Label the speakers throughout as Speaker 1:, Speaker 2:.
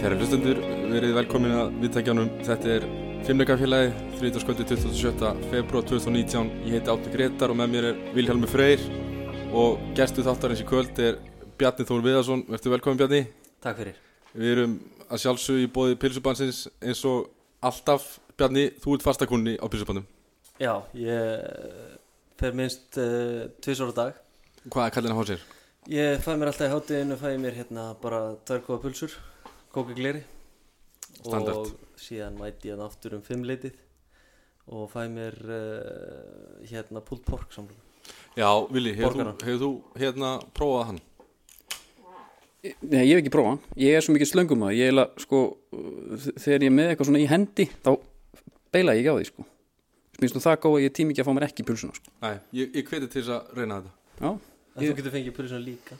Speaker 1: Kæra hlustendur, verið velkomin að viðtækjanum. Þetta er Fimleikafélagi, 30.27. februar 2019. Ég heiti Átti Gretar og með mér er Vilhelmi Freyr og gerstu þáttarins í kvöld er Bjarni Þór Viðarsson. Vertu velkomin Bjarni.
Speaker 2: Takk fyrir.
Speaker 1: Við erum að sjálfsög í bóði pilsubansins eins og alltaf Bjarni, þú ert fastakunni á pilsubandum.
Speaker 2: Já, ég fer minnst uh, tvisvara dag.
Speaker 1: Hvað er kallin að há sér?
Speaker 2: Ég fæ mér alltaf í hátíðinu, fæ mér hérna bara tværkóða pulsur, kókagleri.
Speaker 1: Standard.
Speaker 2: Og síðan mæti ég hann aftur um fimmleitið og fæ mér uh, hérna pulled pork samlum.
Speaker 1: Já, Vili, hefur
Speaker 2: Borgarann.
Speaker 1: þú, hefur þú hérna prófað hann?
Speaker 3: Nei, ég hef ekki prófað hann. Ég er svo mikið slöngum að ég eila, sko, uh, þegar ég er með eitthvað svona í hendi, þá beila ég ekki á því, sko. Minnst þú það góð að ég tím ekki að fá mér ekki í pulsuna, sko.
Speaker 1: Nei, ég, ég hveti til þess að reyna þetta.
Speaker 3: Já,
Speaker 2: En
Speaker 3: Ég-
Speaker 2: þú getur fengið pulsuna líka.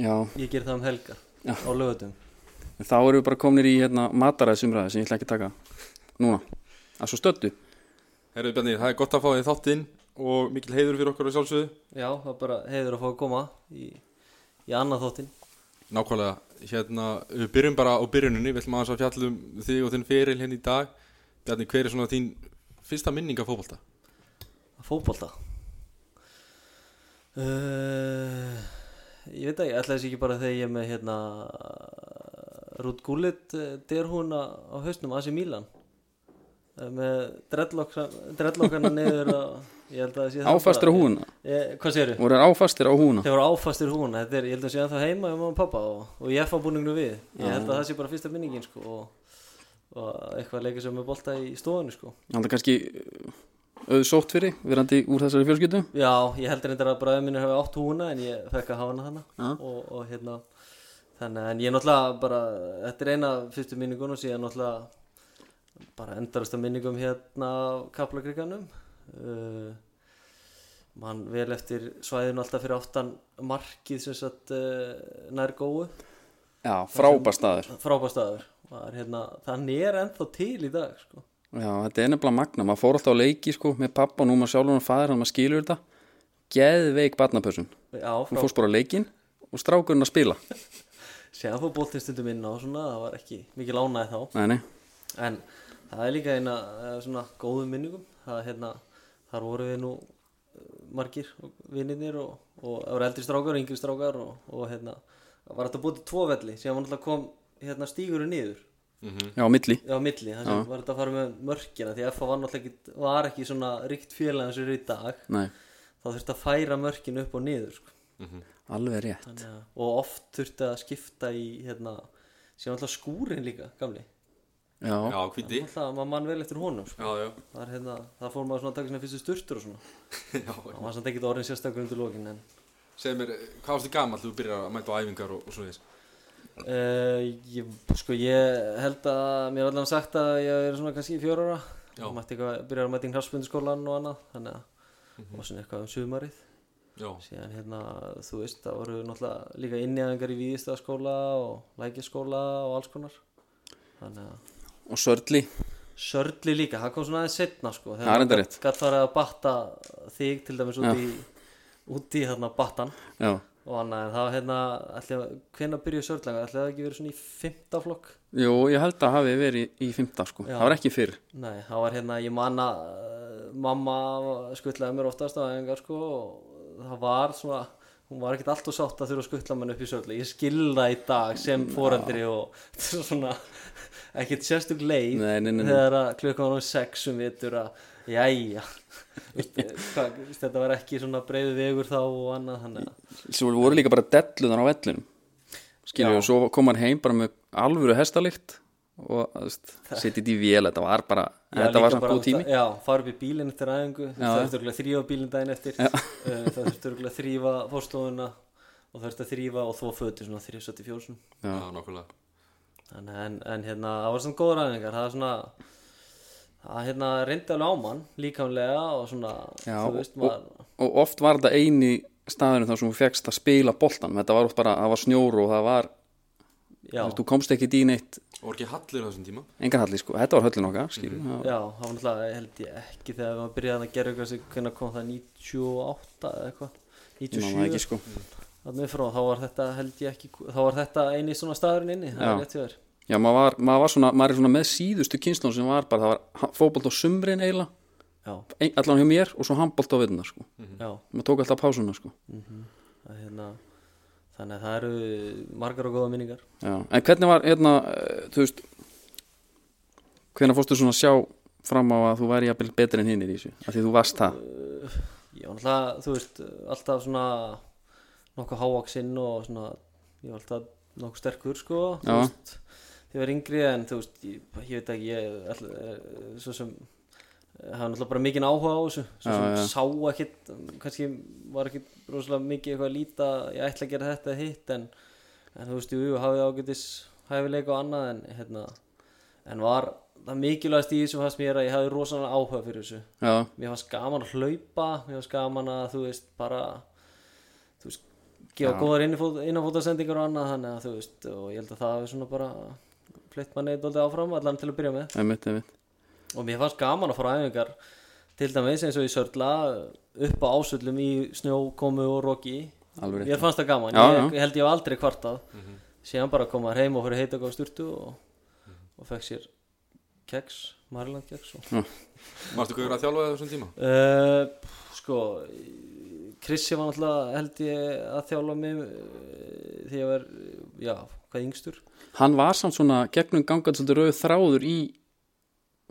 Speaker 3: já.
Speaker 2: Ég ger það um helgar
Speaker 3: Já.
Speaker 2: á lögutum.
Speaker 3: En þá erum við bara komnir í, hérna, mataræðsumræði sem ég ætla ekki að taka núna. Að svo stöldu.
Speaker 1: Herru Bjarni, það er gott að fá þig þáttinn og mikil heiður fyrir okkur á sjálfsögðu.
Speaker 2: Já, það er bara heiður að fá að koma í, í annað þóttin.
Speaker 1: Nákvæmlega, hérna, við byrjum bara á byrjuninni, við ætlum aðeins að fjalla um þig og þinn feril henni í dag. Bjarni, hver er svona þín fyrsta minning af fótbolta?
Speaker 2: Fótbolta uh, Ég veit að ég ætla þess ekki bara þegar ég er með hérna Rút Gullit derhúna á hausnum AC Milan Eh, með dreadlocksa- dreadlockana niður á, ég held að það sé það
Speaker 3: Áfastir á
Speaker 2: bara-
Speaker 3: húuna.
Speaker 2: Eh, Hvað séru?
Speaker 3: Voru þær áfastir á húuna.
Speaker 2: Þeir voru áfastir húna, þetta er, ég held að sé að það heima hjá mamma og pappa og, og ég fá búningnum við ég held að það sé bara fyrsta minningin sko og, og eitthvað að leika sem með bolta í stofunni sko
Speaker 3: Það er kannski auðsótt fyrir, verandi úr þessari fjölskyldu.
Speaker 2: Já, ég heldur reyndar að bræðið minni hefur átt húna en ég fekk að hafa hana
Speaker 3: Já.
Speaker 2: þannig og, og hérna þannig en ég náttúrulega bara þetta er eina af fyrstu minningun og síðan náttúrulega bara endarasta minningum hérna á Kaplakrikanum uh, mann vel eftir svæðinu alltaf fyrir áttan markið sem satt uh, nær góðu
Speaker 3: Já, frábær staður.
Speaker 2: frábæstaður var hérna, þannig er ennþá til í dag sko.
Speaker 3: Já, þetta er nefnilega magna, maður fór alltaf á leiki sko, með pappa og nú maður sjálfur og fæðir hann maður skilur þetta, geðveik barnapössun
Speaker 2: Já,
Speaker 3: hún
Speaker 2: frá,
Speaker 3: fórst bara á leikinn og strákurinn að spila
Speaker 2: séðan fór boltinn stundum inn á og svona, það var ekki mikið lánaði þá
Speaker 3: nei, nei,
Speaker 2: En það er líka eina eh, svona góðum minningum það er hérna, þar voru við nú eh, margir og vinninir og, og það voru eldri strákar og yngri strákar og, og hérna, það var þetta búið til tvo velli sem var náttúrulega kom hérna stígurinn niður
Speaker 3: já, á milli
Speaker 2: á milli, það sem var þetta að fara með mörkina því að FA var náttúrulega ekki, var ekki svona ríkt félag eins og er í dag
Speaker 3: nei,
Speaker 2: þá þurfti að færa mörkin upp og niður sko.
Speaker 3: alveg rétt
Speaker 2: Þannig að- og oft þurfti að skipta í hérna, sem var náttúrulega skúrin líka gamli,
Speaker 3: já,
Speaker 1: Já, hviti.
Speaker 2: náttúrulega maður mann vel eftir honum sko.
Speaker 1: Já, já.
Speaker 2: Það er hérna, það fór maður svona að taka svona fyrstu sturtur og svona
Speaker 1: já.
Speaker 2: Það var samt ekkert orðin sérstakur undir lókin en
Speaker 1: Segð mér, hvað varstu gaman þegar þú byrjar að mæta á æfingar og, og svo þess?
Speaker 2: uh, ég, Sko ég held að mér er allan sagt að ég er svona kannski í fjóra ára
Speaker 1: Já.
Speaker 2: Mætti eitthvað, byrjar að mæta í hraspundskólan og annað Þannig að,
Speaker 3: Mhm.
Speaker 2: og svona eitthvað um sumarið
Speaker 1: Já,
Speaker 2: Síðan hérna, þú veist, það voru náttúrulega líka innjæðingar í Víðistaskóla og Lækjaskóla og alls konar Þannig að
Speaker 3: og sörli
Speaker 2: Sörli líka, það kom svona aðeins setna sko
Speaker 3: Það er enda rétt.
Speaker 2: Gatt farið að batta þig til dæmis út í, út í þarna battan
Speaker 3: já,
Speaker 2: og annað en það var hérna ætli, hvenna byrjuð sörlanga, ætli það ekki verið svona í fimmta flokk
Speaker 3: jú, ég held að hafi verið í fymta sko,
Speaker 2: Já.
Speaker 3: það var ekki fyrr
Speaker 2: nei, það var hérna, ég manna uh, mamma skuttlaði mér oftast á engar sko og það var svona hún var ekkert alltaf sátt að þurfa að skuttla mér upp í sörli ég skilða í dag sem foreldri og þetta er svona ekkert sérstök leið
Speaker 3: Nei, nei, nei, nei.
Speaker 2: þegar að klukkan var um sex um vitur að jæja Hva, þetta var ekki svona breiðu vegur þá og annað þannig að
Speaker 3: svo voru líka bara delluðan á vellinum skilur, og svo kom hann heim bara með alvöru hestalikt og þú veist, setið í vél, þetta var bara
Speaker 2: Já,
Speaker 3: þetta
Speaker 2: líka
Speaker 3: var samt
Speaker 2: bara
Speaker 3: góð tími
Speaker 2: út að- Já, fara upp í bílinn eftir æfingu Það þurfti örgulega að þrýfa bílinn daginn eftir Uh, Það þurfti örgulega að þrýfa fórstofuna og það þurfti að þrýfa og þó fötu svona 374
Speaker 1: já, nákvæmlega.
Speaker 2: en, en, en hérna, það var svona góður æfingar það er svona það hérna reyndi alveg á mann líkamlega og svona,
Speaker 3: Já,
Speaker 2: þú veist maður
Speaker 3: og oft var þetta eini staðurinn þar sem þú fegst að spila boltan þetta var oft bara, það var snjór og það var
Speaker 2: Já,
Speaker 3: þú veist, þú komst ekki í neitt
Speaker 1: Og var ekki hallir á þessum tíma?
Speaker 3: engan halli sko, þetta var höllin okkar skilur, mm
Speaker 2: já, það var náttúrulega held ég ekki þegar maður byrjaði að gera eitthvað hvernig kom það 98 eða eitthvað
Speaker 3: Ég man það
Speaker 2: 97
Speaker 3: ekki sko
Speaker 2: þarna upp frá þá var þetta held ég ekki þá var þetta eini svona staðurinn inni það
Speaker 3: Já.
Speaker 2: er rétt hjá þér
Speaker 3: Já, maður var, maður var svona, maður er svona með síðustu kynslun sem var bara, það var fótbolt á sumrin eiginlega,
Speaker 2: já,
Speaker 3: ein- allan hjá mér og svo handbolt á veituna, sko.
Speaker 2: já,
Speaker 3: Maður tók alltaf pásuna, sko.
Speaker 2: það, hérna, þannig að það eru margar og góða minningar
Speaker 3: Já. En hvernig var, hérna, eh, þú veist, hvernig fórstu svona að sjá fram á að þú væri jafnvel betri en hinnir í þessu? Af því þú varst það.
Speaker 2: ég var náttúrulega, þú veist, alltaf svona nokkuð hávaksinn og svona, ég var alltaf nokkuð sterkur sko, þú
Speaker 3: Já.
Speaker 2: veist ég var yngri en þú veist, ég, ég veit ekki ég, all, eh, svo sem hafa náttúrulega bara mikinn áhuga á þessu svo
Speaker 3: Já,
Speaker 2: sem
Speaker 3: já.
Speaker 2: sá ekkit, kannski var ekkit rosalega mikið eitthvað að líta ég ætla að gera þetta eða hitt en, en þú veist, jú, jú, hafið ágætis hæfileika og annað en hérna en var það mikilvægast í þessu fannst mér að ég hafði rosalega áhuga fyrir þessu
Speaker 3: Já,
Speaker 2: mér fannst gaman að hlaupa mér fannst gaman að þú veist bara þú veist gefa
Speaker 3: Já.
Speaker 2: góðar innfót- innanfótasendingar og annað þannig að þú veist og ég held að það hafi svona bara flytt manni dóldið áfram allan til að byrja með
Speaker 3: einmitt, einmitt.
Speaker 2: og mér fannst gaman að fara á æfingar til dæmis eins og í sörla upp á ásöllum í snjókomu og roki
Speaker 3: Alveg rétt.
Speaker 2: mér fannst það gaman,
Speaker 3: Já,
Speaker 2: ég held ég hef aldrei kvartað síðan bara koma heim og fyrir heita góð sturtu og, og fekk sér keks, Mariland keks og
Speaker 1: Mástu hvað verið að þjálfa á þessum tíma?
Speaker 2: Uh, sko Krissi var náttúrulega held ég að þjálfa mig uh, þegar ég var, eh, já, hvað yngstur
Speaker 3: Hann var samt svona gegnum gangað svolítið rauð þráður í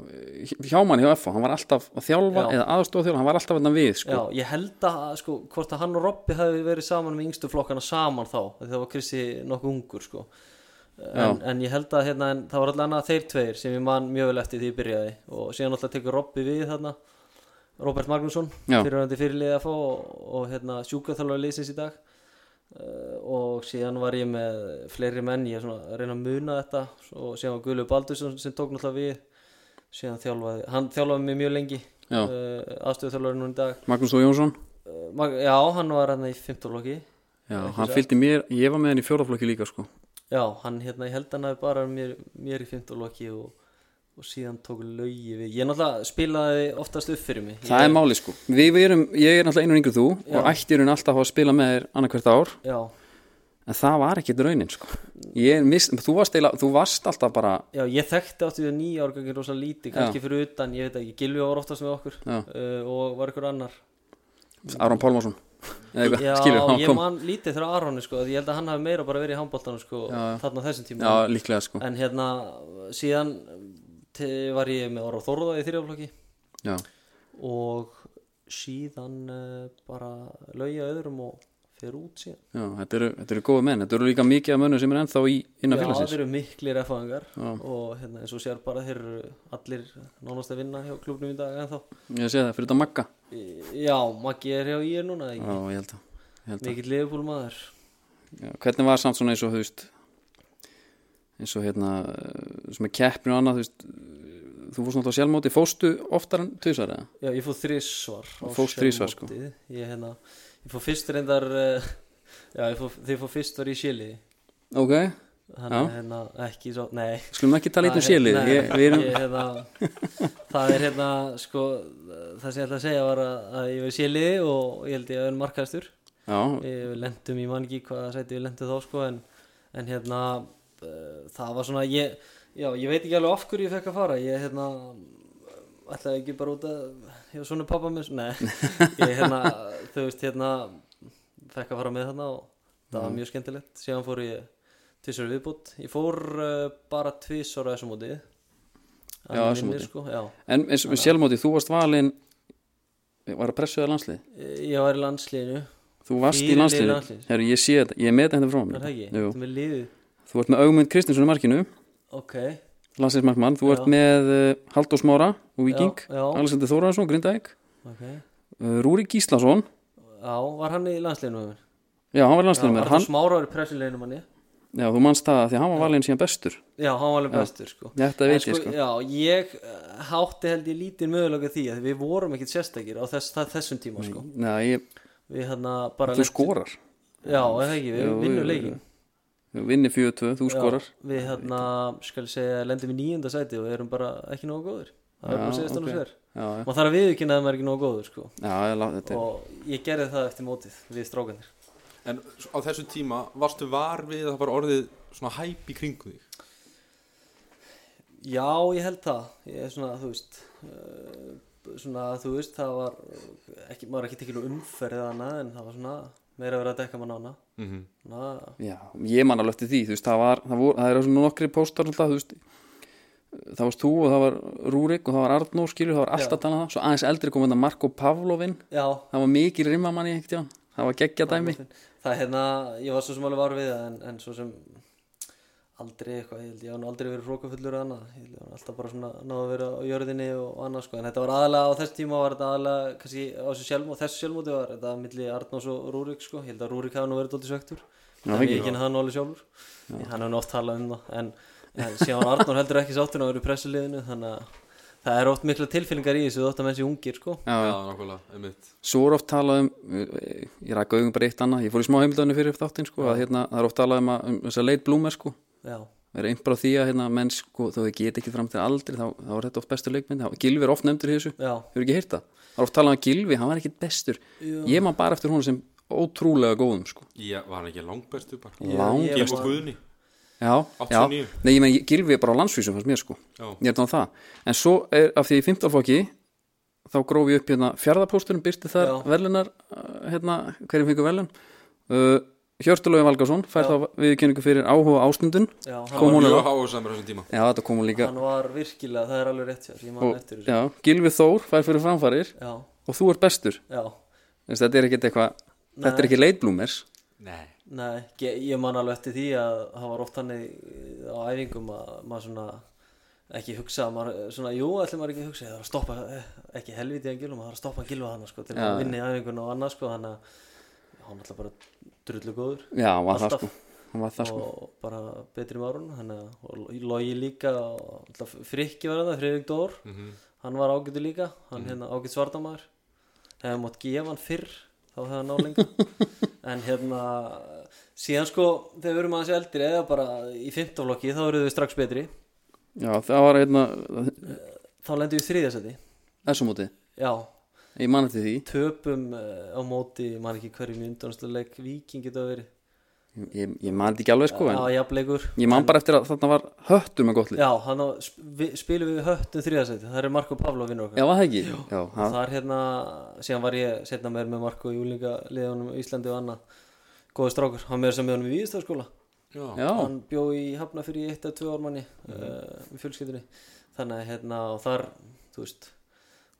Speaker 3: eh, hjá manni hjá FH, hann var alltaf að þjálfa
Speaker 2: Já.
Speaker 3: eða aðstofa þjálfa, hann var alltaf að við, sko.
Speaker 2: Já, ég held að, sko, hvort að hann og Robby hafi verið saman með yngstu flokkana saman þá af því það var Krissi nokkuð ungur, sko en, en ég held að hérna, en, það var alltaf annað þeir tveir sem ég man mjög vel eftir því ég byrjaði og síðan alltaf tekur Robby við þarna Robert Magnússon,
Speaker 3: Já.
Speaker 2: fyrirhandi fyrirliðið að fá og, og hérna, sjúkaþjálfur liðsins í dag uh, og síðan var ég með fleiri menn, ég er svona að reyna að muna þetta og síðan var Guðlu Baldursson sem tók náttúrulega við síðan þjálfaði, hann þjálfaði mig mjög lengi
Speaker 3: Já.
Speaker 2: uh, aðstöðuþjálfurinn núna í dag
Speaker 3: Magnús Þó Jónsson.
Speaker 2: Uh, Mag- Já, hann var hérna í 15 loki
Speaker 3: Já, hann fylgdi mér, ég var með hann í fjóraflokki líka sko
Speaker 2: Já, hann hérna, ég held hann hafi bara mér, mér í 15 loki og, og síðan tók laugi við Ég náttúrulega spilaði oftast upp fyrir mig
Speaker 3: Það
Speaker 2: ég,
Speaker 3: er máli sko, við, við erum, ég er náttúrulega einur yngri en þú og ætti í raun alltaf að fá að spila með þér annarkvært ár
Speaker 2: Já,
Speaker 3: En það var ekki raunin sko Ég mist, þú varst, eila, þú varst alltaf bara,
Speaker 2: já, ég þekkti áttu við nýja árgangin rosa lítið, kannski fyrir utan, ég veit ekki, Gilvi var oftast með okkur
Speaker 3: Já.
Speaker 2: uh, og var ykkur annar
Speaker 3: Aron Pálmarsson Eða eitthvað,
Speaker 2: Já,
Speaker 3: skilur, hann
Speaker 2: ég
Speaker 3: kom
Speaker 2: man lítið þegar Aroni sko, því ég held að hann hafi meira bara verið í handbóltanum sko,
Speaker 3: Já.
Speaker 2: þarna á þessum tíma
Speaker 3: Já, líklega sko
Speaker 2: En hérna, síðan te- var ég með Ára Þórða í þriðaflokki
Speaker 3: Já,
Speaker 2: og síðan uh, bara lauja öðrum og fer út síðan
Speaker 3: já þetta, eru, þetta eru góða menn, þetta eru líka mikið af mönnum sem er ennþá í innan
Speaker 2: Já,
Speaker 3: félagsins
Speaker 2: þeir eru miklir efaðingar
Speaker 3: Já.
Speaker 2: og hérna, eins og sér bara þeir eru allir nánast að vinna hjá klubnum í dag en þá
Speaker 3: Ég sé það, fyrir þetta magga
Speaker 2: Já, Maggi er hjá í er núna
Speaker 3: Já,
Speaker 2: ekki?
Speaker 3: ég held að, ég held að.
Speaker 2: mikill liðbúl maður
Speaker 3: Já, Hvernig var samt svona eins og, þú veist eins og hérna eh, sem er keppinu og annað, þú veist þú fórst náttúrulega sjálfmóti, fóstu oftar en tvisar eða?
Speaker 2: Já, ég fór þrísvar á
Speaker 3: Fórst þrisvar, sko.
Speaker 2: sjálfmótið. Ég, hérna, ég fór fyrst reyndar uh, Já, ég fór, þið fór fyrst var í Chili
Speaker 3: Ok,
Speaker 2: Þannig að hérna, ekki svo, nei
Speaker 3: skulum ekki tala eitthvað um sélið
Speaker 2: Nei,
Speaker 3: Ég- við erum,
Speaker 2: ég, hérna, það er hérna sko, það sem ég ætla að segja var að, að ég var séliði og ég held ég að vera markastur
Speaker 3: já,
Speaker 2: við lendum í mann ekki hvað sæti við lendum þá sko en, en hérna uh, það var svona ég, já, ég veit ekki alveg af hverju ég fekk að fara ég hérna ætlaði ekki bara út að ég var svona pappa minn nei, ég hérna þú veist hérna fekk að fara með þarna og það
Speaker 3: Mhm.
Speaker 2: var mjög skemmtilegt síðan fór ég tvisar viðbútt ég fór uh, bara tvisar á þessum mótið Að
Speaker 3: Já,
Speaker 2: mig
Speaker 3: þessu
Speaker 2: minnir,
Speaker 3: móti.
Speaker 2: sko, já
Speaker 3: en eins og sjálfmóti þú varst valinn var að pressuða landslið
Speaker 2: ég var í landsliðinu,
Speaker 3: þú varst í
Speaker 2: Fyrir
Speaker 3: landslið,
Speaker 2: landsliðið.
Speaker 3: Heru, ég sé þetta, ég meti þetta frá
Speaker 2: er það ekki?
Speaker 3: mér Jú.
Speaker 2: Þetta með liðið,
Speaker 3: þú ert með Augmund Kristinsson í markinu
Speaker 2: ok
Speaker 3: landslíðsmarkmann, þú
Speaker 2: Já.
Speaker 3: ert með uh, Haldur Smára og Viking,
Speaker 2: Já, já.
Speaker 3: Alexander Þóraðarsson Grindæk,
Speaker 2: ok
Speaker 3: uh, Rúri Gíslason
Speaker 2: Já, var hann í landsliðinu með mér?
Speaker 3: já, hann var
Speaker 2: Já,
Speaker 3: landslið með
Speaker 2: Arnór
Speaker 3: hann,
Speaker 2: Smára var í pressuleginu manni
Speaker 3: já, þú manst það því að hann var valinn síðan bestur,
Speaker 2: Já, hann var alveg bestur sko.
Speaker 3: þetta
Speaker 2: En
Speaker 3: veit ég sko
Speaker 2: Já, ég eh, hátti held ég lítið mögulega því að við vorum ekkit sérstakir á þess, það, þessum tíma sko.
Speaker 3: Nei, ég,
Speaker 2: Við hérna bara
Speaker 3: þú skorar,
Speaker 2: Já, er það ekki, við
Speaker 3: Jú, jú,
Speaker 2: vinnum
Speaker 3: jú.
Speaker 2: leikin
Speaker 3: þú vinnir 4-2 þú skorar,
Speaker 2: Já, Við hérna, skal ég segja, lendum í nýjunda sæti og erum bara ekki nógu góður Það er
Speaker 3: Já,
Speaker 2: bara að segja
Speaker 3: ok.
Speaker 2: stann og sér
Speaker 3: já, já,
Speaker 2: Maður þarf að viðurkynna að maður er ekki nógu góður sko.
Speaker 3: já, já lá- þetta er
Speaker 2: Og ég gerði það eftir mótið við strákanir
Speaker 1: En á þessum tíma varstu var við að það var orðið svona hæp í kringu þig
Speaker 2: Já, ég held það Ég er svona, þú veist uh, Svona, þú veist, það var ekki, Maður er ekki tekið umferðið annað En það var svona, meira verið að dekka mann ána
Speaker 1: mm -hmm.
Speaker 2: Svona,
Speaker 3: Já, ég man alveg eftir því, þú veist, það var, það voru, það eru svona nokkri póstar alltaf, þú veist, það varst þú og það var Rúrik og það var Arnó, skilur, það var allt
Speaker 2: Já.
Speaker 3: að tala um það, svo aðeins eldri kom þetta Marko Pavlovin,
Speaker 2: já
Speaker 3: það var mikil rimmamanni ekkert, já, það var geggja dæmi,
Speaker 2: Það er hérna, ég var svo sem alveg var við það En, en svo sem aldrei eitthvað, ég held ég hann aldrei verið hrókafullur eða annað, ég held ég hann alltaf bara svona náða að vera á jörðinni og annað sko en þetta var aðalega á þess tíma var þetta aðalega kannski á þessu sjálfmóti, þessu sjálfmóti var þetta milli Arnás og Rúrik sko, ég held að Rúrik hafa nú verið dóttir svektur,
Speaker 3: Já,
Speaker 2: en
Speaker 3: ekki.
Speaker 2: ég kynna hann nú alveg sjálfur, Ég- hann hefur nú oft talað um það en, en síðan Arnór heldur ekki sáttin að vera í pressuliðinu þannig að það er oft mikla tilfinningar í þessu þótt að menn sé ungir sko
Speaker 3: já,
Speaker 1: Já,
Speaker 3: já,
Speaker 1: nákvæmlega, einmitt
Speaker 3: svo er oft talað um, eh, ég rækka augum bara eitt annað, ég fór í smá heimildöðinu fyrir þáttinn, sko, að hérna, það er oft talað um, að- um þess að leit blúmer, sko,
Speaker 2: já,
Speaker 3: er einn bara á því að hérna, menn, sko, þó þau get ekki fram til aldrei, þá, þá er þetta oft bestu leikmynd, Gilvi er oft nefndur í þessu,
Speaker 2: já,
Speaker 3: Hefur ekki heyrt það? Það er oft talað um að Gilvi, hann var ekkit bestur Ég maður bara eftir hún sem ótrúlega góðum sko.
Speaker 1: Ég var hann ekki langbestu bara
Speaker 2: Ég-
Speaker 3: Lang-
Speaker 2: ég
Speaker 1: Ég og
Speaker 2: var-
Speaker 1: Guðni
Speaker 3: Já, já
Speaker 1: 89.
Speaker 3: Nei, ég meni, Gilvi er bara á landsvísum fannst mér sko
Speaker 1: Já,
Speaker 3: Ég er þannig það En svo er, af því að í 15 flokki Þá gróf ég upp hérna fjárðapósturinn Byrti þar
Speaker 2: Já.
Speaker 3: verlunar uh, hérna, Hverjum fengur verlun uh, Hjörtulögi Valgarsson Fær
Speaker 2: Já.
Speaker 3: þá viðkynningu fyrir áhuga ástundun
Speaker 2: já hann,
Speaker 3: Kom
Speaker 1: hann
Speaker 3: hún
Speaker 1: var
Speaker 3: er
Speaker 1: mjög
Speaker 3: það?
Speaker 1: hásamur á þessum tíma
Speaker 3: Já, þetta kom hún líka
Speaker 2: hann var virkilega, það er alveg rétt hjá ég man
Speaker 3: og,
Speaker 2: eftir þessu
Speaker 3: já, Gilvi Þór fær fyrir framfarir
Speaker 2: já,
Speaker 3: Og þú ert bestur
Speaker 2: já,
Speaker 3: Þess, Þetta er ekkit eitthvað Þetta er
Speaker 2: Nei.
Speaker 3: ekki leitblúmers
Speaker 1: Nei
Speaker 2: nei, ég, ég man alveg eftir því að það var oft hann á æfingum að maður svona ekki hugsa, maður, svona, jú, ætlum maður ekki að hugsa, ég þarf að stoppa, eh, ekki helviti en gilva, maður þarf að stoppa að gilva hana, sko, til
Speaker 3: Já.
Speaker 2: að vinna í æfingun og annað, sko, hann að hann alltaf bara drullu góður
Speaker 3: Já, hann var það
Speaker 2: Alltaf.
Speaker 3: sko Hann var það sko
Speaker 2: og bara betri márun þannig að og logi líka og alltaf frikki var þetta, Friðrik Dór
Speaker 3: Mhm.
Speaker 2: hann var ágætu líka, hann hérna ágæt svartamæður hefði mátt gefa hann fyrr þá hefði hann nálinga en hérna, síðan sko þegar við erum aðeins eldri eða bara í fimmtaflokki þá eru við strax betri
Speaker 3: Já, það var hérna
Speaker 2: þá lendum við í þriðjasæti,
Speaker 3: þessu móti,
Speaker 2: já
Speaker 3: ég man eftir því
Speaker 2: töpum eh, á móti, mann ekki hverjum í undanstuleik, viking getur að verið
Speaker 3: ég, ég man þetta ekki alveg sko en
Speaker 2: á jafnleikur
Speaker 3: ég man bara eftir að þarna var höttur með gott lið,
Speaker 2: Já, hann á, sp við, spilum við höttum þriðasæti, það er Marko Pavlov vinnur okkar
Speaker 3: já var það ekki já, það,
Speaker 2: Þar hérna, síðan var ég setna meir með Marko í úlinga liðunum í Íslandi og annað Góði strákur, hann meður sem með honum í Víðistarskóla
Speaker 1: Já,
Speaker 3: já, Mhm.
Speaker 2: Hann bjó í Hafna fyrir í eitt eða tvö ármanni mm -hmm. í fjölskyldunni Þannig að hérna, og þar, þú veist,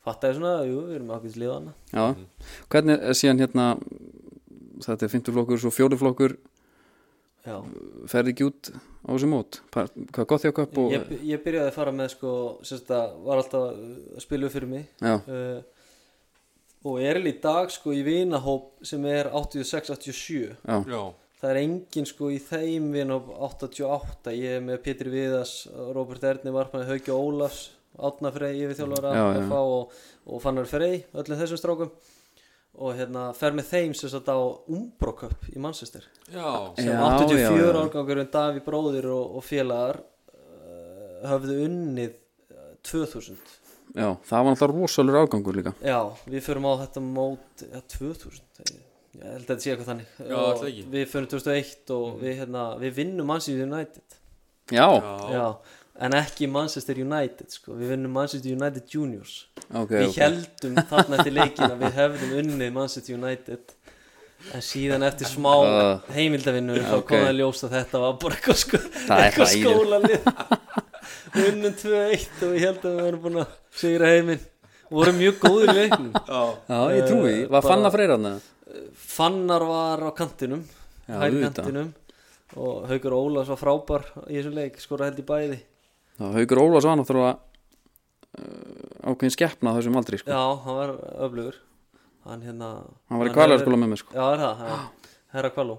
Speaker 2: fattaði svona, jú, við erum ákveðs liðu annað
Speaker 3: já hvernig er síðan hérna þetta er 50 flokkur, svo 40 flokkur
Speaker 2: Já,
Speaker 3: ferði ekki út á þessu mót Par, hvað gott þjók upp og
Speaker 2: ég, ég byrjaði að fara með sko, sérst að var alltaf uh, að spila upp fyrir mig
Speaker 3: já,
Speaker 2: uh, og er í dag sko í vinahóp sem er 86-87
Speaker 3: já,
Speaker 1: já,
Speaker 2: það er engin sko í þeim vinahóp 88, ég er með Pétur Viðas Robert Erni Varpmann, Hauki Ólafs Átna Frey, yfirþjólara
Speaker 3: Já, já.
Speaker 2: FH og, og Fannar Frey, öllum þessum strákum og hérna fer með þeim sem satt á Umbroköp í Manchester
Speaker 1: já
Speaker 2: sem
Speaker 3: Já,
Speaker 2: 84
Speaker 3: já, já.
Speaker 2: árgangurinn Daví um bróðir og, og félagar uh, höfðu unnið uh, 2000
Speaker 3: já það var náttúrulega rosalur ágangur líka
Speaker 2: Já, við förum á þetta mót ja, 2000 ég eh, ég held að þetta sé eitthvað þannig
Speaker 1: Já,
Speaker 2: Og
Speaker 1: ætli ekki. Mhm.
Speaker 2: Við förum 2001 og við, hérna, við vinnum Manchester United
Speaker 3: já,
Speaker 1: Já,
Speaker 2: En ekki Manchester United sko. Við vinnum Manchester United Juniors
Speaker 3: ok,
Speaker 2: Við
Speaker 3: ok
Speaker 2: heldum þarna eftir leikin að við hefðum unnið Manchester United En síðan eftir smá
Speaker 3: Ah.
Speaker 2: heimildavinnur
Speaker 3: Já,
Speaker 2: þá
Speaker 3: ok.
Speaker 2: kom það að ljósa þetta var bara eitthvað, sko,
Speaker 3: Það er
Speaker 2: eitthvað
Speaker 3: hræðilegt.
Speaker 2: skólalið Við unnum 2-1 og ég held að við erum búin að sigra heiminn vorum mjög góðir í leiknum
Speaker 3: já, ég trúi, því. var
Speaker 2: Bara-
Speaker 3: fann að freyra hann
Speaker 2: Fannar var á kantinum
Speaker 3: Já,
Speaker 2: hægri
Speaker 3: auðvitað.
Speaker 2: kantinum og Haukur Ólafs var frábær í þessum leik skora held í bæði
Speaker 3: Haugur Ólafs var náttúrulega uh, ákveðin skeppna á þessum aldri sko.
Speaker 2: já, hann var öflugur hann hérna
Speaker 3: hann var í
Speaker 2: hefur-
Speaker 3: kvalarskóla með mér sko.
Speaker 2: já, er það, hann- herra kvaló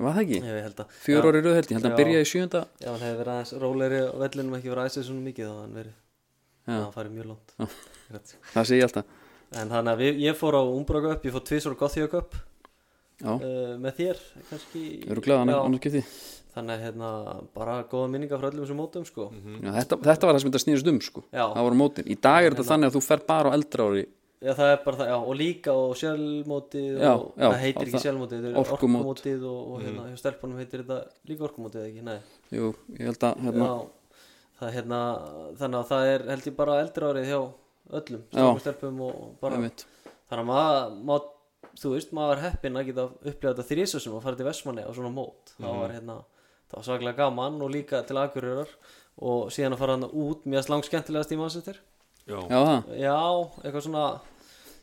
Speaker 3: var það ekki?
Speaker 2: ég held að
Speaker 3: fjör
Speaker 2: Já,
Speaker 3: orði rauðheldi, held að
Speaker 2: Já.
Speaker 3: hann byrja í sjönda
Speaker 2: já, hann hefði verið aðeins rólegri og vellinum ekki verið aðeins svona mikið þá hefði hann verið
Speaker 3: Já.
Speaker 2: hann farið mjög langt Rétt.
Speaker 3: það sé ég alltaf
Speaker 2: en þannig að við, ég fór á Umbra Cup ég fór tvisar á Gothia Cup
Speaker 3: já,
Speaker 2: uh, með þér kannski
Speaker 3: eru glæðan
Speaker 2: Já,
Speaker 3: annars geti
Speaker 2: þannig að hérna bara góða minningar frá öllum sem mótum sko
Speaker 3: Mhm. já, þetta, þetta var það sem þetta snýrist um sko.
Speaker 2: Já.
Speaker 3: það voru mótin, í dag er þetta þannig að þú fer bara á eldra ári
Speaker 2: Já, það er bara það, já, og líka og sjálfmótið
Speaker 3: Já,
Speaker 2: og
Speaker 3: já,
Speaker 2: það heitir
Speaker 3: á
Speaker 2: ekki
Speaker 3: það-
Speaker 2: sjálfmótið, þetta er
Speaker 3: orkumót.
Speaker 2: orkumótið og, og hérna, hjá stelpunum heitir þetta líka orkumótið eða ekki, nei
Speaker 3: Jú, ég held að hérna,
Speaker 2: Já, það er hérna, þannig að það er held ég bara eldra árið hjá öllum,
Speaker 3: Já.
Speaker 2: stelpum, stelpum og og bara
Speaker 3: einmitt
Speaker 2: Þannig að maður, mað, þú veist, maður var heppinn að geta upplifað þetta þrísössum og farið til Vestmanni á svona mót. Það var hérna, það var svaklega gaman og líka til Akureyrar og síðan að fara hann út, mér erst langt skemmtilegast í Manchester.
Speaker 1: Já,
Speaker 3: Já, það,
Speaker 2: Já, eitthvað svona,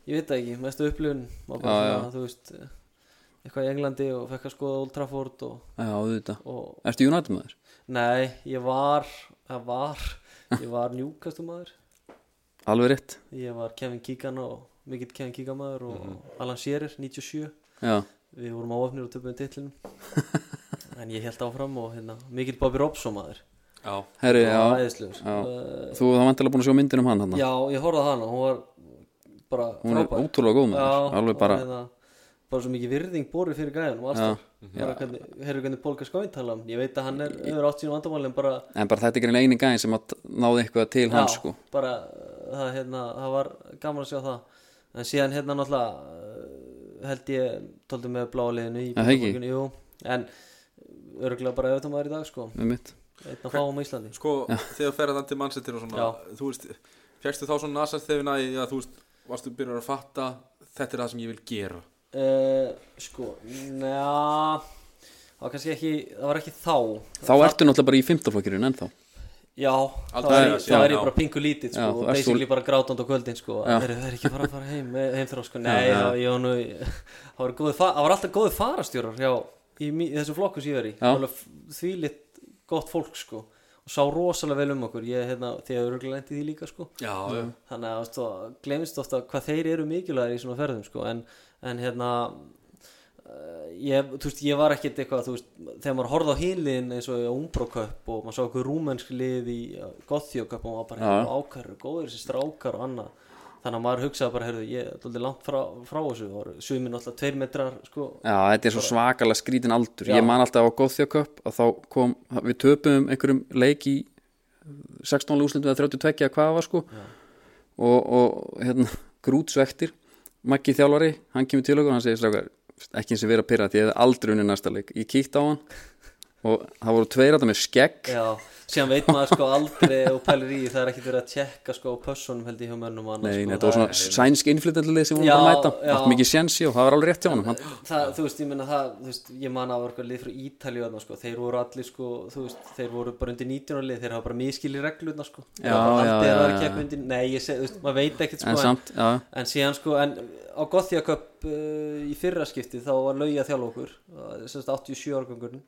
Speaker 2: ég veit það ekki, mestu upplifun, maður bara
Speaker 3: Já,
Speaker 2: svona, þú veist, eitthvað í Englandi og fekk að skoða Old Trafford og,
Speaker 3: já, auðvitað
Speaker 2: og
Speaker 3: Ertu United maður?
Speaker 2: nei, ég var, það var, ég var njúkastumæður,
Speaker 3: Alveg rétt
Speaker 2: ég var Kevin Keegan og mikill Kevin Keegan maður og
Speaker 3: Mhm.
Speaker 2: Alan Shearer, 97.
Speaker 3: Já,
Speaker 2: við vorum áöfnir og töfum titlinum en ég held áfram og hérna mikill Bobby Robson maður
Speaker 1: já,
Speaker 3: herri,
Speaker 2: Það var
Speaker 3: já
Speaker 2: æðislegur.
Speaker 3: Já.
Speaker 2: Uh,
Speaker 3: Þú það vantilega búin að sjá myndin um hann hann
Speaker 2: já, ég horfði á hana hún var bara
Speaker 3: Hún er
Speaker 2: frábær.
Speaker 3: ótrúlega góð
Speaker 2: Já,
Speaker 3: maður Alveg
Speaker 2: og
Speaker 3: bara,
Speaker 2: hérna, bara svo mikið virðing borið fyrir græðanum
Speaker 3: já
Speaker 2: bara hvernig, herru hvernig Pólka Skóin tala um ég veit að hann er öður átt sínum vandamálin bara,
Speaker 3: En bara þetta er grein eini gæðin sem að náði eitthvað til hans sko
Speaker 2: bara uh, það, hérna, það var gaman að sjá það en síðan hérna náttúrulega uh, held ég tóldi með bláa liðinu í
Speaker 3: Já, það ekki.
Speaker 2: Bílabókinu, jú, en örgulega bara auðvitað maður í dag sko
Speaker 3: Við mitt
Speaker 2: einn að fáum á Íslandi
Speaker 1: Sko, þegar þú ferði þann til Manchester og svona Þú veist, fjækstu þá svona nasar þegar næ Já, þú veist, varstu byrjar að fatta Þetta er það sem ég vil gera
Speaker 2: uh, sko, njá það var kannski ekki, það var ekki þá
Speaker 3: Þá ertu náttúrulega bara í fimmtaflokkirinn ennþá
Speaker 2: já,
Speaker 1: Aldrei
Speaker 2: það var, ég,
Speaker 1: síðan,
Speaker 2: það var
Speaker 1: já.
Speaker 2: ég bara pingu lítið sko,
Speaker 3: Já, þú
Speaker 2: og
Speaker 3: ert
Speaker 2: basically bara grátand á kvöldin sko,
Speaker 3: Já.
Speaker 2: það er, er ekki bara að fara heim heim þrá sko, nei, já, ég var nú í- það var, góði, það var alltaf góði farastjórar já, í, í þessum flokkum sem ég er í
Speaker 3: Já.
Speaker 2: Alveg þvílitt gott fólk sko og sá rosalega vel um okkur ég, hérna, þegar örgulega lendi því líka sko
Speaker 1: Já, já,
Speaker 2: þannig að þú veist, glemist ofta hvað þeir eru mikilvægir í svona ferðum sko. en, en hérna eh, ég, þú veist, ég var ekkert eitthvað þú veist, þegar maður horfði á hínliðin eins og umbroköpp og maður sá okkur rúmensk lið í gothjóköpp og maður bara
Speaker 3: Já.
Speaker 2: hefði ákærur, góður þessi strákar og annað þannig að maður hugsaði bara, heyrðu, ég er alltaf langt frá, frá þessu og sumin alltaf tveir metrar sko,
Speaker 3: Já, þetta er svo svakalega skrítin aldur
Speaker 2: Já.
Speaker 3: Ég man alltaf á Gothjaköp að þá kom, við töpum einhverjum leik í 16 úslindu eða 32 eða hvað það var sko og, og hérna, grútsvektir Maggi þjálfari, hann kemur til okkur og hann segir strákar, ekki eins og vera að pyrra því ég hefði aldrei unni næsta leik, ég kíkti á hann og það voru tveir að það með skegg
Speaker 2: Já, síðan veit maður sko aldrei og pælir í, það er ekkert verið að tjekka sko á pössunum held ég hjá mönnum og annað,
Speaker 3: Nei,
Speaker 2: sko,
Speaker 3: nei,
Speaker 2: það
Speaker 3: þetta var
Speaker 2: er-
Speaker 3: svona sænsk innflytandlið sem voru
Speaker 2: Já,
Speaker 3: bara að mæta,
Speaker 2: já.
Speaker 3: allt mikið sjensi og það var alveg rétt hjá honum, hann
Speaker 2: það, þú veist, ég menna það, þú veist, ég man að var eitthvað lið frá Ítalíu þarna, sko, þeir voru allir, sko, þú veist, þeir voru bara undir 19 ára lið, þeir hafa bara miskili reglurna, sko,
Speaker 3: Já, já,
Speaker 2: aldrei að
Speaker 3: já,
Speaker 2: vera
Speaker 3: já.
Speaker 2: keppa undir, nei, ég segi, þú veist, maður veit ekkert, sko,
Speaker 3: en samt, já, já.
Speaker 2: en síðan, sko, en á Gothjaköp uh, í fyrra skipti þá var lauja þjálf okkur, uh, semst 87 árgangurinn,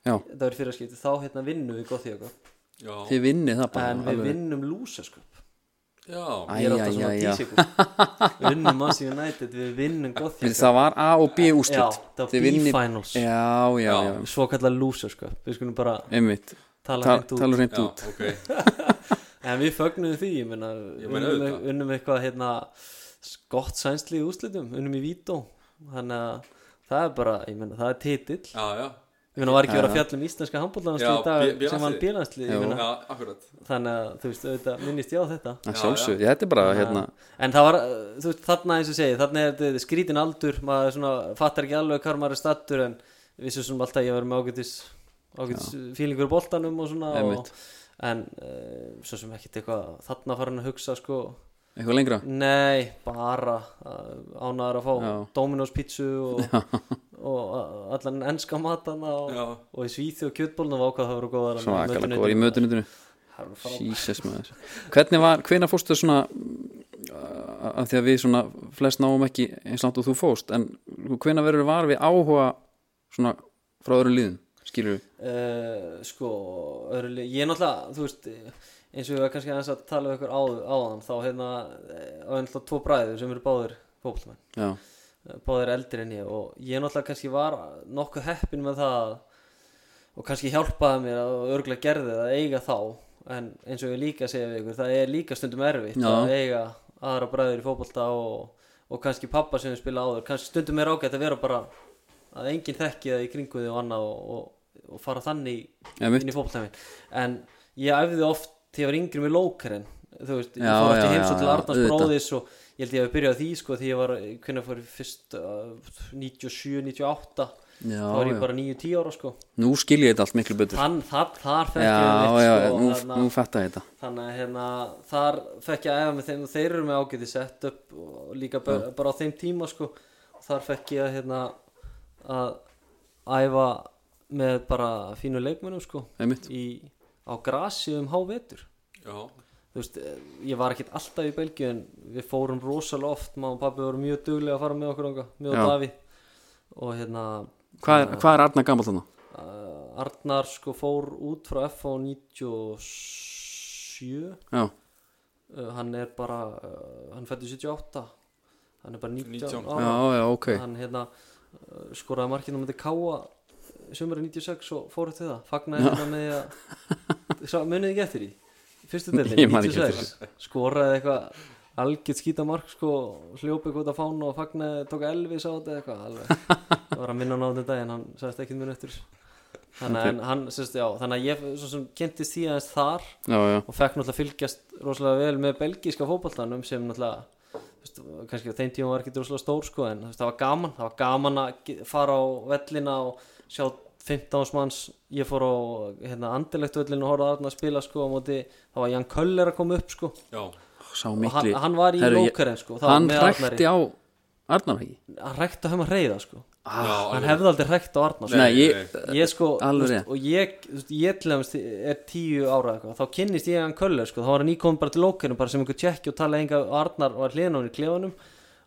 Speaker 3: já,
Speaker 2: það var í fyrra skipti, þá hérna vinnum við Gothjaköp,
Speaker 1: já,
Speaker 3: þið vinnið það bara
Speaker 2: en við
Speaker 3: alveg.
Speaker 2: vinnum Lúsasköp,
Speaker 1: já,
Speaker 2: ég er alltaf
Speaker 3: Æ,
Speaker 2: svona
Speaker 3: æ, æ, já.
Speaker 2: dísikúr, við vinnum Mass United, við vinnum
Speaker 3: Fyrir
Speaker 2: Gothjaköp,
Speaker 3: það var A og B
Speaker 2: já,
Speaker 3: úrslit
Speaker 2: það
Speaker 3: Þið
Speaker 2: var
Speaker 3: vinni-
Speaker 2: B-finals.
Speaker 3: Já, já,
Speaker 1: Já.
Speaker 3: já,
Speaker 2: svo kallar lúsur sko við skulum bara
Speaker 3: einmitt
Speaker 2: tala
Speaker 3: Ta-
Speaker 2: hreint út
Speaker 3: Talur hreint
Speaker 1: já,
Speaker 3: út
Speaker 1: ok
Speaker 2: en við fögnum því, ég meina
Speaker 1: Ég meina
Speaker 2: unnum,
Speaker 1: auðvitað.
Speaker 2: unnum eitthvað hérna gott sænsli í úslitum, unnum í vító þannig að það er bara ég meina það er titill,
Speaker 1: Já, já,
Speaker 2: ég meina var ekki
Speaker 3: Já,
Speaker 2: verið að
Speaker 3: já.
Speaker 2: fjalla um íslenska handbóllansli
Speaker 1: Já,
Speaker 2: í dag
Speaker 1: B- B-landsliðið.
Speaker 2: sem hann bílansli, ég
Speaker 3: Já.
Speaker 2: meina
Speaker 1: já, akkurat
Speaker 2: þannig að þú veist, auðvitað minnist ég á þetta
Speaker 3: Að Sjálfsög, þetta er bara hérna
Speaker 2: en það var, uh, þú veist, þarna eins og ég segi þarna er þetta skrítin aldur, maður svona fattar ekki alveg hvar maður er stattur en við sem svona alltaf ég verið með ágætis ágætis fílingur í boltanum og svona og,
Speaker 3: Einmitt.
Speaker 2: en uh, svo sem ekkit eitthvað þarna farin að hugsa sko
Speaker 3: Eitthvað lengra
Speaker 2: nei, bara uh, ánæður að fá
Speaker 3: Já.
Speaker 2: Dominos pizzu og, og uh, allan enska matana og,
Speaker 1: Já,
Speaker 2: og í svíþi og kjötbólnum og ákvað það voru góðar
Speaker 3: Svo akalega góður í mötunutinu
Speaker 2: Það voru frábærar.
Speaker 3: Jesus maður Hvernig var, hvena fórstu svona að því að við svona flest náum ekki eins langt og þú fórst en hvena verður var við áhuga svona frá öðrum liðum skilur við
Speaker 2: uh, sko öðrulega, ég er náttúrulega þú veist, eins og við varum kannski aðeins að tala um ykkur áð, áðan þá hérna eh, á ennlega tvo bræður sem eru báðir fókbaltmenn,
Speaker 3: Já,
Speaker 2: báðir eldri en ég og ég náttúrulega kannski var nokkuð heppin með það að- og kannski hjálpaði mér að örgulega gerði það að eiga þá en eins og ég líka segja við ykkur það er líka stundum erfitt
Speaker 3: Já.
Speaker 2: að eiga aðra bræður í fókbalta og, og kannski pappa sem við spila áður kannski stundum er ágætt að vera bara að enginn þekki það í kringu því og annað og, og, og fara þannig
Speaker 3: Einmitt.
Speaker 2: inn í fókbaltæmin en ég æfði oft þegar ég var yngri með lókarinn þú veist, ég
Speaker 3: Já,
Speaker 2: fór
Speaker 3: já,
Speaker 2: eftir
Speaker 3: já,
Speaker 2: heimsótt til
Speaker 3: já,
Speaker 2: Arnars
Speaker 3: auðvitað.
Speaker 2: bróðis og ég held ég að byrja á því sko því ég var, hvernig fór ég fyrst uh, 97, 98
Speaker 3: já,
Speaker 2: þá var
Speaker 3: já.
Speaker 2: ég bara 9-10 ára sko
Speaker 3: nú skil ég þetta allt miklu betur
Speaker 2: þann, þar, þar
Speaker 3: já,
Speaker 2: fekk ég
Speaker 3: já,
Speaker 2: þitt
Speaker 3: já,
Speaker 2: sko
Speaker 3: nú,
Speaker 2: þarna-
Speaker 3: nú fætta ég þetta
Speaker 2: þannig að hérna, þar fekk ég að æfa með þeim og þeir eru með ágæti sett upp og líka bara, bara á þeim tíma sko, og þar fekk ég að, hérna, að æfa með bara fínu leikmönnum sko,
Speaker 3: Einmitt.
Speaker 2: í, á grasi um hávetur
Speaker 1: Já,
Speaker 2: þú veist, eh, ég var ekkert alltaf í Belgíu en við fórum rosalega oft mamma og pappi voru mjög duglega að fara með okkur ánga, mjög
Speaker 3: Já.
Speaker 2: og Davíð og hérna
Speaker 3: hvað er, hvað er Arna gammal þannig?
Speaker 2: eh, Arnar sko fór út frá FH 97
Speaker 3: já,
Speaker 2: Uh, hann er bara uh, hann fættu 78 hann er bara 19,
Speaker 1: 19,
Speaker 3: já,
Speaker 2: ára
Speaker 3: já, ok
Speaker 2: hann hérna uh, skoraði markinu með K.A. sömurinn 96 og fóruð til það fagnaði hérna með því að Sá, munið ekki eftir því fyrstu
Speaker 3: Ég
Speaker 2: delin
Speaker 3: man ekki eftir
Speaker 2: 96 skoraði eitthvað algjört skítamark sko hljópið hvort að fána og fagnaði tók Elvis á þetta eitthvað alveg það var að minna hann á þetta dag en hann sagðist ekki mun eftir þessu. þannig að, en hann, sérst, já, þannig að ég svo sem kynntist því aðeins þar
Speaker 3: já, já,
Speaker 2: og fekk náttúrulega fylgjast rosalega vel með belgíska fótboltanum sem náttúrulega þú veist, kannski á þeim tíma var ekki rosalega stór sko en þú veist, það var gaman, það var gaman að ge- fara á vellina og sjá 15 manns, ég fór á hérna, andilegt vellinu og horfði að að spila sko á móti, þá var Jan Köller að koma upp sko
Speaker 1: já,
Speaker 3: sá
Speaker 2: og hann,
Speaker 3: mikli
Speaker 2: hann var í
Speaker 3: Herru, ég-
Speaker 2: lókaren sko það var
Speaker 3: hann
Speaker 2: með
Speaker 3: hrækti
Speaker 2: Arnari.
Speaker 3: á Arnar ekki?
Speaker 2: hann hrækti á hefum að reyða sko
Speaker 1: já
Speaker 2: hann
Speaker 1: alveg.
Speaker 2: hefði aldrei hrækt á Arnar sko.
Speaker 3: nei,
Speaker 1: nei.
Speaker 3: ég,
Speaker 2: ég sko,
Speaker 3: Alveg
Speaker 2: þú veist,
Speaker 3: rétt.
Speaker 2: og ég þú veist, ég til dæmis er tíu ára eitthvað, þá kynnist ég hann Köller sko, þá var hann íkomin bara til lókinu bara sem einhver tjekki og talaði enga Arnar var hliðin á hann í klefunum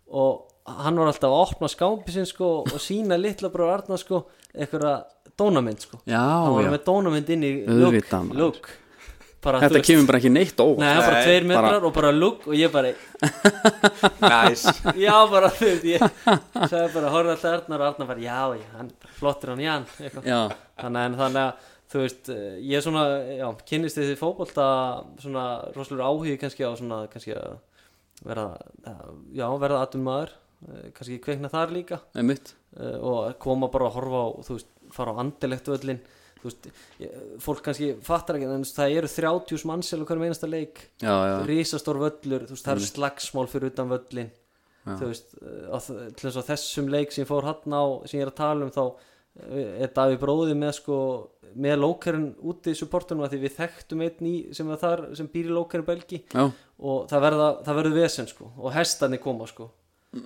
Speaker 2: og hann var alltaf að opna skápi sinn sko og sína litla bara Arnar sko einhverja dónamynd sko
Speaker 3: já,
Speaker 2: hann var
Speaker 3: já
Speaker 2: með dónamynd inn í
Speaker 3: Auðvitað,
Speaker 2: look,
Speaker 3: maður.
Speaker 2: look. Bara, þú
Speaker 3: þetta
Speaker 2: veist,
Speaker 3: kemur bara ekki neitt óvart
Speaker 2: Nei, hann bara
Speaker 1: Nei,
Speaker 2: tveir
Speaker 3: bara-
Speaker 2: metrar og bara lúk og ég bara,
Speaker 1: Næs
Speaker 2: já bara þú veist, ég sagði bara, horfði alltaf Arnar og Arnar bara, já, já, hann, flottur hann, já, eitthvað
Speaker 3: já,
Speaker 2: þannig, en, þannig að þú veist, eh, ég svona já, kynnist þessi fótbolta svona rosalur áhugi kannski á svona kannski að vera að- já, verða atum maður kannski kveikna þar líka
Speaker 3: einmitt
Speaker 2: eh, og koma bara að horfa á þú veist, fara á andilegt völlin þú veist, ég, fólk kannski fattar ekki en þú veist, það eru 30 mannsel og hverjum einasta leik
Speaker 3: já, já,
Speaker 2: risastór völlur, þú veist, það eru slagsmál fyrir utan völlin
Speaker 3: Já.
Speaker 2: þú veist, eh, á, þ- til þess að þessum leik sem ég fór hann á, sem ég er að tala um þá eh, er Daví bróði með sko með lókarinn úti í supportunum að því við þekktum einn í sem, var þar, sem býr í lókarinn belgi
Speaker 3: já,
Speaker 2: og það, verða, það verður vesen sko og hestarnir koma sko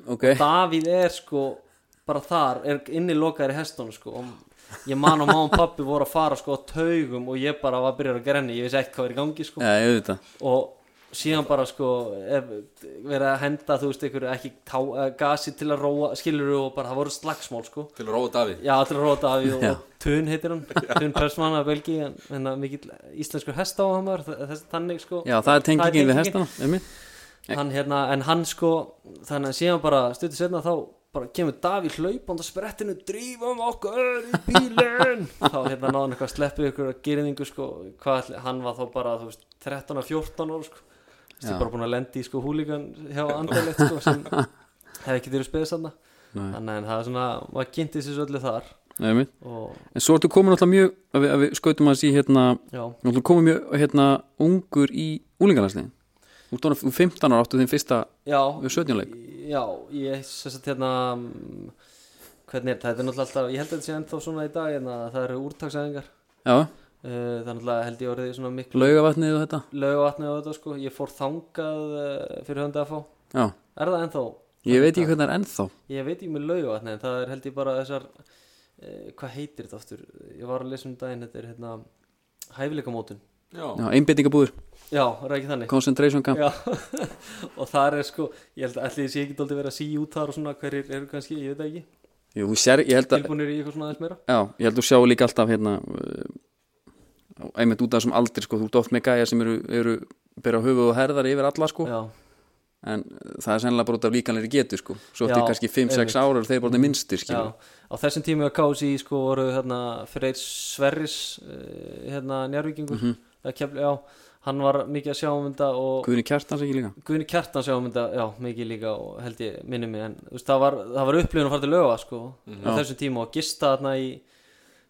Speaker 3: ok
Speaker 2: Davíð er sko bara þar, er inni lokaður í hestunum sko og ég man og má og pappi voru að fara sko á taugum og ég bara var að byrja að grenni, ég vissi ekki hvað er í gangi sko
Speaker 3: já, ég veit það
Speaker 2: og síðan bara sko ef, verið að henda þú veist ykkur ekki tá, eh, gasi til að róa skilur og bara það voru slagsmál sko
Speaker 1: Til að róa Davíð
Speaker 2: já til að róta af og,
Speaker 3: Já.
Speaker 2: og Tun heitir hann Tun Persmann af Belgi en, en mikill íslenskur hestáhamar þess þannig sko
Speaker 3: já, það er tengingin við
Speaker 2: tengingin.
Speaker 3: hestana, einmitt
Speaker 2: hann, hérna, en hann sko þannig að síðan bara stuttu setna þá bara kemur Davíð hlaupand á sprettinu drífum okkur í bílinn þá hérna náðan eitthvað að sleppu ykkur að gerðingu sko, hvað, ætli- hann var þá bara þú veist, 13 að 14 ára sko Þú veist,
Speaker 3: Já.
Speaker 2: ég bara búin að lendi í sko húlíkan hjá andalegt sko sem hef ekki til að spila sanna
Speaker 3: Nei.
Speaker 2: þannig en það er svona, maður kynnti sér svo öllu þar
Speaker 3: einmitt
Speaker 2: og
Speaker 3: En svo ertu komin alltaf mjög, að við, að við skautum að sí hérna,
Speaker 2: já,
Speaker 3: alltaf komin mjög hérna ungur í úlingarlandsliðin. Þú ert orðinn 15 ára áttu þinn fyrsta
Speaker 2: já
Speaker 3: 17 leik.
Speaker 2: Já, ég sem sagt hérna mm, hvernig er þetta, þetta er náttúrulega alltaf ég held að þetta sé ennþá svona í dag en að það eru úrtaksæðingar uh,
Speaker 3: Já,
Speaker 2: það er náttúrulega held ég orðið svona miklu
Speaker 3: laugavatnið og þetta.
Speaker 2: laugavatni á þetta sko, ég fór þangað uh, fyrir hönda að fá,
Speaker 3: Já,
Speaker 2: er það ennþá
Speaker 3: ég veit ekki hvernig það er ennþá.
Speaker 2: ég veit ekki með laugavatni en það er held ég bara þessar uh, hvað heitir þetta aftur, ég var að lesa um daginn þetta er hérna hæfileikamótun
Speaker 1: Já,
Speaker 3: Já, einbyttingabúður,
Speaker 2: já, er það ekki þannig
Speaker 3: concentration camp.
Speaker 2: Já, og þar er sko ég held að allir sé ekki dóldi verið að sí út þar og svona hverjir eru kannski, ég veit það ekki
Speaker 3: Jú, þú sér, ég held að,
Speaker 2: tilbúinir í eitthvað svona aðeins meira
Speaker 3: já, ég held að þú sjá líka alltaf hérna, eh, einmitt út af þessum aldri, sko, þú ert oft með gæja sem eru, eru bera höfuð og herðar yfir alla, sko,
Speaker 2: já,
Speaker 3: en það er sennilega bara út af líkanleiri getu, sko. Svo
Speaker 2: Já,
Speaker 3: ertu kannski 5-6
Speaker 2: einmitt.
Speaker 3: ára og þeir eru bara minnstir,
Speaker 2: já.
Speaker 3: skilur.
Speaker 2: á þessum tíma á KSI sko voru hérna Freyr Sverris eh, hérna njárvíkingur
Speaker 3: Mhm.
Speaker 2: mm kefli, já, hann var mikið að sjá um þetta og
Speaker 3: Guðni Kjartans ekki líka?
Speaker 2: Guðni Kjartan sjá um þetta já, mikið líka og held ég minni mig en þú veist, það var, það var upplifun að fara til löga sko á
Speaker 1: Mhm.
Speaker 2: þessum tíma og gista þarna í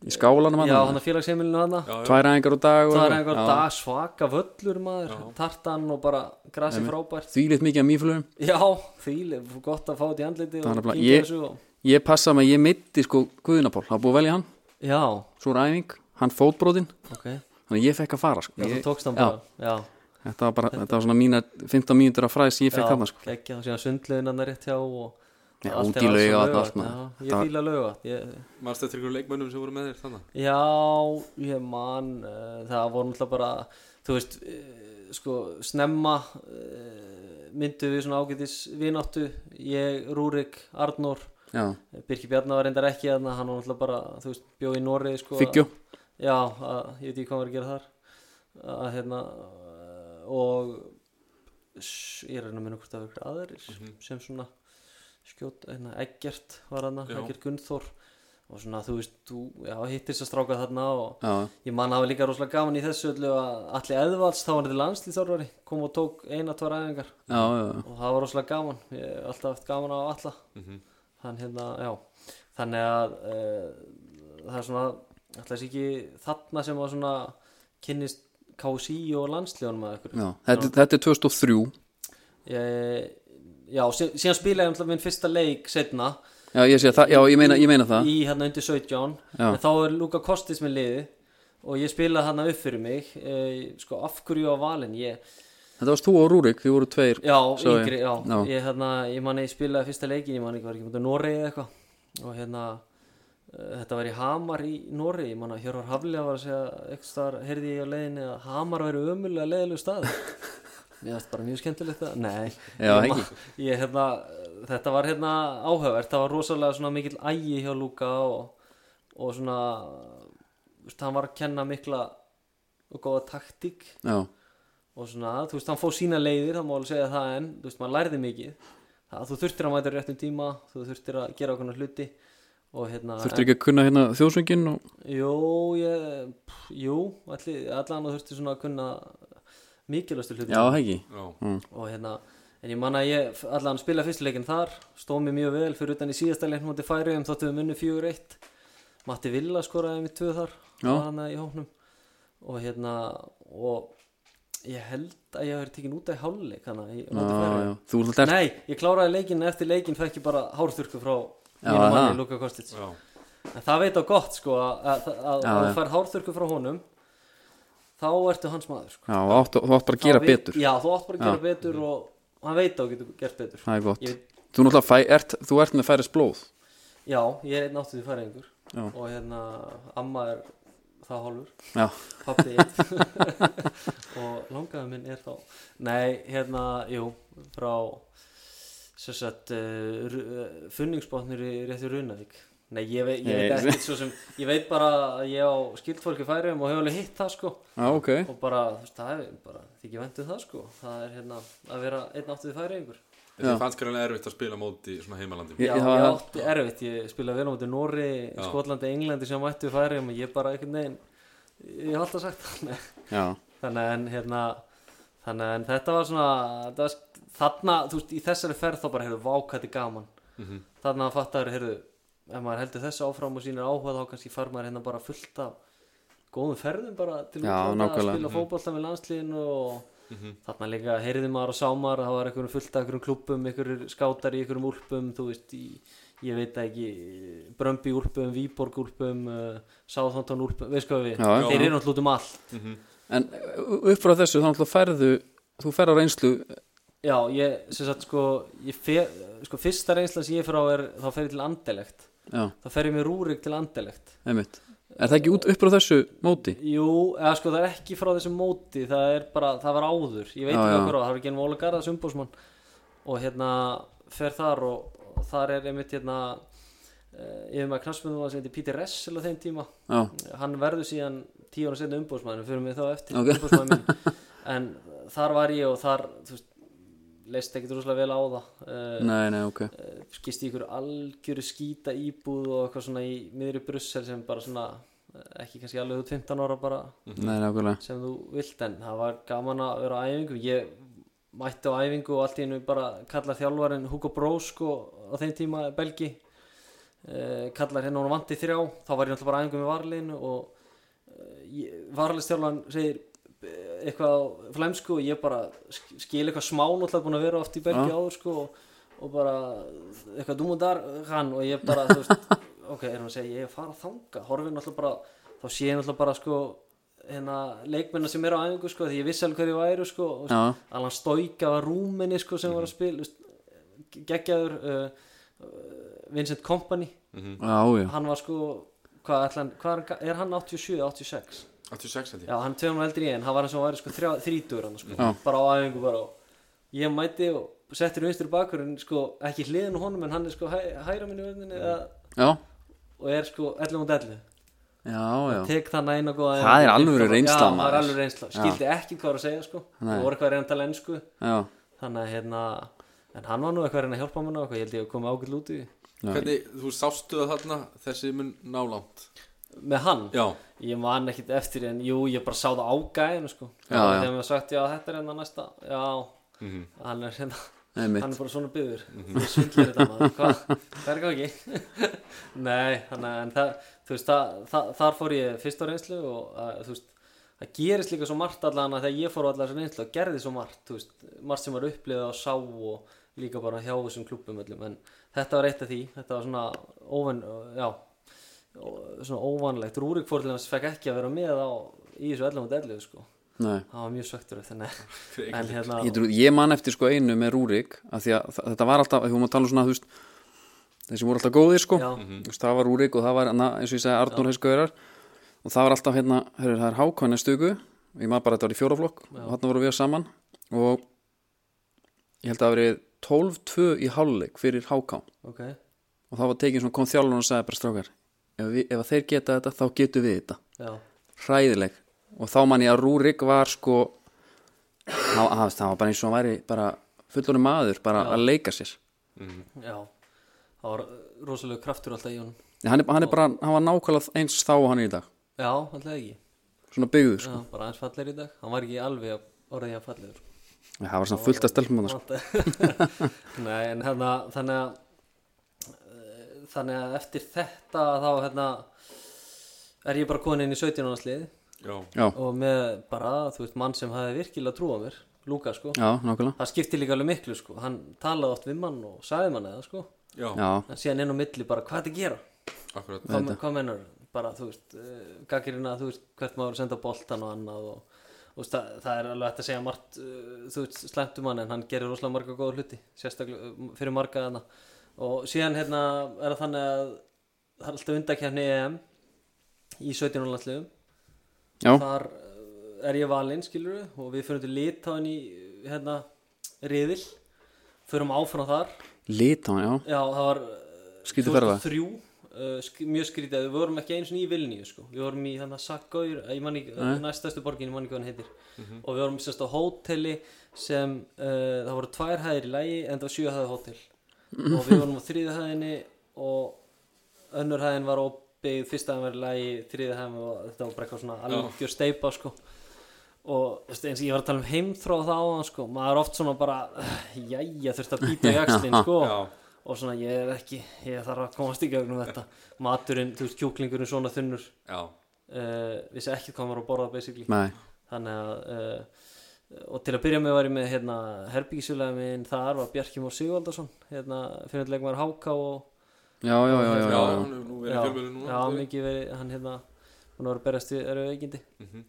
Speaker 3: í skálanum
Speaker 2: já, hann
Speaker 3: hann
Speaker 2: að félagsheimilinu hann
Speaker 1: Já, já.
Speaker 3: tvær æfingar á dag og-
Speaker 2: það er einhver
Speaker 3: Já.
Speaker 2: dag svaka völlur maður tartan og bara grasi frábært
Speaker 3: þvílitt mikið af mýflugum
Speaker 2: já, þýlið, gott að fá þetta í andliti
Speaker 3: Það er
Speaker 2: og
Speaker 3: nefnilega-
Speaker 2: kynkja
Speaker 3: ég-
Speaker 2: þessu og...
Speaker 3: ég passa mig, ég mitti sko Guðunapól það er búið að velja hann,
Speaker 2: já,
Speaker 3: svo er æfing hann fótbróðinn,
Speaker 2: ok já,
Speaker 3: þannig að ég fekk að fara sko.
Speaker 2: þú
Speaker 3: ég,
Speaker 2: tókst hann
Speaker 3: já,
Speaker 2: bara já,
Speaker 3: þetta var bara, þetta var svona mína 15 mínútur af fræs sem ég fekk
Speaker 2: já,
Speaker 3: hann sko.
Speaker 2: geggja og síðan sundlegin hann er rétt hjá og
Speaker 3: Já,
Speaker 2: allt
Speaker 3: út
Speaker 2: er alls á
Speaker 3: í Laugavatn og
Speaker 2: Laugavatn,
Speaker 3: allt maður.
Speaker 2: já,
Speaker 3: Það-
Speaker 2: ég fíla laugat ég
Speaker 1: Manstu eftir ykkur leikmönnum sem voru með þér þannig?
Speaker 2: Já, ég man uh, það voru náttúrulega bara þú veist, uh, sko snemma uh, myndu við svona ágætis vináttu ég, Rúrik, Arnór
Speaker 3: já,
Speaker 2: Birki Bjarnar var reyndar ekki þarna hann var náttúrulega bara, þú veist, bjóð í Nóri sko,
Speaker 3: fyggjó
Speaker 2: Já, að, ég veit ekki hvað hann var að gera þar að hérna eh, og s- ég er að reyna að minna hvort það var ykkur aðrir sem svona skjót, hérna, Eggert var hann
Speaker 1: Já.
Speaker 2: Eggert Gunnþór og svona þú veist, þú já, hittist að stráka þarna og
Speaker 3: já,
Speaker 2: ég man hafa líka rosalega gaman í þessu öllu að allir eðvalds þá var hann til landslýþjálfari kom og tók eina, tvar æfingar
Speaker 3: já, já,
Speaker 2: og það var rosalega gaman ég hef alltaf haft gaman á alla
Speaker 1: Mhm.
Speaker 2: hann hérna, já þannig að uh, það er svona alltaf sé ekki þarna sem að svona kynnist KSI og landsljónum að ykkur
Speaker 3: já. Þetta, þetta er 2003
Speaker 2: ég, já, sí, síðan spilaði ég alltaf minn fyrsta leik setna
Speaker 3: já, ég, sé það, já, ég, meina, ég meina það
Speaker 2: í hérna undir 17
Speaker 3: Já.
Speaker 2: en þá er Luka Kostis með liði og ég spilaði hann upp fyrir mig eh, sko af hverju á valin ég,
Speaker 3: þetta varst þú og Rúrik, þið voru tveir
Speaker 2: Já,
Speaker 3: Sorry.
Speaker 2: yngri, já,
Speaker 3: Já.
Speaker 2: Ég, hérna, ég man að ég spilaði fyrsta leikin ég man ekki var ekki mútið Noregi eða eitthvað og hérna eh, þetta var í Hamar í Noregi, ég man að Hjörvar Haflega var að segja eitthvað þar, heyrði ég á leiðinni að Hamar væri ömulega leiðilegu stað Mér varst bara mjög skemmtilegt það Nei,
Speaker 3: Já,
Speaker 2: ég,
Speaker 3: ekki.
Speaker 2: man- ég, hérna, þetta var hérna áhugavert það var rosalega svona mikill ægi hjá Lúka og, og svona þú veist, hann var að kenna mikla og góða taktík
Speaker 3: já,
Speaker 2: og svona, þú veist, hann fóð sína leiðir það má alveg segja það en, þú veist, maður lærði mikið það, þú þurftir að mæta á réttum tíma þú þurftir að gera okkur hluti og hérna,
Speaker 3: þurftir ekki að kunna hérna þjóðsöngin og,
Speaker 2: en, jú ég, pff, jú, allir, allan þú þurftir svona að kunna mikilvægstu hluti
Speaker 3: já, hegji
Speaker 1: Já.
Speaker 2: og hérna, en ég manna ég allan spila fyrstuleikin þar, stóð mér mjög vel fyrir utan í síðasta leiknum átti færiðum þóttum við munni 4-1 Matti Villa skoraði mér tvö þar
Speaker 3: Já.
Speaker 2: hana í hóknum og hérna og ég held að ég hafi tekin út af háluleik hana í móti Færeyjum.
Speaker 3: þú ert alltaf
Speaker 2: Nei, ég kláraði leikinn en eftir leikinn fekk ég bara hárþurku frá
Speaker 3: Já,
Speaker 2: mínu
Speaker 3: aha.
Speaker 2: manni Luka Kostic
Speaker 1: Já.
Speaker 2: en það veit á gott sko að, að, að,
Speaker 3: Já,
Speaker 2: að
Speaker 3: já.
Speaker 2: þú fær hárþurku frá honum þá ertu hans maður sko.
Speaker 3: já, þú átt, þú átt bara að gera
Speaker 2: Þá veit-
Speaker 3: betur
Speaker 2: Já, þú átt bara að gera betur og hann veit að þú getur gert betur
Speaker 3: það er gott
Speaker 2: Ég-
Speaker 3: þú, náttúrulega fæ, ert, þú ert með færis blóð
Speaker 2: Já, ég er einn áttuð í færingur
Speaker 3: Já.
Speaker 2: og hérna amma er það hálfur
Speaker 3: já,
Speaker 2: pappi eitt og langaðu minn er þá Nei, hérna, jú, frá sérsagt uh, ru- uh, funningsbotnir í réttu Runavík Nei, ég veit, ég veit
Speaker 3: Nei.
Speaker 2: ekkert svo sem ég veit bara að ég á skildfólki færiðum og hefur alveg hitt það sko
Speaker 3: já, ok
Speaker 2: og bara, þú veist, það er bara þykir væntum það sko, það er hérna að vera einn áttuð í færiðingur
Speaker 1: Þið fannst greinlega erfitt að spila móti svona heimalandum
Speaker 3: Ég-
Speaker 2: Já,
Speaker 3: ég
Speaker 2: ég,
Speaker 3: hafa-
Speaker 2: átti erfitt, ég spilaði vel á mútið Nóri,
Speaker 1: Já.
Speaker 2: Skotlandi, Englandi sem mættu færiðum og ég bara einhvern veginn ég hef alltaf sagt þannig
Speaker 3: já,
Speaker 2: þannig en hérna þannig en þetta var svona þetta var, þarna, þú veist, í þessari ferð þá bara heyrðu vákætti gaman mm -hmm. þannig að fattar, heyrðu, ef maður heldur þessu áfram og sínir áhuga þá kannski fær maður hérna bara fullt af góðum ferðum bara til
Speaker 3: Já,
Speaker 2: útlanda,
Speaker 3: nákvæmlega. Mhm.
Speaker 2: að spila fótbolta með landsliðinu og þarna líka heyrði maður og sá maður að það var einhverjum fullt af einhverjum klubbum, einhverjum skátar í einhverjum úlpum, þú veist, í ég veit það ekki, Brömbi úlpum, Víborg úlpum, uh, Sáþóntón úlpum, veist hvað við,
Speaker 3: Já, já.
Speaker 2: þeir eru náttúrulega út um allt
Speaker 1: Mhm.
Speaker 3: en uh, upp frá þessu þá náttúrulega færðu þú ferðar einslu
Speaker 2: Já, ég, sem sagt, sko, ég fer, sko, fyrsta reynslan sem ég fer á er, þá fer ég til andelegt.
Speaker 3: já,
Speaker 2: Þá fer ég með rúrik til andelegt.
Speaker 3: einmitt er það ekki út, upp frá þessu móti
Speaker 2: Jú, eða sko, það er ekki frá þessum móti, það er bara, það var áður. Ég veit
Speaker 3: Já,
Speaker 2: ekki
Speaker 3: já.
Speaker 2: hvað var, það var ekki enn Óla Garðars umbúsmann og hérna, fer þar og, og þar er einmitt, hérna, eh, ég hef maður knarsmyndum að segja Pítur Ressel á þeim tíma.
Speaker 3: já,
Speaker 2: hann verður síðan tíu ára setna umbóðsmaður fyrir mig þá eftir
Speaker 3: Ok.
Speaker 2: okay. en þar var ég og þar þú veist, leist ekkit rúslega vel á það uh,
Speaker 3: nei, nei, ok
Speaker 2: uh, skist í ykkur algjöru skýta íbúð og eitthvað svona í miðri Brussel sem bara svona eh, ekki kannski alveg út 15 ára bara
Speaker 3: nei, nákvæmlega
Speaker 2: sem þú vilt en það var gaman að vera á æfingu ég mætti á æfingu og allt í hennu bara kallar þjálfarinn Hugo Brós sko á þeim tíma Belgi eh, kallar hérna hún vandi þrjá þá var ég náttúrulega bara aðingum í varleginu og eh, varlegstjálfan segir eh, eitthvað á flæmsku og ég bara sk- skil eitthvað smá náttúrulega búin að vera oft í Belgi áður sko og, og bara eitthvað dumundar hann og ég bara þú veist ok, er hann að segja ég er að fara að þanga horfið náttúrulega bara þá sé ég náttúrulega bara sko hérna leikmennar sem eru á æfingu sko því ég vissi alveg hverju væru sko og
Speaker 3: Já. Mhm.
Speaker 2: Alan Stoika var rúminni sko sem var að spila veist, geggjaður uh, Vincent Kompany
Speaker 3: já, já,
Speaker 2: hann var sko hvað ætla hann, hvað er, hann ga- er hann 87 eða 86
Speaker 1: 86 held ég
Speaker 2: já hann er tveimur eldri en hann var eins og hann væri sko þrjá- þrítugur hann sko
Speaker 3: Já.
Speaker 2: bara á aðingu bara og ég mæti og settir vinstur bakur en sko ekki hliðin á honum en hann er sko hæ, hæra minni verðinni eða,
Speaker 3: já,
Speaker 2: og er sko 11 og 11
Speaker 3: já, já.
Speaker 2: tek þannig eina góða
Speaker 3: Það er
Speaker 2: æfingu.
Speaker 3: alvöru reynsla,
Speaker 2: já það er
Speaker 3: maður.
Speaker 2: alveg reynsla skildi ekki hvað var að segja sko
Speaker 3: Nei.
Speaker 2: og voru eitthvað að reyna að tala ennsku
Speaker 3: já.
Speaker 2: þannig að hérna en hann var nú eitthvað að reyna að hjálpa mér og eitthvað ég held ég að koma ágætt út í því.
Speaker 3: Já.
Speaker 1: Hvernig, þú sástu það þarna, þessi mun nálangt
Speaker 2: með hann
Speaker 1: Já,
Speaker 2: ég man ekkit eftir því, en jú ég bara sá það ágæðinu sko
Speaker 3: Já,
Speaker 2: Og
Speaker 3: já.
Speaker 2: þegar mér var sagt já þetta er hérna næsta já hann er hérna
Speaker 3: Einmitt.
Speaker 2: hann er bara svona byður þú svindlir þetta maður hvað það er ekki nei þannig að- en það þú veist það, það, þar fór ég fyrst á reynslu og að, þú veist það gerist líka svo margt allan að þegar ég fór á allar þessar reynslu og gerði svo margt þú veist margt sem var upplifað og sá og líka bara hjá þessum klubbum öllum en þetta var eitt af því þetta var svona óvan já ó- svona óvanlegt Rúrik fór til hans fekk ekki að vera með á í þessu 11 og 11 sko
Speaker 3: Nei.
Speaker 2: það var mjög svektur þannig að-
Speaker 1: Fyrir
Speaker 2: en hérna
Speaker 3: Ég, trú- ég man eftir sko einu með Rúrik af því að þa- þetta var alltaf, við vorum að tala um svona þú veist, þeir sem voru alltaf góðir sko
Speaker 2: Já.
Speaker 3: Þú veist, það var Rúrik og það var na, eins og ég segi Arnur Heiskaurar og það var alltaf hérna, heyrðu, það er Hákvæn er stöku ég maður bara að þetta var í fjóraflokk og þarna voru við saman og ég held að það hafi verið 12-2 í hálfleik fyrir Hákvæn
Speaker 2: ok
Speaker 3: og það var tekin svona kom þjálfur og sagði bara strákar ef, við, ef að þeir geta þetta þá getum við þetta
Speaker 2: já
Speaker 3: hræðileg og þá man ég að Rúrik var sko það var, það var bara eins og hann væri bara fullorinn maður bara að leika sér
Speaker 2: Já, það var rosalega kraftur alltaf í honum
Speaker 3: Nei, hann er, hann er bara, hann var nákvæmlega eins þá og hann er í dag
Speaker 2: Já, alltaf ekki
Speaker 3: svona byggður sko.
Speaker 2: Já, bara aðeins fallegri í dag Hann var ekki alveg að orðið að fallegur
Speaker 3: það var svona fullt að stelpum hann sko.
Speaker 2: Vant- Nei, en hérna, þannig að eh, Þannig að eftir þetta þá hérna er ég bara komin inn í 17 ára slið
Speaker 1: já,
Speaker 3: já,
Speaker 2: og með bara, þú veist, mann sem hafi virkilega trúa mér, Lúka sko
Speaker 3: já, nákvæmlega
Speaker 2: Það skipti líka alveg miklu sko, hann talaði oft við mann og sagði mann eða sko
Speaker 1: já,
Speaker 3: já,
Speaker 2: en síðan inn á milli bara hvað þetta gera
Speaker 1: akkurat
Speaker 2: hvað, hvað mennur bara þú veist gagirina þú veist hvert maður er að senda boltan og annað og, og það, það er alveg hægt að segja margt uh, þú veist slæmt um hann en hann gerir rosalega marga góða hluti sérstaklega uh, fyrir marga þarna og síðan hérna er það þannig að það er alltaf undakefni EM í 17 álandslegum
Speaker 3: já,
Speaker 2: þar uh, er ég valinn skilur og við fyrir til litáin í uh, hérna riðil förum áfram þar
Speaker 3: lit á hann, já
Speaker 2: Já, það var eh,
Speaker 3: Skrítið ferðalag.
Speaker 2: Þrjú, uh, sk mjög skrítið Við vorum ekki eins og í Vilniu sko. Við vorum í þannig að Sakkaur Ég man ekki, næstastu borgin, ég man ekki hvað hann heitir Og við vorum sérst á hóteli sem uh, það voru tvær hæðir í lægi en það var sjö hæði hótel og við vorum á þriði hæðinni og önnur hæðin var óbyggð fyrsta hæðin var í lægi, þriði hæðin var þetta var bara eitthvað svona algjör steipa sko og þú veist, eins og ég var að tala um heimþróð þá áðan, sko, maður er oft svona bara jæja, þurfti að býta í axlinn sko
Speaker 1: Já.
Speaker 2: og svona ég er ekki ég þarf að komast í gegnum þetta maturinn, þú veist, kjúklingurinn svona þunnur
Speaker 1: Já,
Speaker 2: uh, vissi ekki hvað maður á að borða basically
Speaker 3: nei,
Speaker 2: þannig að uh, og til að byrja með var ég með hérna, herbyggisjulega minn þar var Bjarki Mór Sigvaldason hérna, finnleik maður Háka og
Speaker 3: já, já, já, já,
Speaker 1: já,
Speaker 3: já, já.
Speaker 1: hann er nú verið fjölmjölu núna
Speaker 2: já, mikið verið, hann hérna hún var að berast við eru veikindi
Speaker 1: Mhm.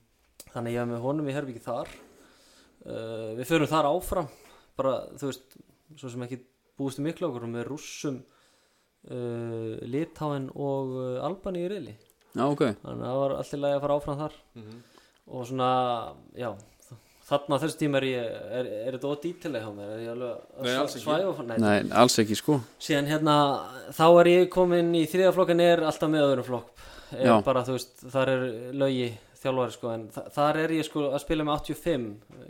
Speaker 2: þannig að ég var með honum í herbyggi þar uh, við förum þar áfram bara, þú veist, svo sem ekki búist um miklu okkur með rússum uh, litáin og uh, albani í reyli
Speaker 3: já, ok
Speaker 2: þannig að það var allir lagi að fara áfram þar
Speaker 1: Mhm.
Speaker 2: og svona, já þarna á þessu tíma er ég er, er þetta ódítileg hjá mér, er ég alveg að
Speaker 1: Nei,
Speaker 2: sv-
Speaker 1: alls ekki.
Speaker 2: svæfa nei,
Speaker 3: nei, alls ekki, sko
Speaker 2: síðan hérna þá er ég komin í þriða flokkan er alltaf með öðrum flokk er
Speaker 3: Já.
Speaker 2: bara þú veist þar er lögi þjálfari sko en þa þar er ég sko að spila með 85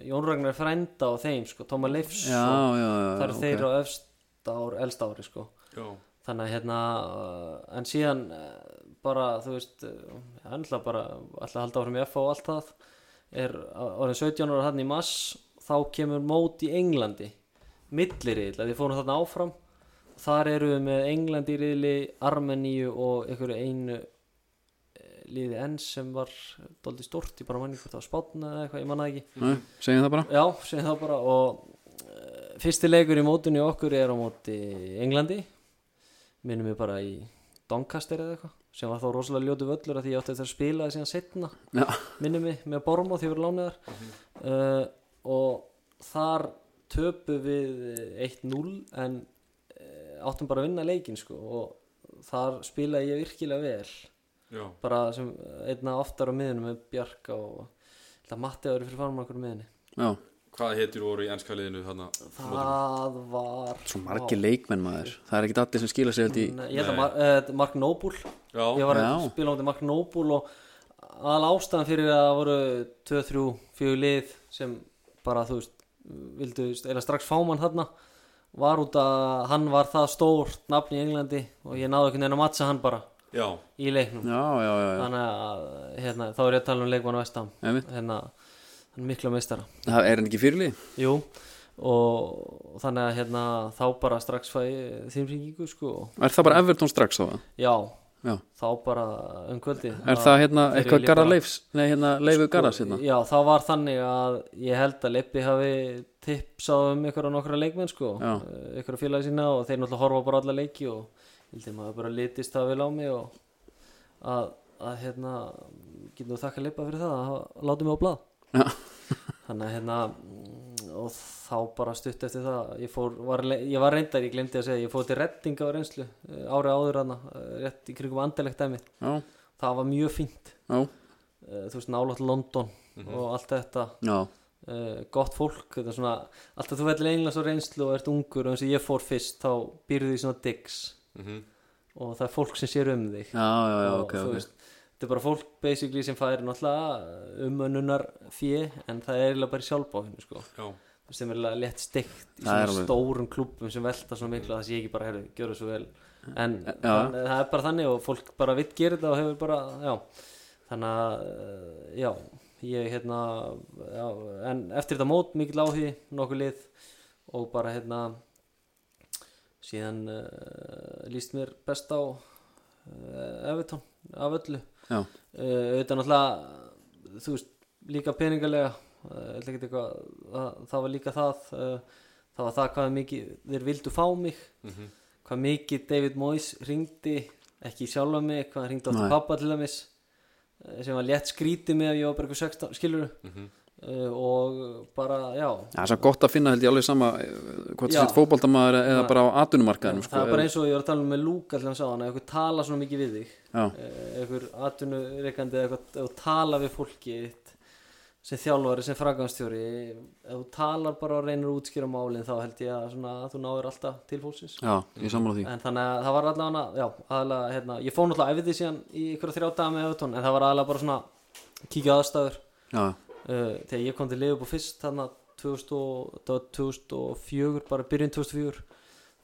Speaker 2: Jón Ragnar er frænda og þeim sko Tóma Leifs
Speaker 3: já, já, já,
Speaker 2: þar er
Speaker 3: já, ok.
Speaker 2: þeir á efst ár, elst ári sko
Speaker 1: Já,
Speaker 2: þannig að hérna uh, en síðan uh, bara þú veist uh, alltaf bara alltaf halda áfram í FA og allt það er uh, orðin 17 ára hann í mass þá kemur mót í Englandi millirið, við fórum þarna áfram þar eru við með England í riðli Armeníu og einhverju einu eh, liði enn sem var doldi stort, ég bara manni hvort það var spátna eða eitthvað, ég manna ekki
Speaker 3: Nei, segjum það bara
Speaker 2: já, segjum það bara og uh, fyrsti leikur í mótunni okkur er á móti Englandi minnum við bara í Doncaster eða eitthvað sem var þá rosalega ljótu völlur af því ég átti eftir að spila það síðan setna
Speaker 3: Já,
Speaker 2: minnum við með Bormóð því voru lániðar uh, og þar töpu við eh, 1-0 en uh, áttum bara að vinna leikin sko og þar spilaði ég virkilega vel
Speaker 1: Já,
Speaker 2: bara sem eh, einna oftar á miðunum með Bjarka og þetta Matti ári fyrir farum okkur á miðunni
Speaker 3: já,
Speaker 1: hvað heitir voru í ennska liðinu þarna?
Speaker 2: það var
Speaker 3: svo margir leikmenn maður Það er ekkit allir sem skila sig held í
Speaker 2: Nei, ég held að Mar uh, Mark Noble
Speaker 1: Já,
Speaker 2: ég var að
Speaker 3: Já.
Speaker 2: spila á móti Mark Noble og aðal ástæðan fyrir að það voru 2, 3, 4 lið sem bara þú veist vildu þú veist, eiginlega strax fá mann þarna var út að hann var það stór nafn í Englandi og ég náði ekki neina að matsa hann bara
Speaker 1: já,
Speaker 2: í leiknum
Speaker 3: Já, já, já, já.
Speaker 2: þannig að hérna, þá er ég að tala um leikmann Vestam
Speaker 3: Einmitt.
Speaker 2: hérna, hann er mikla meistara
Speaker 3: Það er hann ekki fyrirlið
Speaker 2: Jú og þannig að hérna þá bara strax fæ ég þýmsingingu sko
Speaker 3: Er það bara Everton strax þá? eða?
Speaker 2: já,
Speaker 3: Já,
Speaker 2: þá bara um kvöldi
Speaker 3: er það hérna
Speaker 2: þeir
Speaker 3: eitthvað
Speaker 2: vilja
Speaker 3: Garra
Speaker 2: bara- Sko,
Speaker 3: Leifs? Nei, hérna Leifu Garras hérna
Speaker 2: Já, það var þannig að ég held að Lippi hafi tipsað um ykkur og nokkra leikmenn sko
Speaker 3: Já.
Speaker 2: Eh, ykkur og félagi sína og þeir náttúrulega horfa bara alla leiki og hildi maður bara litist það vel á mig og að, að hérna getum við þakka Lippa fyrir það að hafa- láta mig á blað
Speaker 3: Já,
Speaker 2: þannig að hérna mm, og þá bara stutt eftir það ég, fór, var, le- ég var reyndar, ég glemdi að segja ég fór til rettinga á reynslu eh, árið áður hana, eh, rétt í kringum andilegt dæmi
Speaker 3: já,
Speaker 2: það var mjög fínt
Speaker 3: já,
Speaker 2: eh, þú veist nálátt London
Speaker 3: Mhm.
Speaker 2: og allt þetta
Speaker 3: já,
Speaker 2: eh, gott fólk, þetta er svona alltaf þú vellir englas á reynslu og ert ungur og eins og ég fór fyrst þá býrðu því svona digs
Speaker 1: mhm,
Speaker 2: og það er fólk sem sér um þig
Speaker 3: já, já, já,
Speaker 2: og
Speaker 3: ok,
Speaker 2: þú
Speaker 3: ok
Speaker 2: veist, þetta er bara fólk basically sem færi náttúrulega umönunar fjö en það er eiginlega bara sjálfbáðinu sko
Speaker 1: já,
Speaker 2: sem er alveg létt steikt í
Speaker 3: Það
Speaker 2: svona
Speaker 3: er alveg-
Speaker 2: stórum klúppum sem velta svona miklu að það sé ekki bara, herru, gjöra svo vel en
Speaker 3: Já.
Speaker 2: þann, það er bara þannig og fólk bara vitt gera þetta og hefur bara, já þannig að, eh, já ég hérna, já en eftir þetta mót mikill áhugi, nokkuð lið og bara hérna síðan uh, líst mér best á uh, Everton, af öllu
Speaker 3: Já,
Speaker 2: uh, auðvitað náttúrulega þú veist, líka peningalega uh, ætla ekkert eitthvað, það, það var líka það uh, það var það hvað mikið þeir vildu fá mig
Speaker 1: mhm,
Speaker 2: hvað mikið David Moyes ringdi ekki sjálfa mig, hvað hann ringdi átt
Speaker 3: Nei.
Speaker 2: pappa til dæmis eh, sem var létt skrítið með að ég var bara eitthvað 16, skilur
Speaker 1: mhm
Speaker 2: uh, og bara, já
Speaker 3: það er svo gott að finna held ég alveg sama eh, hvort
Speaker 2: Já.
Speaker 3: það er fótboltamaður eða
Speaker 2: Já.
Speaker 3: bara á atunumarkaðinum sko,
Speaker 2: það er bara
Speaker 3: eða-
Speaker 2: eins og ég var að tala um með Luka allan sá hann, ef eitthvað tala svona mikið við þig
Speaker 3: Já,
Speaker 2: Eh, einhver atvinnureikandi eða eitthvað, ef þú tala við fólki þitt sem þjálfari, sem fragangstjóri ef þú talar bara og reynir að útskýra málin þá held ég að svona, þú náir alltaf til fólksins
Speaker 3: já, ég sammála því
Speaker 2: en þannig að það var allavega já, aðalega, hérna, ég fór náttúrulega æfði síðan í ykkur þrjá daga með öðutón en það var aðalega bara svona kíkja á aðstæður
Speaker 3: Já,
Speaker 2: uh, þegar ég kom til Liverpool fyrst þannig að 2004 bara byrjun 2004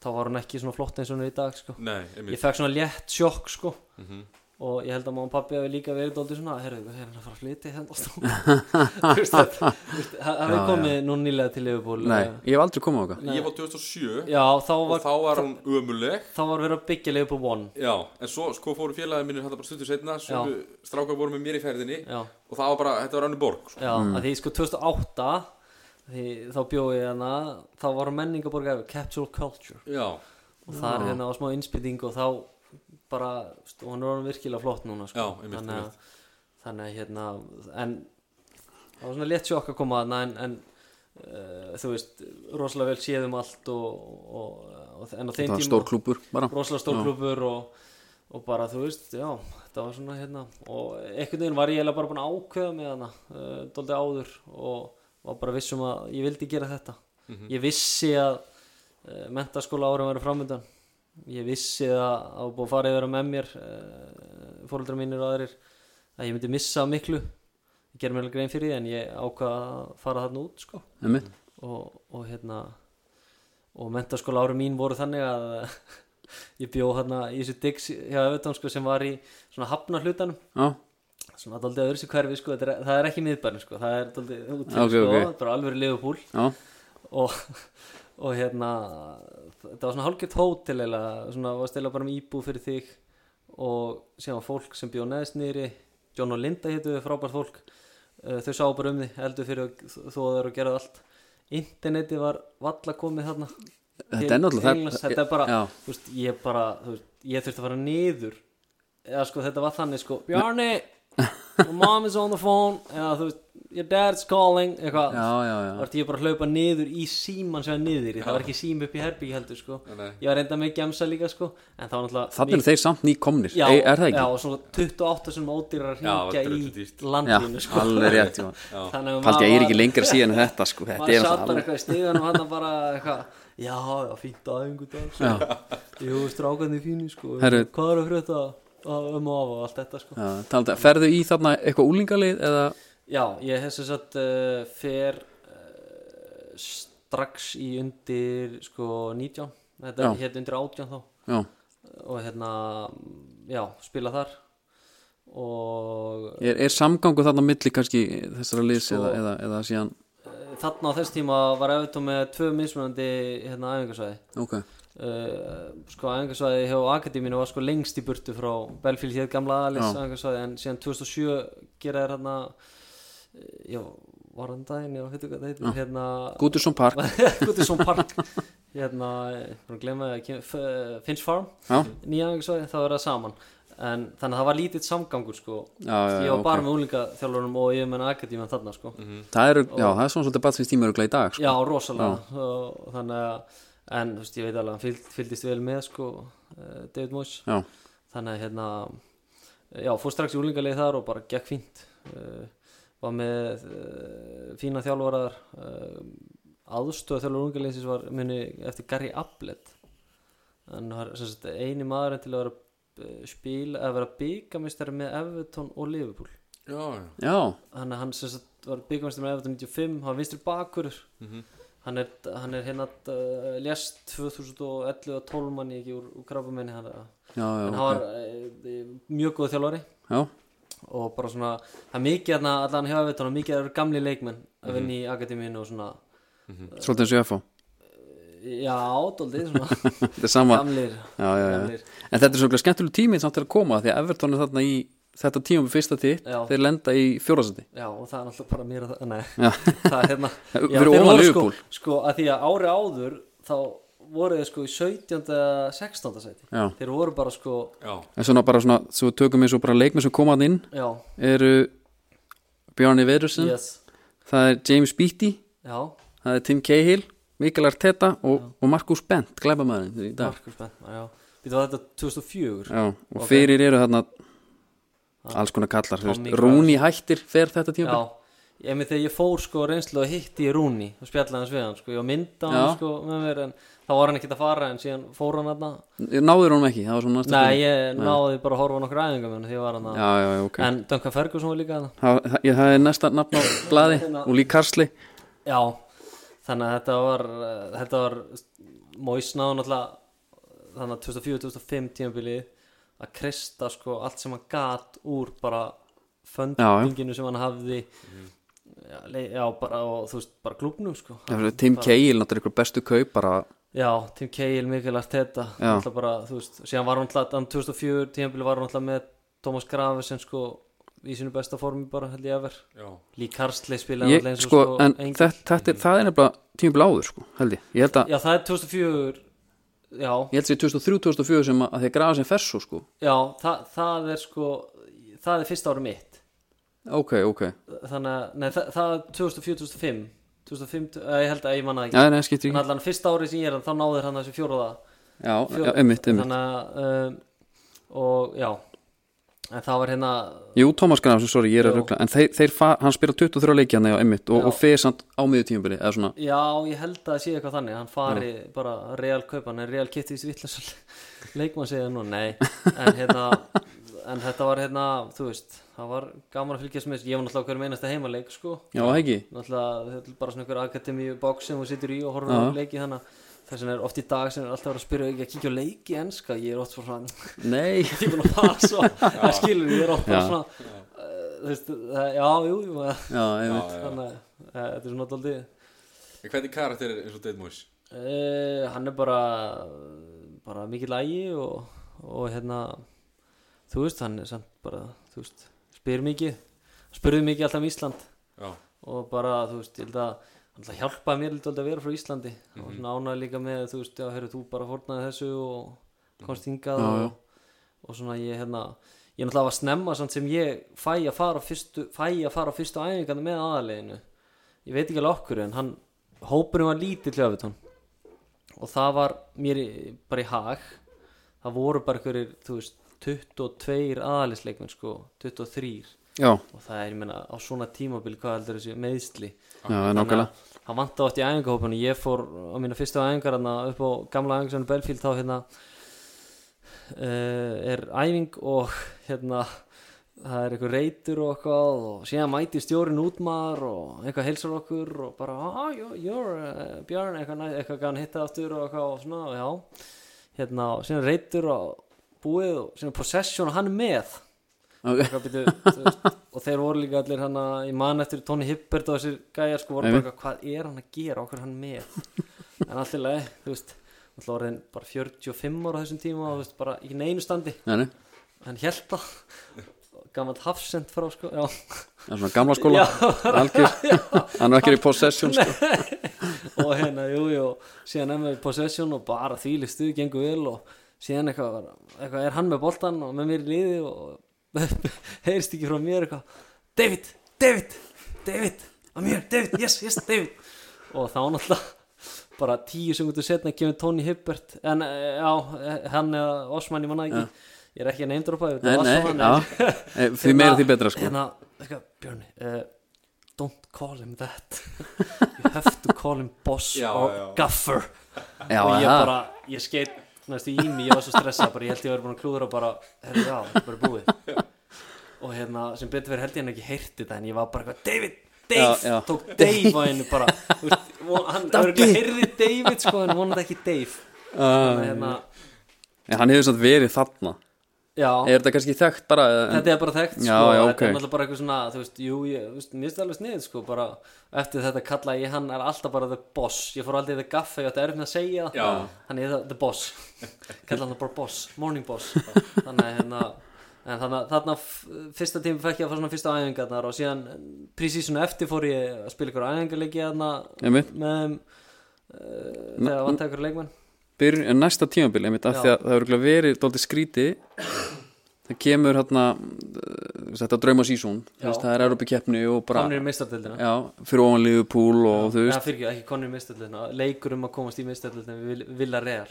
Speaker 2: þá var hún ekki svona flott eins og hún er í dag sko.
Speaker 1: Nei, einmitt
Speaker 2: ég fekk svona létt sjokk sko
Speaker 1: mhm,
Speaker 2: og ég held að mamma og pabbi hafi líka verið dóldi svona, herru, hvað er hann að fara að flytja hérna á stofan?" Þú veist það þú veist, það hafi
Speaker 3: Já,
Speaker 2: komið nú nýlega til Liverpool
Speaker 3: nei,
Speaker 2: eh,
Speaker 3: ég hef aldrei komið á okkar
Speaker 1: Ég var 2007
Speaker 2: já, þá
Speaker 1: og
Speaker 2: var,
Speaker 1: þá var hún ömuleg
Speaker 2: þá var verið að byggja Liverpool One
Speaker 1: Já, en svo sko fóru félagið mínir þetta bara stuttur setna sem strákar voru með mér í ferðinni
Speaker 2: já,
Speaker 1: og það var bara, þetta var annu borg sko.
Speaker 2: já, mm. að því sko 2008 því, þá bjóði ég hana þá var menningaborg efur, Capsule Culture
Speaker 1: Já,
Speaker 2: og það er hérna á smá innspýting og þá bara, st- og hann er orðin virkilega flott núna sko.
Speaker 1: Já, einmitt,
Speaker 2: þannig, að, þannig að hérna en það var svona létt sjokk að koma þarna en, en uh, þú veist rosalega vel séðum allt og, og, og en á þeim
Speaker 3: Það er
Speaker 2: tíma
Speaker 3: stór klúpur bara
Speaker 2: rosalega stór klubur og, og bara þú veist, já, þetta var svona hérna og einhvern veginn var ég eiginlega bara búin að ákveða með hana, uh, dóldi áður og var bara vissum að ég vildi gera þetta ég vissi að uh, mentaskóla árum verið framöndan ég vissi að að var búið að fara yfir að með mér uh, fóreldrar mínir og aðrir að ég myndi missa miklu ég ger mér alveg grein fyrir því en ég ákvað að fara þarna út sko
Speaker 3: Einmitt.
Speaker 2: og, og hérna og mentaskóla ári mín voru þannig að ég bjó hérna í þessu diggs hjá Evertón sko sem var í svona hafna hlutanum
Speaker 3: Já,
Speaker 2: svona daldið öðru sér hverfi sko þetta er, það er ekki miðbærin sko það er daldið út
Speaker 3: Ok,
Speaker 2: sko
Speaker 3: ok.
Speaker 2: bara alveg liðupúl
Speaker 3: já,
Speaker 2: og, og hérna þetta var svona hálfgett hótel eða svona var stila bara um íbú fyrir þig og síðan fólk sem bjóð neðst nýri John og Linda hétu frábært fólk Eh, þau sá bara um þig eldur fyrir þóðar og gerðu allt interneti var valla komið þarna Til
Speaker 3: Þetta er náttúrulega það-
Speaker 2: Englands, þetta er bara,
Speaker 3: Já.
Speaker 2: þú veist, ég bara þú veist, ég þurfti að fara niður eða sko þetta var þannig sko Bjarni, my mom is on the phone eða þú veist, your dad's calling eitthvað,
Speaker 3: já, já, já.
Speaker 2: þá ætti ég bara að hlaupa niður í síman sem er niður, í. það var ekki sím upp í herbyggi heldur sko,
Speaker 1: Nei.
Speaker 2: ég var reynda með gemsa líka sko, en það var náttúrulega
Speaker 3: Þannig eru þeir samt nýkomnir,
Speaker 2: Já,
Speaker 3: Ei, er það ekki?
Speaker 2: já, og svona 28 sem ódýrar
Speaker 1: Já, það var
Speaker 2: að
Speaker 1: drullu
Speaker 2: hringja
Speaker 1: dýrt.
Speaker 2: í landinu sko.
Speaker 3: alveg rétt Jón.
Speaker 2: Þannig að
Speaker 3: Paldi að ég er
Speaker 2: maður-
Speaker 3: ekki lengra síðan en þetta sko, þetta
Speaker 2: maður
Speaker 3: er
Speaker 2: satt bara
Speaker 3: alveg
Speaker 2: eitthvað í stíðanum hann bara eitthvað já, já, fínt aðeingu dag
Speaker 3: Já.
Speaker 2: sko. jú, strákarnir fínu sko
Speaker 3: Herru.
Speaker 2: hvað er að frétta að- um og af og allt þetta sko
Speaker 3: Já, talandi um- Ferðu í þarna eitthvað úlingalið eða
Speaker 2: já, ég hef sem sagt uh, fer uh, strax í undir sko 19 þetta
Speaker 3: Já.
Speaker 2: er hérna undir 18 þá
Speaker 3: Já,
Speaker 2: og hérna, já, spila þar og
Speaker 3: er, er samgangu þarna á milli kannski þessara liðs
Speaker 2: Sko-
Speaker 3: eða, eða, eða síðan
Speaker 2: eh, þarna á þess tíma var eftir með tvö mismunandi hérna æfingarsvæði
Speaker 3: Ok,
Speaker 2: uh, sko æfingarsvæði hjá Akademínu var sko lengst í burtu frá Belfield hér gamla aðlis
Speaker 3: Já.
Speaker 2: æfingarsvæði en síðan 2007 gera þér hérna eh, já, var hann daginn, já, heitu hvað það heitir hérna,
Speaker 3: Gútursson Park
Speaker 2: Guttisson Park hérna, frá að glemma því að kem- F- eh, Finch Farm,
Speaker 3: Já,
Speaker 2: nýja æfingarsvæði þá er það saman, en þannig að það var lítill samgangur sko,
Speaker 3: já, já,
Speaker 2: ég
Speaker 3: já
Speaker 2: var bara
Speaker 3: ok. Mhm.
Speaker 2: með úlinga þjálfurum og ég menna Akademíu þarna sko
Speaker 3: Það eru, já, það er svona svolítið batsins tíma öruglega í dag sko.
Speaker 2: Já, rosalega og, þannig að, en þú veist, ég veit alveg að hann fylg, fylgdist vel með sko eh, David Moyes
Speaker 3: Já,
Speaker 2: þannig að hérna já, fór strax í úlingalegi þar og bara gekk fínt uh, var með uh, fína þjálfarar uh, aðstöð þjálfur úlingalegisins var minni eftir Gary Ablett hann var sem sagt, eini maðurinn til að vera eh, spila, að vera byggamistari með Everton og Liverpool
Speaker 1: Já, já.
Speaker 3: já,
Speaker 2: þannig að hann sem sagt var byggamistari með Everton 95, hann var vinstri bakur hann, er, hann er hérna uh, lest 2011 og 12 manni ekki úr, úr krabbumenni hann að
Speaker 3: já, já,
Speaker 2: en hann
Speaker 3: ok.
Speaker 2: var e, mjög góð þjálfari
Speaker 3: já,
Speaker 2: og bara svona, það er mikið hérna allan hjá Evertón og mikið eru gamli leikmenn að vinna
Speaker 3: Mhm.
Speaker 2: í akademíinu og svona
Speaker 3: svolítið eins og ég að fá
Speaker 2: já, ádóldið svona,
Speaker 3: Þetta er sama,
Speaker 2: gamlir
Speaker 3: já, já, já
Speaker 2: gamlir.
Speaker 3: En þetta er svolítið skemmtileg tíminn samt til að koma því að Everton er þarna í þetta tíma fyrsta titt,
Speaker 2: Já.
Speaker 3: þeir lenda í fjórasandi
Speaker 2: já, og það er alltaf bara mér að það, nei
Speaker 3: Já.
Speaker 2: það er hérna,
Speaker 3: Fyrir
Speaker 2: já, þeir
Speaker 3: ofan
Speaker 2: voru sko,
Speaker 3: Liverpool.
Speaker 2: sko að því að ári áður þá voru þeir sko í 17. eða 16. sæti
Speaker 3: Já,
Speaker 2: þeir voru bara sko,
Speaker 1: Já,
Speaker 3: en svona bara svona, svo tökum við svo bara leikmenn sem koma hann inn
Speaker 2: já,
Speaker 3: eru Bjarni Vedursson,
Speaker 2: yes
Speaker 3: það er James Beatty
Speaker 2: já,
Speaker 3: það er Tim Cahill, Mikael Arteta og, og Markus Bent, glæbamæðurinn í dag
Speaker 2: Markus Benn, já býtum að þetta 2004
Speaker 3: Já, og
Speaker 2: Ok.
Speaker 3: fyrir eru þarna alls konar kallar, þú veist,
Speaker 2: Tommy
Speaker 3: Rúni hættir fer þetta tíma
Speaker 2: Já, ég með þegar ég fór sko á reynslu og hitti ég Rúni og spjallaði hans við hann sko, ég var mynda
Speaker 3: Já.
Speaker 2: hann sko með mér en þá var hann ekkert að fara en síðan fór hann aðna
Speaker 3: náður honum ekki, það var svona næsta
Speaker 2: Nei,
Speaker 3: spurning.
Speaker 2: ég náði bara að horfa á nokkra æfingar með hann því ég var hann að
Speaker 3: Já, já, já, ok
Speaker 2: En Duncan Ferguson var líka aðna
Speaker 3: það, það, ég- það er næsta nafn á blaði
Speaker 2: Hérna.
Speaker 3: og lík Karsli
Speaker 2: Já, þannig að þetta var uh, þetta var móisnáð náttúrulega þannig að 2004-2005 tímabili að krista sko allt sem hann gat úr bara föndinginu sem hann hafði já, le- já, bara og þú veist, bara klubnum sko
Speaker 3: Já, fyrir Tim Cahill, náttúrulega ykkur bestu kaup bara,
Speaker 2: Já, Tim Cahill, Mikael Arteta
Speaker 3: Já.
Speaker 2: alltaf bara, þú veist, síðan var hann alltaf 2004 tímabili var hann alltaf með Thomas Graves sem sko í sinu besta formi bara held ég efer
Speaker 1: já,
Speaker 2: Lee Carsley spilaði
Speaker 3: ég,
Speaker 2: alltaf eins og
Speaker 3: sko, en
Speaker 2: engill.
Speaker 3: þetta, þetta, er- það er nefnilega tíma bláður, sko, held ég ég held að,
Speaker 2: Já, það er 2004 Já,
Speaker 3: ég held sér 2003-2004 sem að að þeir grafa sem fersu, sko
Speaker 2: já það, það er sko það er fyrsta ári mitt
Speaker 3: ok, ok,
Speaker 2: þannig að, nei, það, það er 2004-2005 2005, eh, ég held að ég manna ekki
Speaker 3: já, nei, skiptir
Speaker 2: en
Speaker 3: ekki
Speaker 2: allan fyrsta ári sem ég er, þá náður hann þessu fjóraða
Speaker 3: já,
Speaker 2: fjó-
Speaker 3: já, einmitt, einmitt
Speaker 2: þannig að um, og já en það var hérna
Speaker 3: Jú, Thomas Grafsson, sorry, ég er að
Speaker 2: Jú.
Speaker 3: ruggla En þeir, þeir fa, hann spila 23 leiki hann eða einmitt og,
Speaker 2: Já.
Speaker 3: og fer samt á miður tímabili eða svona,
Speaker 2: Já, ég held að það sé eitthvað þannig hann fari bara real kaupan en real kitti því vittlega leikmann segja nú, nei en, hérna, en þetta var hérna, þú veist það var gaman að fylgjast með þessu. ég var náttúrulega á hverjum einasta heimaleik sko
Speaker 3: já, það ekki
Speaker 2: náttúrulega þetta er bara svona einhver akademíu box sem þú situr í og horfir
Speaker 3: Já.
Speaker 2: á leiki þannig að þess vegna er oft í dag sem er alltaf að vera að spyrja ekki að kíkja á leiki enska ég er oft bara svona,
Speaker 3: Nei,
Speaker 2: ég er búin að fara svo það skilur, ég er oft bara
Speaker 3: Já.
Speaker 2: svona uh, þú veist, það, já, jú, jú
Speaker 3: já,
Speaker 1: já,
Speaker 3: einmitt
Speaker 1: já.
Speaker 2: þannig að eh, þetta er svona alltaf
Speaker 1: En Hvernig karakter er eins og Dead Moise?
Speaker 2: Uh, hann er bara bara mikið lægi og, og hérna þú veist, hann er samt bara þú veist, spyr mikið spurði mikið alltaf um Ísland
Speaker 1: Já,
Speaker 2: og bara, þú veist, ég held að hann alltaf hjálpaði mér lítið að vera frá Íslandi og
Speaker 3: Mhm.
Speaker 2: svona ánaði líka með, þú veist, já, heyrðu, þú bara fórnaði þessu og komst hingað
Speaker 3: Já, já.
Speaker 2: og, og svona ég, hérna ég náttúrulega var snemma samt sem ég fæ að fara á fyrstu, fæ að fara á fyrstu æfingarna með aðaleginu ég veit ekki alveg okkur en hann hópurinn var lítill í öfutón og það var mér í, bara í hag það voru bara einhverjir, þú veist 22 aðalisleikmenn sko 23
Speaker 3: já,
Speaker 2: og það er, ég meina, á svona tímabil hvað heldur þessi meðsli
Speaker 3: já, nákvæmlega
Speaker 2: hann vant átt í æfingahópinu ég fór á mína fyrstu æfingar hérna, upp á gamla æfingarsann Belfield þá hérna uh, er æfing og hérna það er eitthvað reytur og eitthvað og síðan mæti stjórin út maður og eitthvað heilsar okkur og bara ah, you're, you're uh, Björn eitthvað, næ- eitthvað gæðan hitta aftur og eitthvað og svona og já, hérna og síðan reytur og búið og síðan procession og hann er með
Speaker 3: Ok.
Speaker 2: Hvað byrju, þú veist, og þeir voru líka allir hann að ég man eftir Tony Hibbert og þessir gæjar sko voru bara
Speaker 3: Einmitt.
Speaker 2: eitthvað, hvað er hann að gera, okkur er hann með en allt í lagi, þú veist alltaf orðin bara 45 ára á þessum tíma og þú veist, bara í neinu standi,
Speaker 3: Nei, nei,
Speaker 2: hann held að gammal hafsend frá sko já,
Speaker 3: það er svona gamla skóla
Speaker 2: Já,
Speaker 3: Algjör, hann er ekki í possession sko.
Speaker 2: og hérna, jú, jú síðan er með possession og bara þýli stuð gengur vel og síðan eitthvað, var- eitthvað er hann með boltan og með mér í liði og heyrist ekki frá mér eitthvað David, David, David að mér, David, yes, yes, David og þá náttúrulega bara tíu sekundu setna kemur Tony Hibbert en eh, já, hann eða Osman, ég manna ekki ég er ekki að neymdropa
Speaker 3: Nei, nei, já, Eh, því meira því betra sko
Speaker 2: hérna, eitthvað, Björni uh, don't call him that you have to call him boss
Speaker 1: Já,
Speaker 2: or
Speaker 1: já.
Speaker 2: gaffer
Speaker 3: Já,
Speaker 2: og ég
Speaker 3: já.
Speaker 2: bara, ég skeitt næstu í mig, ég var svo stressað, bara ég held ég verið búin að klúðra og bara, herri já, þetta er bara búið og hérna, sem betur verið held ég hann ekki heyrti þetta, en ég var bara eitthvað, David Dave,
Speaker 3: Já, já.
Speaker 2: tók Dave á hennu bara þú veist, von- hann örgulega heyrði David sko, en vonandi ekki Dave
Speaker 3: uh,
Speaker 2: þannig að hérna,
Speaker 3: En hann hefur samt verið þarna
Speaker 2: já
Speaker 3: Er þetta kannski þekkt bara eh, en,
Speaker 2: þetta er bara þekkt sko,
Speaker 3: Já, já,
Speaker 2: þetta
Speaker 3: ok.
Speaker 2: er náttúrulega bara eitthvað svona þú veist, jú, ég, þú veist, mér finnst það alveg snið sko, bara eftir þetta kalla ég hann er alltaf bara the boss, ég fór aldrei the gaffa ég átti erfitt með að segja
Speaker 1: Já.
Speaker 2: það, hann er the, the boss kalla hann bara boss, morning boss þannig að hérna En þannig að þarna f- fyrsta tími fekk ég að fara svona fyrsta æfingarnar og síðan prísísinu eftir fór ég að spila ykkur æfingarleiki þarna
Speaker 3: einmitt,
Speaker 2: með þeim uh, þegar vant ekkur leikmenn
Speaker 3: byrjun, en næsta tímabil einmitt,
Speaker 2: Já.
Speaker 3: af því að það hefur verið dóltið skríti það kemur hérna eh, þetta drauma sísón
Speaker 2: Já.
Speaker 3: það er Európikeppni og bara
Speaker 2: konur í meistardildina
Speaker 3: já, fyrir ofan Liverpool og þú
Speaker 2: Já,
Speaker 3: veist
Speaker 2: fyrir ekki, ekki konur í meistardildina leikur um að komast í meistardildina við Villa Real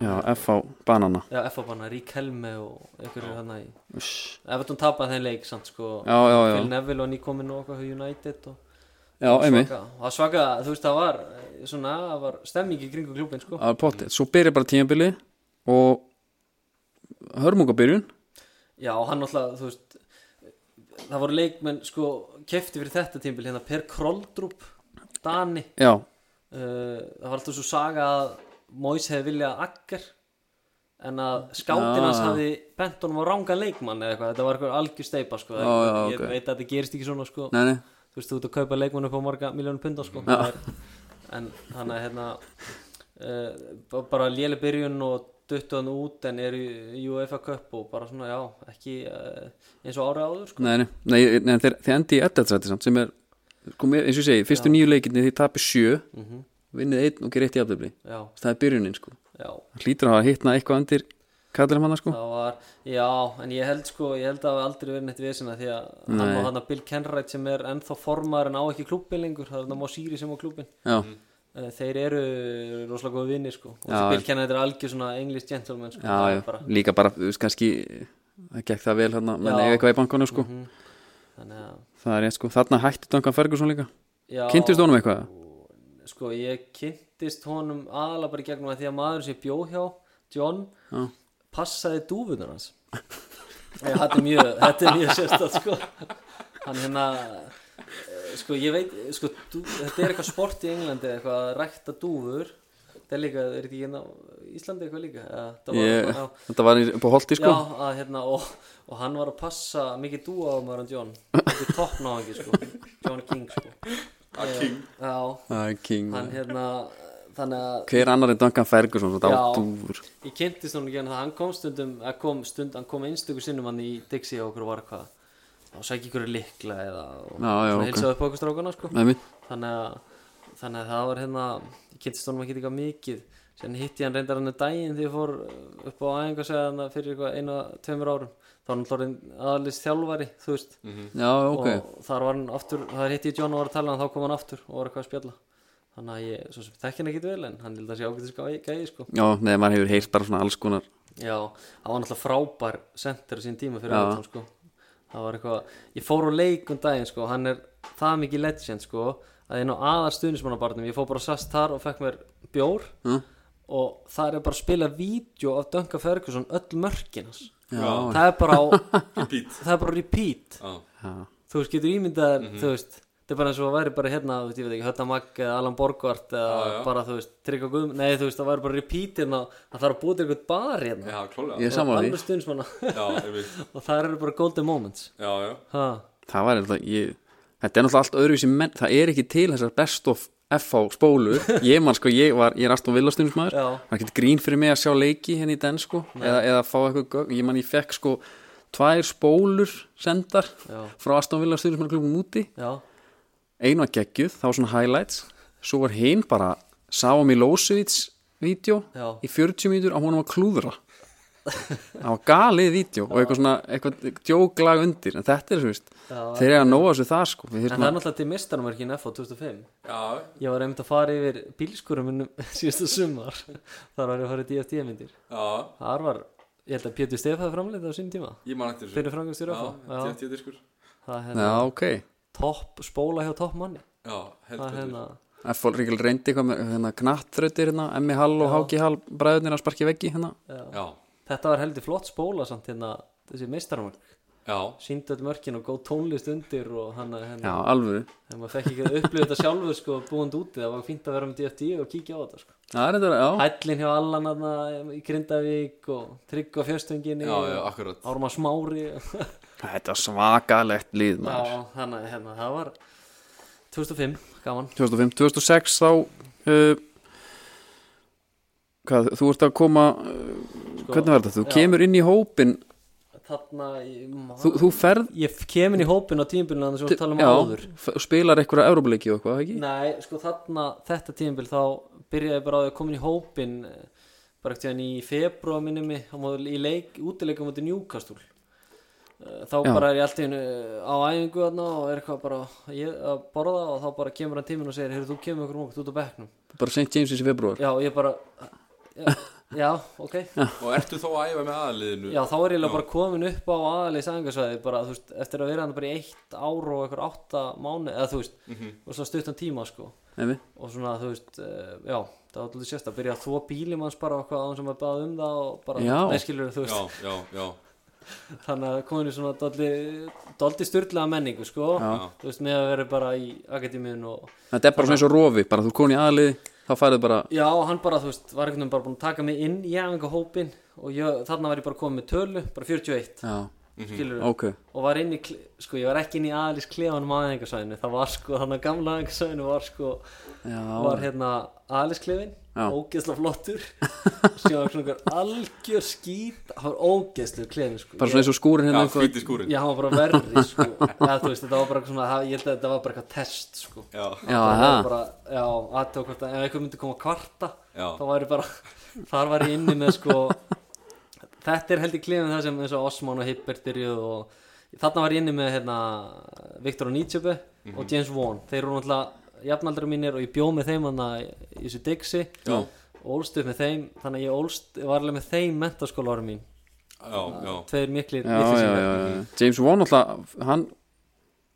Speaker 3: já, FH Banana
Speaker 2: Já, F-Banna, Rík Helme og einhverju hann í
Speaker 3: Uss.
Speaker 2: Evertón tapaði þeim leik samt sko
Speaker 3: já, já, já,
Speaker 2: Phil Neville og nýkominn og okkur hjá United og
Speaker 3: já, einmitt
Speaker 2: svaka, og það svaka, þú veist það var eh, svona, það var stemming í kringu klúbin sko
Speaker 3: að potið, svo byrja bara tímabili og hörmungabyrjun
Speaker 2: Já, og hann náttúrulega, þú veist það voru leikmenn sko kefti fyrir þetta tímbil hérna Per Kroldrup Dani,
Speaker 3: já,
Speaker 2: uh, það var alltaf svo saga að Mois hefði viljað akker en að
Speaker 3: Já.
Speaker 2: skáttinn hans hafði bent honum á ranga leikmann eða eitthvað, þetta var eitthvað algjör steipa sko,
Speaker 3: Já, já,
Speaker 2: ég
Speaker 3: ok.
Speaker 2: veit að þetta gerist ekki svona sko
Speaker 3: nei, nei,
Speaker 2: þú veist, þú ert að kaupa leikmann upp á marga miljónu pundar sko
Speaker 3: Já.
Speaker 2: Það er, en hann að hérna uh, bara léle byrjun og duttu hann út en er í, í UEFA Cup og bara svona, já, ekki uh, eins og ára áður sko
Speaker 3: nei, nei, nei, nei þeir, þeir endi í eddatsæti samt sem er sko, mér- eins og ég segi, fyrstu
Speaker 2: Já.
Speaker 3: nýju leikinni þið tapir sjö
Speaker 2: mm
Speaker 3: vinnið einn og gerir eitt í aftöfli
Speaker 2: já,
Speaker 3: það er byrjunin sko
Speaker 2: já,
Speaker 3: hann hlýtur að hafa hittna eitthvað undir kallir hann sko
Speaker 2: það var já, en ég held sko, ég held að það hafi aldrei verið neitt vesina því að hann
Speaker 3: Nei.
Speaker 2: og hann að Bill Kenwright sem er ennþá formar en á ekki klúbbin lengur, það er þannig að má síri sem á klúbbin
Speaker 3: já,
Speaker 2: Eh, þeir eru rosalega góði vinni sko og
Speaker 3: Já.
Speaker 2: þessi Bill Kenwright er algjör svona English gentleman sko,
Speaker 3: já,
Speaker 2: það er
Speaker 3: já,
Speaker 2: bara-
Speaker 3: líka bara þú veist kannski það gekk það vel hann menn
Speaker 2: Já.
Speaker 3: eiga eitthvað í bankunum sko
Speaker 2: Mhm. þannig að
Speaker 3: það er rétt sko, þarna hætti Duncan Ferguson líka
Speaker 2: Já,
Speaker 3: kynntist honum eitthvað?
Speaker 2: Sko, ég kynntist honum aðalega bara í gegnum að því að maður sem ég bjó hjá, John,
Speaker 3: Já.
Speaker 2: passaði dúfunar hans. Ég, þetta er mjög, þetta er mjög sérstætt, sko. Hann hérna, eh, sko, ég veit, sko, dú, þetta er eitthvað sport í Englandi, eitthvað að rækta dúfur. Þetta er líka, er þetta ekki hérna á Íslandi eitthvað líka? Ja, þetta var,
Speaker 3: Ég,
Speaker 2: já,
Speaker 3: þetta var í- upp á holti sko
Speaker 2: Já, að, hérna, og, og hann var að passa mikið dúa á maður en John. Þetta er toppnáðangi, sko. John King, sko.
Speaker 1: að king
Speaker 2: Já,
Speaker 3: það er king
Speaker 2: hann hérna þannig að
Speaker 3: hver annar en Duncan Ferguson svona
Speaker 2: Já.
Speaker 3: dátúfur
Speaker 2: ég kynntist honum ekki en það hann kom stundum að kom stund, hann kom einstöku sinnum hann í Dixie og okkur var hvað og sækja ykkur likla eða og
Speaker 3: Já, já,
Speaker 2: svona
Speaker 3: ok.
Speaker 2: heilsaði upp á okkur strákana sko
Speaker 3: með mitt
Speaker 2: þannig að, þannig að það var hérna ég kynntist honum ekki líka mikið sen hitti ég hann reyndar hann um daginn þegar ég fór uh, upp á æfingu að segja hann fyrir eitthvað einu að tveimur árum þá var hann hlórið aðalist þjálfari þú veist
Speaker 3: já, ok,
Speaker 2: og þar var hann aftur þar hitti ég John og var að tala um hann þá kom hann aftur og var eitthvað að spjalla þannig að ég svo sem þekki hann ekki vel en hann held að sé ágætis gæ- gæi sko
Speaker 3: já, neða maður hefur heyrt bara svona alls konar
Speaker 2: já hann var náttúrulega frábær sendir á sín tíma fyrir
Speaker 3: Já.
Speaker 2: Everton sko það var eitthvað ég fór á leik um daginn sko hann er það mikið legend sko að inn á aðar stuðnismannabarnum ég fór bara sast þar og fekk mér bjór
Speaker 3: Hm?
Speaker 2: og það er bara að spila vídeo af Duncan Ferguson öll mörkinans
Speaker 1: Já.
Speaker 2: það er bara á,
Speaker 1: Repeat
Speaker 2: það er bara repeat
Speaker 1: Já,
Speaker 3: já,
Speaker 2: þú veist, getur ímyndað
Speaker 1: Mhm.
Speaker 2: þér, þú veist þetta er bara eins og að væri bara hérna, þú veist, ég veit ekki Hötta Magg eða Alan Borgvart eða
Speaker 1: Já, já.
Speaker 2: bara, þú veist, Tryggva Guðm nei, þú veist, það væri bara repeat hérna það þarf að búið til eitthvað bar hérna
Speaker 1: já, klálega
Speaker 3: ég er sammála því
Speaker 2: alveg stundsmanna
Speaker 1: Já, ég veit
Speaker 2: og það eru bara golden moments
Speaker 1: Já, já
Speaker 2: ha,
Speaker 3: það var alltaf, ég, þetta er náttúrulega allt öðruvísi menn, það er ekki til þessar best of FH spólur, ég man sko ég, var, ég er Aston Villa stuðnismæður,
Speaker 2: Já.
Speaker 3: það er ekkert grín fyrir mig að sjá leiki henni í den sko, eða, eða fá eitthvað, gögn. ég man ég fekk sko tvær spólur sendar
Speaker 2: Já.
Speaker 3: frá Aston Villa stuðnismæður klubum úti
Speaker 2: já,
Speaker 3: einu að geggjuð, það var svona highlights svo var hinn bara Sáa Milosevic vídeo
Speaker 2: Já.
Speaker 3: í 40 mínútur að honum að klúðra það var galið vídeo og eitthvað svona, eitthvað djóklag undir en þetta er, þú veist,
Speaker 2: Já,
Speaker 3: þeir eru að nóa sér það sko, við
Speaker 2: en það
Speaker 3: þurfum
Speaker 2: er
Speaker 1: hérna-
Speaker 3: að
Speaker 2: náttúrulega til mistanumverkin FO 2005
Speaker 1: Já,
Speaker 2: ég var einmitt að fara yfir bílskurum minnum síðasta sumar þar var ég að fara í DFT myndir
Speaker 1: já
Speaker 2: þar var, ég held að Pétur Stefaði framleita á sín tíma
Speaker 1: Ég man eftir þessu
Speaker 2: fyrir framgangstjóri
Speaker 1: Já,
Speaker 2: FO
Speaker 1: tjátt ég diskur
Speaker 2: það er hérna
Speaker 3: Já, ok,
Speaker 2: topp, spóla hjá topp manni
Speaker 1: Já,
Speaker 2: það er
Speaker 1: heldur
Speaker 2: hérna
Speaker 3: F.O. Ríkil reyndi eitthvað með hérna, knattþrautir hérna, Emmi Hall og Háki Hall bræðunir að sparki veggi hérna
Speaker 2: já.
Speaker 1: Já,
Speaker 2: þetta var heldur flott spóla samt hérna þessi meistarmörk
Speaker 1: já
Speaker 2: síndu öll mörkin og góð tónlist undir og hann að
Speaker 3: Já,
Speaker 2: hérna
Speaker 3: alvöru,
Speaker 2: þegar maður fekk ekki að upplifa þetta sjálfur sko búand úti það var fínt að vera með DFT og kíkja á þetta sko
Speaker 3: það er þetta, já
Speaker 2: hællin hjá Allan aðna í Grindavík og Tryggva fjörstönginni
Speaker 1: Já, já, akkurat
Speaker 2: Árma Smári já,
Speaker 3: Þetta er svakalegt líð maður
Speaker 2: þannig að hérna það var 2005, gaman
Speaker 3: 2005, 2006 þá uh, hvað, þú ert að koma uh,
Speaker 2: sko,
Speaker 3: hvernig var þetta, þú
Speaker 2: já.
Speaker 3: kemur inn í hópin
Speaker 2: þarna ég, man-
Speaker 3: þú, þú ferð
Speaker 2: ég kem inn í hópin á tímbilinu þannig sem við talum
Speaker 3: já,
Speaker 2: um áður
Speaker 3: f- spilar einhverja európleiki og eitthvað, ekki?
Speaker 2: Nei, sko þarna, þetta tímabil þá byrjaði bara á því að koma inn í hópin eh, bara ekkert hérna í februar minni mig, á móti- í leik, útileikum út í Newcastle Eh, þá
Speaker 3: Já.
Speaker 2: bara er ég alltaf einu eh, á æfingu þarna og er eitthvað bara ég, að borða og þá bara kemur hann tíminn og segir heyrðu þú kemur okkur okkur út á bekknum
Speaker 3: bara St. James í februar
Speaker 2: já og ég bara já, já ok já
Speaker 1: Og ertu þó að æfa með aðliðinu?
Speaker 2: þá er ég eiginlega bara komin upp á aðalegis æfingasvæði bara þú veist eftir að vera hann bara í eitt ár og eitthvað átta mánu eða þú veist og svo stuttan tíma sko
Speaker 3: Nei,
Speaker 2: og svona þú veist uh, já, það var alltaf sérst að byrja að þvó bílum hans bara og eitthvað án sem að baða um það og bara,
Speaker 3: Já.
Speaker 2: neskilur þú
Speaker 1: Já,
Speaker 2: veist
Speaker 1: já, já
Speaker 2: þannig að kominu svona doldi, doldi styrlaða menningu sko
Speaker 3: Já.
Speaker 2: þú veist, með að vera bara í akademiun og
Speaker 3: þetta er bara svona eins og rofi, bara þú er komin í aðlið þá færið bara,
Speaker 2: já, og hann bara, þú veist, var einhvern veginn bara búin að taka mig inn í enga hópin og ég, þarna var ég bara komið með tölu, bara 41
Speaker 3: já,
Speaker 2: skilur
Speaker 3: ok
Speaker 2: og var inn í, kle- sko, ég var ekki inn í aðlis klefanum aðeingasvæðinu, það var sko þannig að gamla aðeingasvæðinu var sko var
Speaker 3: já,
Speaker 2: hérna Alisklefin
Speaker 3: Já.
Speaker 2: ógeðsla flottur sem var svona einhver algjör skýt hann var ógeðslu klefin sko.
Speaker 3: bara svona eins og skúrin
Speaker 1: Já,
Speaker 3: hérna eitthvað-
Speaker 1: hvíti skúrin
Speaker 2: ég, já, hann var bara verri sko. já, þú veist, þetta var bara svona það- ég held að þetta var bara eitthvað test sko.
Speaker 1: Já,
Speaker 3: já,
Speaker 2: það
Speaker 3: það,
Speaker 2: var bara, já, aðtöku hvort að ef einhver myndi koma að kvarta
Speaker 1: Já.
Speaker 2: þá væri bara, þar var ég inni með sko þetta er held ég klefin það sem eins og Osman og Hibbert byrjuð og þarna var ég inni með hérna, Viktor og Nietzsche og James Vaughan, þeir eru náttúrulega jafnaldra mínir og ég bjó með þeim hana í í þessu Dixi
Speaker 1: Já.
Speaker 2: ólst upp með þeim, þannig að ég ólst var alveg með þeim mentaskóla ára mín
Speaker 1: já, já
Speaker 2: tveir miklir
Speaker 3: já, já, já, já, já. James Vaughn alltaf, hann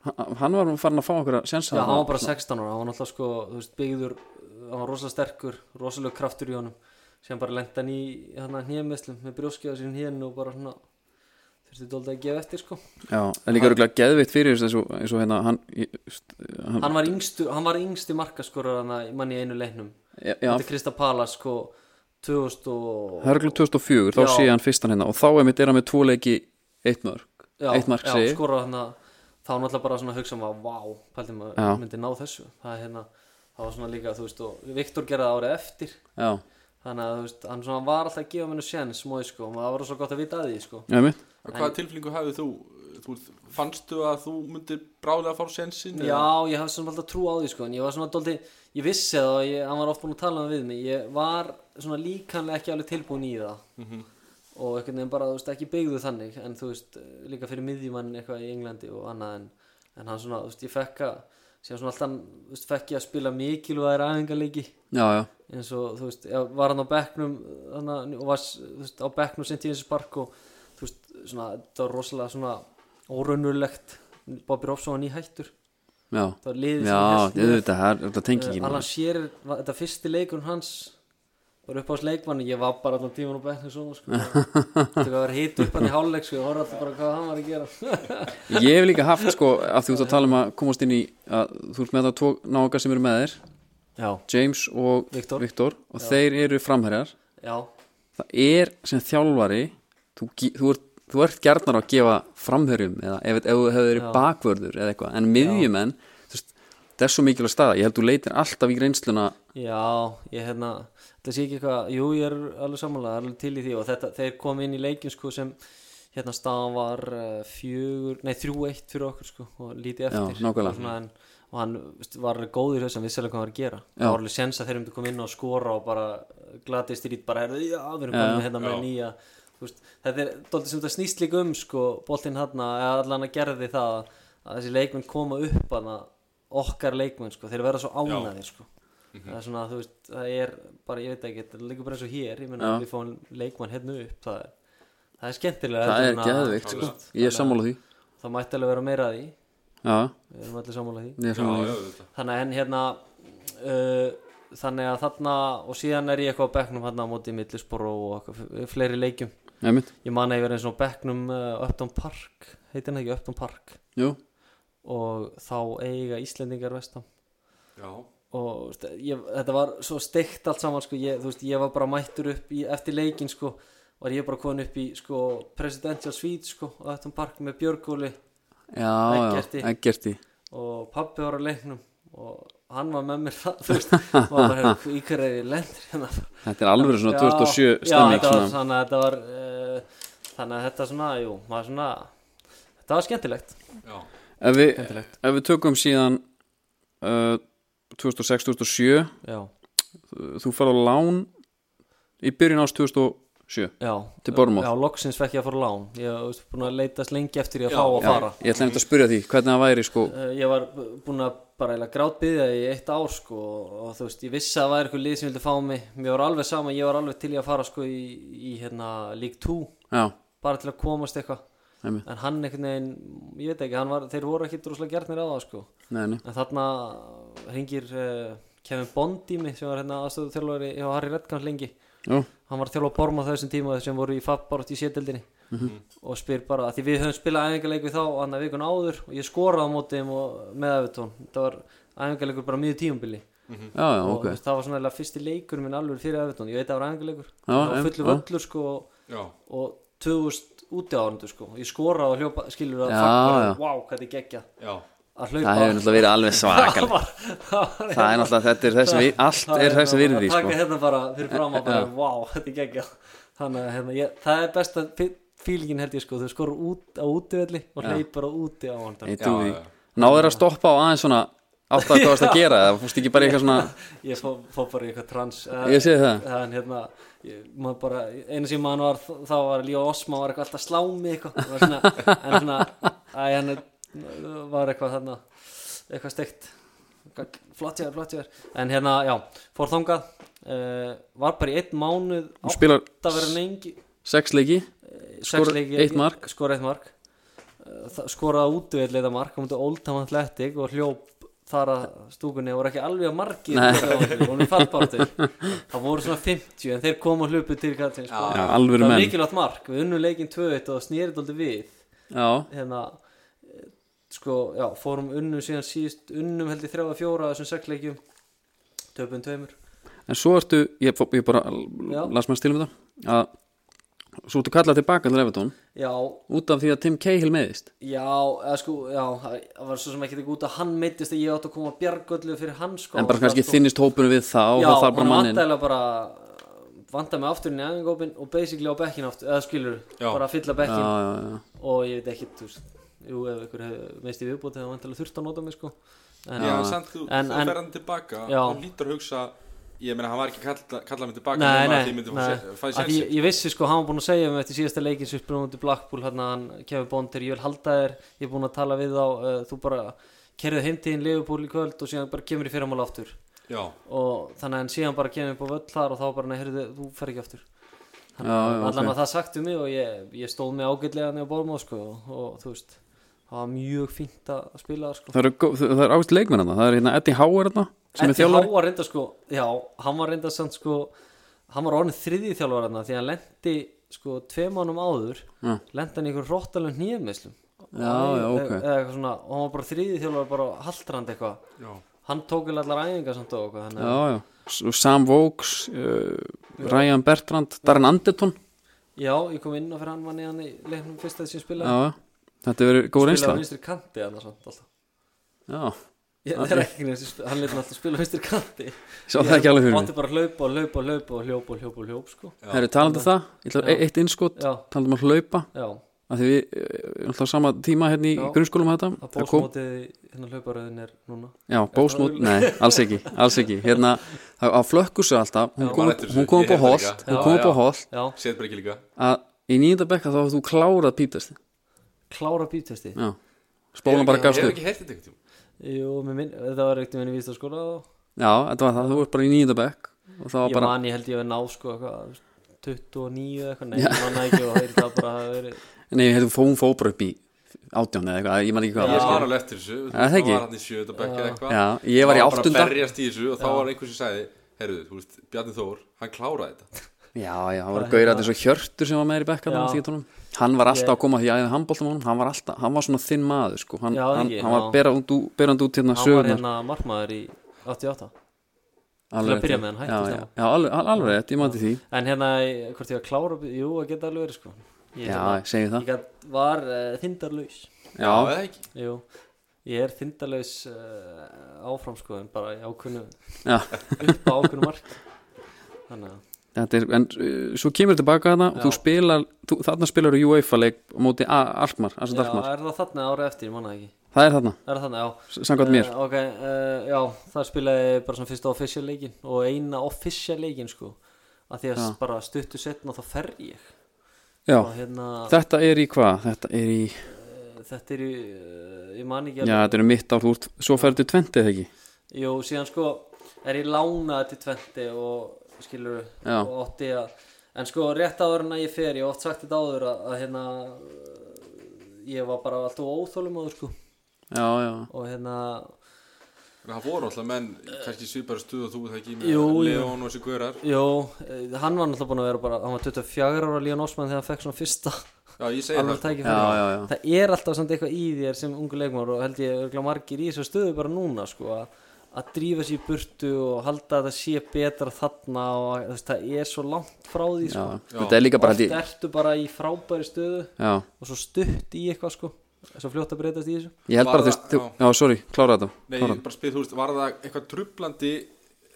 Speaker 3: hann- hann var nú farin að fá okkur að sjensa
Speaker 2: Já, hann var bara 16 ára, hann var náttúrulega sko, þú veist, byggður, hann var rosalega sterkur, rosalega kraftur í honum, sem bara lenda hann í hann hnjæmiðslum með brjóskið á sín hérna og bara svona, þurfti dólda að gefa eftir sko.
Speaker 3: Já, en líka örgulega geðveitt fyrir þessu eins og hérna hann, ég- st- hann
Speaker 2: Hann var yngstu, hann var yngsti markaskorur hann að mann í einu leiknum,
Speaker 3: já, já,
Speaker 2: þetta er Krista Palas sko, 2000 og,
Speaker 3: Hörglu 2004 þá
Speaker 2: Já.
Speaker 3: sé ég hann fyrstan hérna og þá er mitt er hann með tvo leiki eitt mörg,
Speaker 2: já,
Speaker 3: eitt mark
Speaker 2: já, sko.
Speaker 3: segi ég.
Speaker 2: skorur hann að, þá náttúrulega bara svona hugsa maður, um vá, pældi maður
Speaker 3: Já.
Speaker 2: myndi ná þessu, það er hérna, það var svona líka, þú veist, og Viktor gerði það árið eftir
Speaker 3: já,
Speaker 2: þannig að, þú veist, hann svona var alltaf að gefa mér sjens móði, sko, og það var svo gott að vita að því, sko
Speaker 3: já, mitt
Speaker 1: En Hvaða tilfinningu hafið þú? þú? Fannstu að þú myndir bráðlega fá sensin?
Speaker 2: Já, ég hafði svona alltaf trú á því sko en ég var svona doldi, ég vissi það og ég, hann var oft búin að tala um við mig ég var svona líkanlega ekki alveg tilbúin í það og einhvern veginn bara, þú veist, ekki byggðu þannig en þú veist, líka fyrir miðjumann eitthvað í Englandi og annað en, en hann svona, þú veist, ég fekk að síðan svona alltaf, þú veist, fekk ég að spila mikilvægir aðingarleiki
Speaker 3: já, já,
Speaker 2: eins og, þú veist, ég var hann á bekknum þannig, og var, þú veist, á bekknum sem tíðins spark og, þú veist, svona þetta var rosalega svona óraunulegt Bobby Robson var nýhættur
Speaker 3: já
Speaker 2: það var liðið
Speaker 3: já,
Speaker 2: sem
Speaker 3: þetta, þetta, er- þetta tengi ekki
Speaker 2: uh, Alan Shearer, var- þetta fyrsti leikur hans var upp á sleikmann ég var bara allan tíman á bekknum svona sko. þetta var hitt upp hann í hálfleik sko, ég horfði alltaf bara hvað hann var að gera
Speaker 3: Ég hef líka haft sko að þú ert að tala um að komast inn í að þú ert með það tvo nága sem eru með þér
Speaker 2: já,
Speaker 3: James og
Speaker 2: Viktor.
Speaker 3: og þeir eru framherjar
Speaker 2: já,
Speaker 3: það er sem þjálfari þú, ge- þú, ert, þú ert gjarnar á að gefa framherjum eða ef, ef þú hefur verið
Speaker 2: Já.
Speaker 3: bakvörður eða eitthvað en miðjumenn þú veist, það er svo mikilvæg staða ég held þú leitir alltaf í reynsluna
Speaker 2: já ég hérna, þetta sé ekki eitthvað jú, ég er alveg samanlega, alveg til í því og þetta, þeir kom inn í leikin sko sem hérna staðan var uh, fjögur, nei þrjú eitt fyrir okkur sko og lítið
Speaker 3: Já,
Speaker 2: eftir
Speaker 3: nákvæmlega.
Speaker 2: og, svona, en, og hann veist, var góður þess að vissalega hvað hann var að gera
Speaker 3: Já.
Speaker 2: það var alveg sens að þeir um til koma inn og skora og bara glatið strít bara er, já, við erum komin hérna með
Speaker 1: Já.
Speaker 2: nýja þú veist, þetta er dóltið sem þetta snýst líka um sko, boltinn hann að allan að gerði það að þessi leikmenn koma upp hana, okkar leikmenn sko, þeir verða svo ánaðir sko. það er svona, þú veist, það er bara, ég veit ekki, þetta er líka bara eins og hér ég meina,
Speaker 3: Já.
Speaker 2: við fáum leikmann hérna upp það er, það er skemmtilega
Speaker 3: það
Speaker 2: heldur
Speaker 3: er
Speaker 2: en að-
Speaker 3: geðveikt sko. ég er sammála því
Speaker 2: það mætti alveg vera meira að því
Speaker 3: já,
Speaker 2: við erum allir sammála því
Speaker 3: ég er sammála því
Speaker 1: þetta
Speaker 2: þannig að henn hérna uh, þannig að þarna og síðan er ég eitthvað á bekknum hérna á móti Millisborg og eitthvað, fleiri leikjum
Speaker 3: Einmitt.
Speaker 2: ég man að ég verið eins og á bekknum uh, Upton Park, heitir hann ekki Upton Park
Speaker 3: Jú.
Speaker 2: og þá eiga Íslendingar vestam
Speaker 1: Já,
Speaker 2: og veist, ég, þetta var svo steikt allt saman sko, ég, þú veist, ég var bara mættur upp í, eftir leikin sko, var ég bara komin upp í sko, presidential suite sko, á Upton Park með Björgóli
Speaker 3: já,
Speaker 2: Eggerti.
Speaker 3: já, Eggerti
Speaker 2: og pappi var á leiknum og hann var með mér það, þú veist, og var bara "Heyrðu, í hverju er ég lendur hérna
Speaker 3: þetta er alveg svona 2007
Speaker 2: já,
Speaker 3: stemming
Speaker 2: þetta var,
Speaker 3: svona.
Speaker 2: svona, þetta var uh, þannig að þetta svona, jú, maður svona þetta var skemmtilegt
Speaker 1: já,
Speaker 3: ef við,
Speaker 2: Skemmtilegt.
Speaker 3: ef við tökum síðan uh, 2006-2007
Speaker 2: já,
Speaker 3: þú farið á lán í byrjun ást 2007
Speaker 2: já,
Speaker 3: Til Bournemouth.
Speaker 2: já, loksins fekk ég að fara á lán ég var búin að leitast lengi eftir ég að
Speaker 1: Já,
Speaker 2: fá að
Speaker 1: já.
Speaker 2: fara
Speaker 3: ég ætla nefnt að spyrja því hvernig það væri sko
Speaker 2: Eh, ég var búin að bara eiginlega grátbyðja í eitt ár sko og þú veist, ég vissi að það væri eitthvað lið sem vildi fá mig mér var alveg sama, ég var alveg til ég að fara sko í, í hérna League 2
Speaker 3: já,
Speaker 2: bara til að komast eitthvað
Speaker 3: Einmitt.
Speaker 2: en hann einhvern veginn, ég veit ekki hann var, þeir voru ekki droslega gert mér á það sko
Speaker 3: nei, nei,
Speaker 2: en þarna hringir uh, Kevin Bond í mig sem var hérna aðstöðu þjálfari hjá Harry Redkans lengi
Speaker 3: já,
Speaker 2: hann var þjálfur að borma þessum tíma sem voru í fattbárat í sétildinni
Speaker 3: Mhm.
Speaker 2: og spyr bara að því við höfum spilað æfingarleik við þá annar vikun áður og ég skoraði á móti þeim og með Evertón þetta var æfingarleikur bara miður tíumbili
Speaker 3: já, já,
Speaker 2: og
Speaker 3: ok
Speaker 2: þú veist, það var svona eiginlega fyrsti leikur minn alveg fyrir Evertón ég veit að það var æfingarleikur
Speaker 3: Já,
Speaker 2: það var
Speaker 3: em,
Speaker 2: fullu
Speaker 3: já.
Speaker 2: völlur sko og-
Speaker 1: já,
Speaker 2: og 2000 úti áhundu sko ég skoraði og hljópa skilur að
Speaker 3: Já,
Speaker 2: fagna,
Speaker 3: já.
Speaker 2: wow hvað þið geggja
Speaker 1: já
Speaker 2: að hlaupa
Speaker 3: það hefur náttúrulega verið alveg svakal
Speaker 2: var, var
Speaker 3: það er náttúrulega, þetta er þessi við allt er þessi virði
Speaker 2: sko. taka
Speaker 3: sko
Speaker 2: hérna bara fyrir fram að bara, wow, þetta er geggja þannig að hérna, ég, það er besta fí- fílingin held ég sko, þú skorur út á útivelli og hleypur á úti á
Speaker 3: ég
Speaker 2: vandan
Speaker 3: trú
Speaker 1: Já,
Speaker 3: því
Speaker 1: já, já.
Speaker 3: náður að stoppa á aðeins svona átt að hvað varst að gera það fórst ekki bara í eitthvað svona
Speaker 2: ég fó, fó bara í eitthvað trans
Speaker 3: Ég sé það.
Speaker 2: en hérna, ég, maður bara einu sem mann var, þá var Líó Osma var eitthvað alltaf að slá mig eitthvað og var svona, en svona, að hann var eitthvað þarna eitthvað steikt flott ég er, flott ég er en hérna, já, fór þangað uh, var bara í einn mánuð
Speaker 3: þú spilar
Speaker 2: átt að vera lengi eh,
Speaker 3: sex leiki
Speaker 2: Sex
Speaker 3: Skora
Speaker 2: leiki-
Speaker 3: eitt mark.
Speaker 2: skora eitt mark Uh, það- skoraði útvöldleita mark hann mútið óltam atletik og hljóp þar að stúkunni og voru ekki alveg að marki og við fallbáttu það voru svona 50 en þeir komu og hlupu til kallin sko.
Speaker 3: já,
Speaker 2: það
Speaker 3: alvöru
Speaker 2: var
Speaker 3: menn
Speaker 2: mikilvægt mark, við unnum leikin 2-1 og snýrið aldrei við
Speaker 3: já,
Speaker 2: hérna, eh, sko, já, fórum unnum síðan síðust, unnum held ég 3-4 af þessum sexleikjum töpum tveimur
Speaker 3: en svo ertu, ég, fó- ég bara
Speaker 2: Já.
Speaker 3: las maður stilum þetta að Svo ertu kallað tilbaka til Evertón
Speaker 2: já,
Speaker 3: út af því að Tim Cahill meðist
Speaker 2: já, eða sko já, það var svo sem ekki ekki út að hann meittist að ég átt að koma bjargöllu fyrir hann sko
Speaker 3: en bara kannski þinnist hópunum við það og
Speaker 2: já,
Speaker 3: það þarf bara mannin
Speaker 2: hann vantaði bara uh, vantaði mig aftur inn í æfingópin og basically á bekkin aftur, eða skilur,
Speaker 1: Já.
Speaker 2: bara að fylla
Speaker 3: já,
Speaker 2: bekkin
Speaker 3: já, já.
Speaker 2: og ég veit ekki, þú veist jú, ef ykkur meist í viðbúti það var vantilega þurft að nota mig sko en,
Speaker 1: Já, en samt þú,
Speaker 2: En-
Speaker 1: þú
Speaker 2: en-
Speaker 1: fer hann tilbaka
Speaker 2: Já.
Speaker 1: og lítur að hugsa ég meina hann var ekki kalla, kalla mig tilbaka
Speaker 2: Nei,
Speaker 1: nema að
Speaker 2: nei,
Speaker 1: því myndi fá
Speaker 2: nei.
Speaker 1: sér- fá
Speaker 2: Að
Speaker 1: sér
Speaker 2: því ég, ég vissi sko, hann var búin að segja um eftir síðasta leikin sem spilum út í Blackpool hann að hann kefur bóndir, ég vil halda þér ég er búin að tala við þá, uh, þú bara kerðu heimtíðin Liverpool í kvöld og síðan bara kemur í fyrramál aftur
Speaker 1: já,
Speaker 2: og þannig að hann síðan bara kemur upp á völl þar og þá bara, nei, heyrðu, þú fer ekki aftur
Speaker 3: Já, já,
Speaker 2: allan
Speaker 3: ok.
Speaker 2: að það sagt um mig og ég, ég stóð mig ágætlega niður bólmá sko og, og þú veist, það var mjög fínt að spila sko
Speaker 3: það eru gó- það- það er ást leikmenn hann það er hérna Eddie Hauer hann sem er
Speaker 2: Eddie
Speaker 3: þjálfari
Speaker 2: Howe var reynda sko Já, hann var reynda samt sko Hann var orðin þriðið þjálfari hann Því hann lendi sko tvei mánum áður
Speaker 3: Já.
Speaker 2: Lendi hann í einhver róttalum hnýðmeislum
Speaker 3: Já, já, ok.
Speaker 2: Eða eitthvað svona Og hann var bara þriðið þjálfari bara haldrand eitthvað
Speaker 1: já,
Speaker 2: Hann tók alveg allar æfingar samt og eitthvað Þannig að
Speaker 3: já, já. S- Sam Vokes uh, Ryan Bertrand, Darren Anderton
Speaker 2: já, ég kom inn á fyrir hann Vann í hann í leiknum fyrst að þessi
Speaker 3: já,
Speaker 2: spilaði
Speaker 3: já. þetta verður góð reynsla
Speaker 2: Spilaði á vinstri kanti hann samt alltaf
Speaker 3: já,
Speaker 2: Ég, það er ekki neins, hann leit hann alltaf spila á vinstri kanti
Speaker 3: sá það ekki alveg fyrir mig
Speaker 2: Mátti bara hlaupa og hlaupa og hlaupa og hljópa og hljópa og hljópa sko
Speaker 1: Já.
Speaker 3: það eru talandi um það, ég ætla
Speaker 2: Já.
Speaker 3: eitt innskot
Speaker 2: Já,
Speaker 3: talandi um að hlaupa,
Speaker 2: já,
Speaker 3: af því við eh, erum alltaf sama tíma hérna í
Speaker 2: Já.
Speaker 3: grunnskólum þetta
Speaker 2: að
Speaker 3: Það kom-
Speaker 2: bósmótið í hérna hlauparöðin er núna
Speaker 3: Já, bósmót, nei, alls ekki, alls ekki Hérna, það- á flökkusu alltaf Hún
Speaker 2: Já,
Speaker 3: kom,
Speaker 1: maður lætur sig.
Speaker 3: hún kom
Speaker 1: Ég
Speaker 3: upp á
Speaker 1: heyrði
Speaker 3: holt
Speaker 1: líka.
Speaker 3: Hún
Speaker 2: Já,
Speaker 3: kom upp á
Speaker 1: já.
Speaker 3: holt
Speaker 2: Já,
Speaker 1: séð bara ekki líka
Speaker 3: að í nýjönda bekka þá hafði þú klárað pítast
Speaker 2: klára bíptesti
Speaker 3: Já, spólan bara gafst
Speaker 1: hefur
Speaker 3: upp
Speaker 1: ekki heyrt þetta einhvern tíma
Speaker 2: Jú, mér minn, það var ekkert minni víst á skóla og
Speaker 3: Já, þetta var það, þú ert bara í nýjönda bekk Og það var
Speaker 2: ég
Speaker 3: bara,
Speaker 2: man, ég held ég að ná sko eitthvað 29 eða eitthvað, nei, ég man það ekki og það er það bara að vera
Speaker 3: nei, hérna fóðum fóbra upp í átján eða eitthvað, ég man ekki hvað
Speaker 1: ég
Speaker 3: það var
Speaker 1: var alveg eftir þessu
Speaker 3: Já, það ekki.
Speaker 1: var hann í sjöta bekk eða
Speaker 2: Já.
Speaker 1: eitthvað
Speaker 3: Já, ég var í
Speaker 1: Þá
Speaker 3: áttunda
Speaker 1: bara að berjast í þessu og þá
Speaker 2: Já.
Speaker 1: var einhver sem sagði herruðu, þú veist, Bjarni Þór, hann kláraði þetta
Speaker 3: Já, já, það var
Speaker 2: Það
Speaker 3: gauðrætt
Speaker 2: hérna-
Speaker 3: eins og Hjörtur sem var með þér í bekka
Speaker 2: Já.
Speaker 3: þarna á tíutónum. Hann var alltaf
Speaker 2: Ég-
Speaker 3: að koma því aðeins handbóltum á honum Hann var alltaf, hann var svona þinn maður sko. hann,
Speaker 2: Já,
Speaker 3: hann,
Speaker 2: ekki,
Speaker 3: hann var
Speaker 2: já.
Speaker 3: berand út, berand út
Speaker 2: Hann
Speaker 3: hérna
Speaker 2: var
Speaker 3: sögurnar
Speaker 2: hérna markmaður í 88 Til
Speaker 3: Alveg
Speaker 2: að byrja
Speaker 3: rétt,
Speaker 2: með hann,
Speaker 3: já.
Speaker 2: hætti
Speaker 3: já,
Speaker 2: snemma.
Speaker 3: já, já, alveg, al- alveg rétt, ég mátti því
Speaker 2: En hérna, í- hvort ég var klára bí- jú, það geta alveg verið sko Ég,
Speaker 3: Já,
Speaker 2: hérna,
Speaker 3: ég eh, segi það
Speaker 2: ég gat, var uh, þindarlaus
Speaker 3: Já,
Speaker 1: eða ekki
Speaker 2: Jú, ég er þindarlaus uh, áfram sko en bara í ákunnu
Speaker 3: Já.
Speaker 2: upp á ákunnu mark Þannig að,
Speaker 3: þetta er, en uh, svo kemur tilbaka þarna og þú
Speaker 2: Já.
Speaker 3: spilar, þú, þarna spilar þú UEFA-leik á móti A- Alkmaar,
Speaker 2: já,
Speaker 3: Arsand Alkmaar
Speaker 2: er það þarna árið eftir, ég man það ekki
Speaker 3: Það er þarna,
Speaker 2: Er það þarna, já
Speaker 3: s- samkvæmt mér
Speaker 2: Eh, ok, uh, já, það spilaði ég bara svona fyrsta official leikin og eina official leikin sko að því að
Speaker 3: Já.
Speaker 2: bara stuttu setna þá fer ég
Speaker 3: Já,
Speaker 2: og hérna,
Speaker 3: þetta er í hvað? Þetta er í,
Speaker 2: þetta er í, uh, ég man ekki
Speaker 3: já, þetta er um mitt ár úr, svo ferðu tventið ekki
Speaker 2: alveg jú, síðan sko er ég lánað til 20 og skilur
Speaker 3: Já.
Speaker 2: og átti að en sko rétt áður en að ég fer, ég hef oft sagt þetta áður að, að hérna eh, ég var bara alltaf óþólum áður sko
Speaker 3: Já, já,
Speaker 2: og hérna,
Speaker 1: En það voru alltaf menn, kannski svipar stuð og þú það ekki
Speaker 2: Jú,
Speaker 1: með
Speaker 2: jú.
Speaker 1: Leon og þessi guðrar
Speaker 2: jú eh, hann var náttúrulega búin að vera bara, hann var 24 ára Líón Osman þegar hann fekk svona fyrsta
Speaker 1: Já, ég segi það
Speaker 2: alveg
Speaker 1: sko.
Speaker 3: já,
Speaker 2: tækifæri
Speaker 3: já, já
Speaker 2: það er alltaf samt eitthvað í þér sem ungu leikmar og held ég örgulega margir í þessu stöðu bara núna sko að, að drífa sér í burtu og halda að það sé betra þarna og að, þú veist, það er svo langt frá því
Speaker 3: Já,
Speaker 2: sko
Speaker 3: þetta er líka bara held
Speaker 2: oft
Speaker 3: ég
Speaker 2: ertu bara í frábæri stöðu
Speaker 3: Já,
Speaker 2: og svo stutt í eitthvað sko svo fljótt að breytast í þessu
Speaker 3: ég held bara
Speaker 1: Bara-
Speaker 3: þú veist, þú- já, sorry, klára þetta
Speaker 1: Nei,
Speaker 3: Klára.
Speaker 1: ég bara spyr, þú veist, var það eitthvað trublandi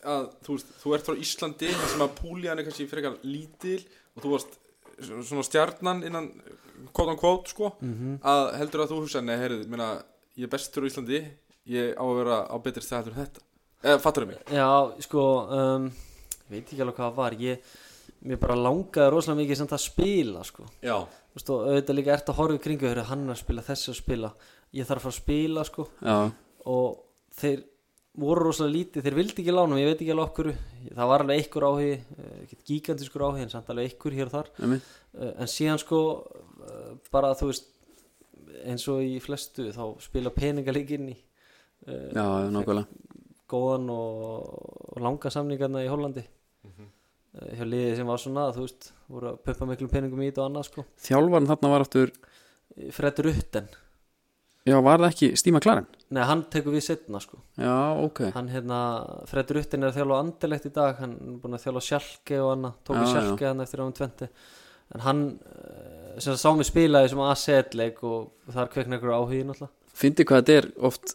Speaker 1: að, þú veist, þú ert frá Íslandi þar sem að púlíðan er kannski frekar lítil og þú varst svona stjarnan innan kvót án kvót, sko að heldur að þú hugsa, nei, heyrðu, minna ég er bestur á Íslandi, ég á að vera á betri stað heldur en þetta, eða fattur mig
Speaker 2: Já, sko um, ég veit ekki alveg hvað það var ég, mér bara langaði rosalega mikið sem það spila sko
Speaker 1: Já,
Speaker 2: Þú veist, og auðvitað líka ert að horfa í kringu þegar hann er að spila þessi að spila ég þarf að fara að spila sko
Speaker 3: Já,
Speaker 2: og þeir voru rosalega lítið, þeir vildi ekki lána mig, ég veit ekki alveg okkur það var alveg einhver áhugi, eh, ekkert gigantískur áhugi en samt alveg einhver hér og þar
Speaker 3: emmi
Speaker 2: Eh, en síðan sko eh, bara þú veist eins og í flestu þá spila peninga líka inn í eh,
Speaker 3: Já, já, nákvæmlega
Speaker 2: góðan og, og langa samningarna í Hollandi
Speaker 3: Mhm.
Speaker 2: eh, hjá liðið sem var svona þú veist, voru að pumpa miklum peningum í þetta og annað sko,
Speaker 3: Þjálfarn þarna var aftur
Speaker 2: Fred Rutten
Speaker 3: Já, var það ekki Stíma Klaren?
Speaker 2: nei, hann tekur við setna sko
Speaker 3: Já, ok
Speaker 2: hann hérna, Fred Rutten er að þjálfa andilegt í dag hann er búin að þjálfa sjálke og annað tók
Speaker 3: Já,
Speaker 2: í
Speaker 3: já.
Speaker 2: sjálke hann eftir áum 20 en hann uh, sem sagt sá mig spila í sem aðsetleik og þar kveikna ykkur áhugin alltaf
Speaker 3: Fyndi hvað þetta er oft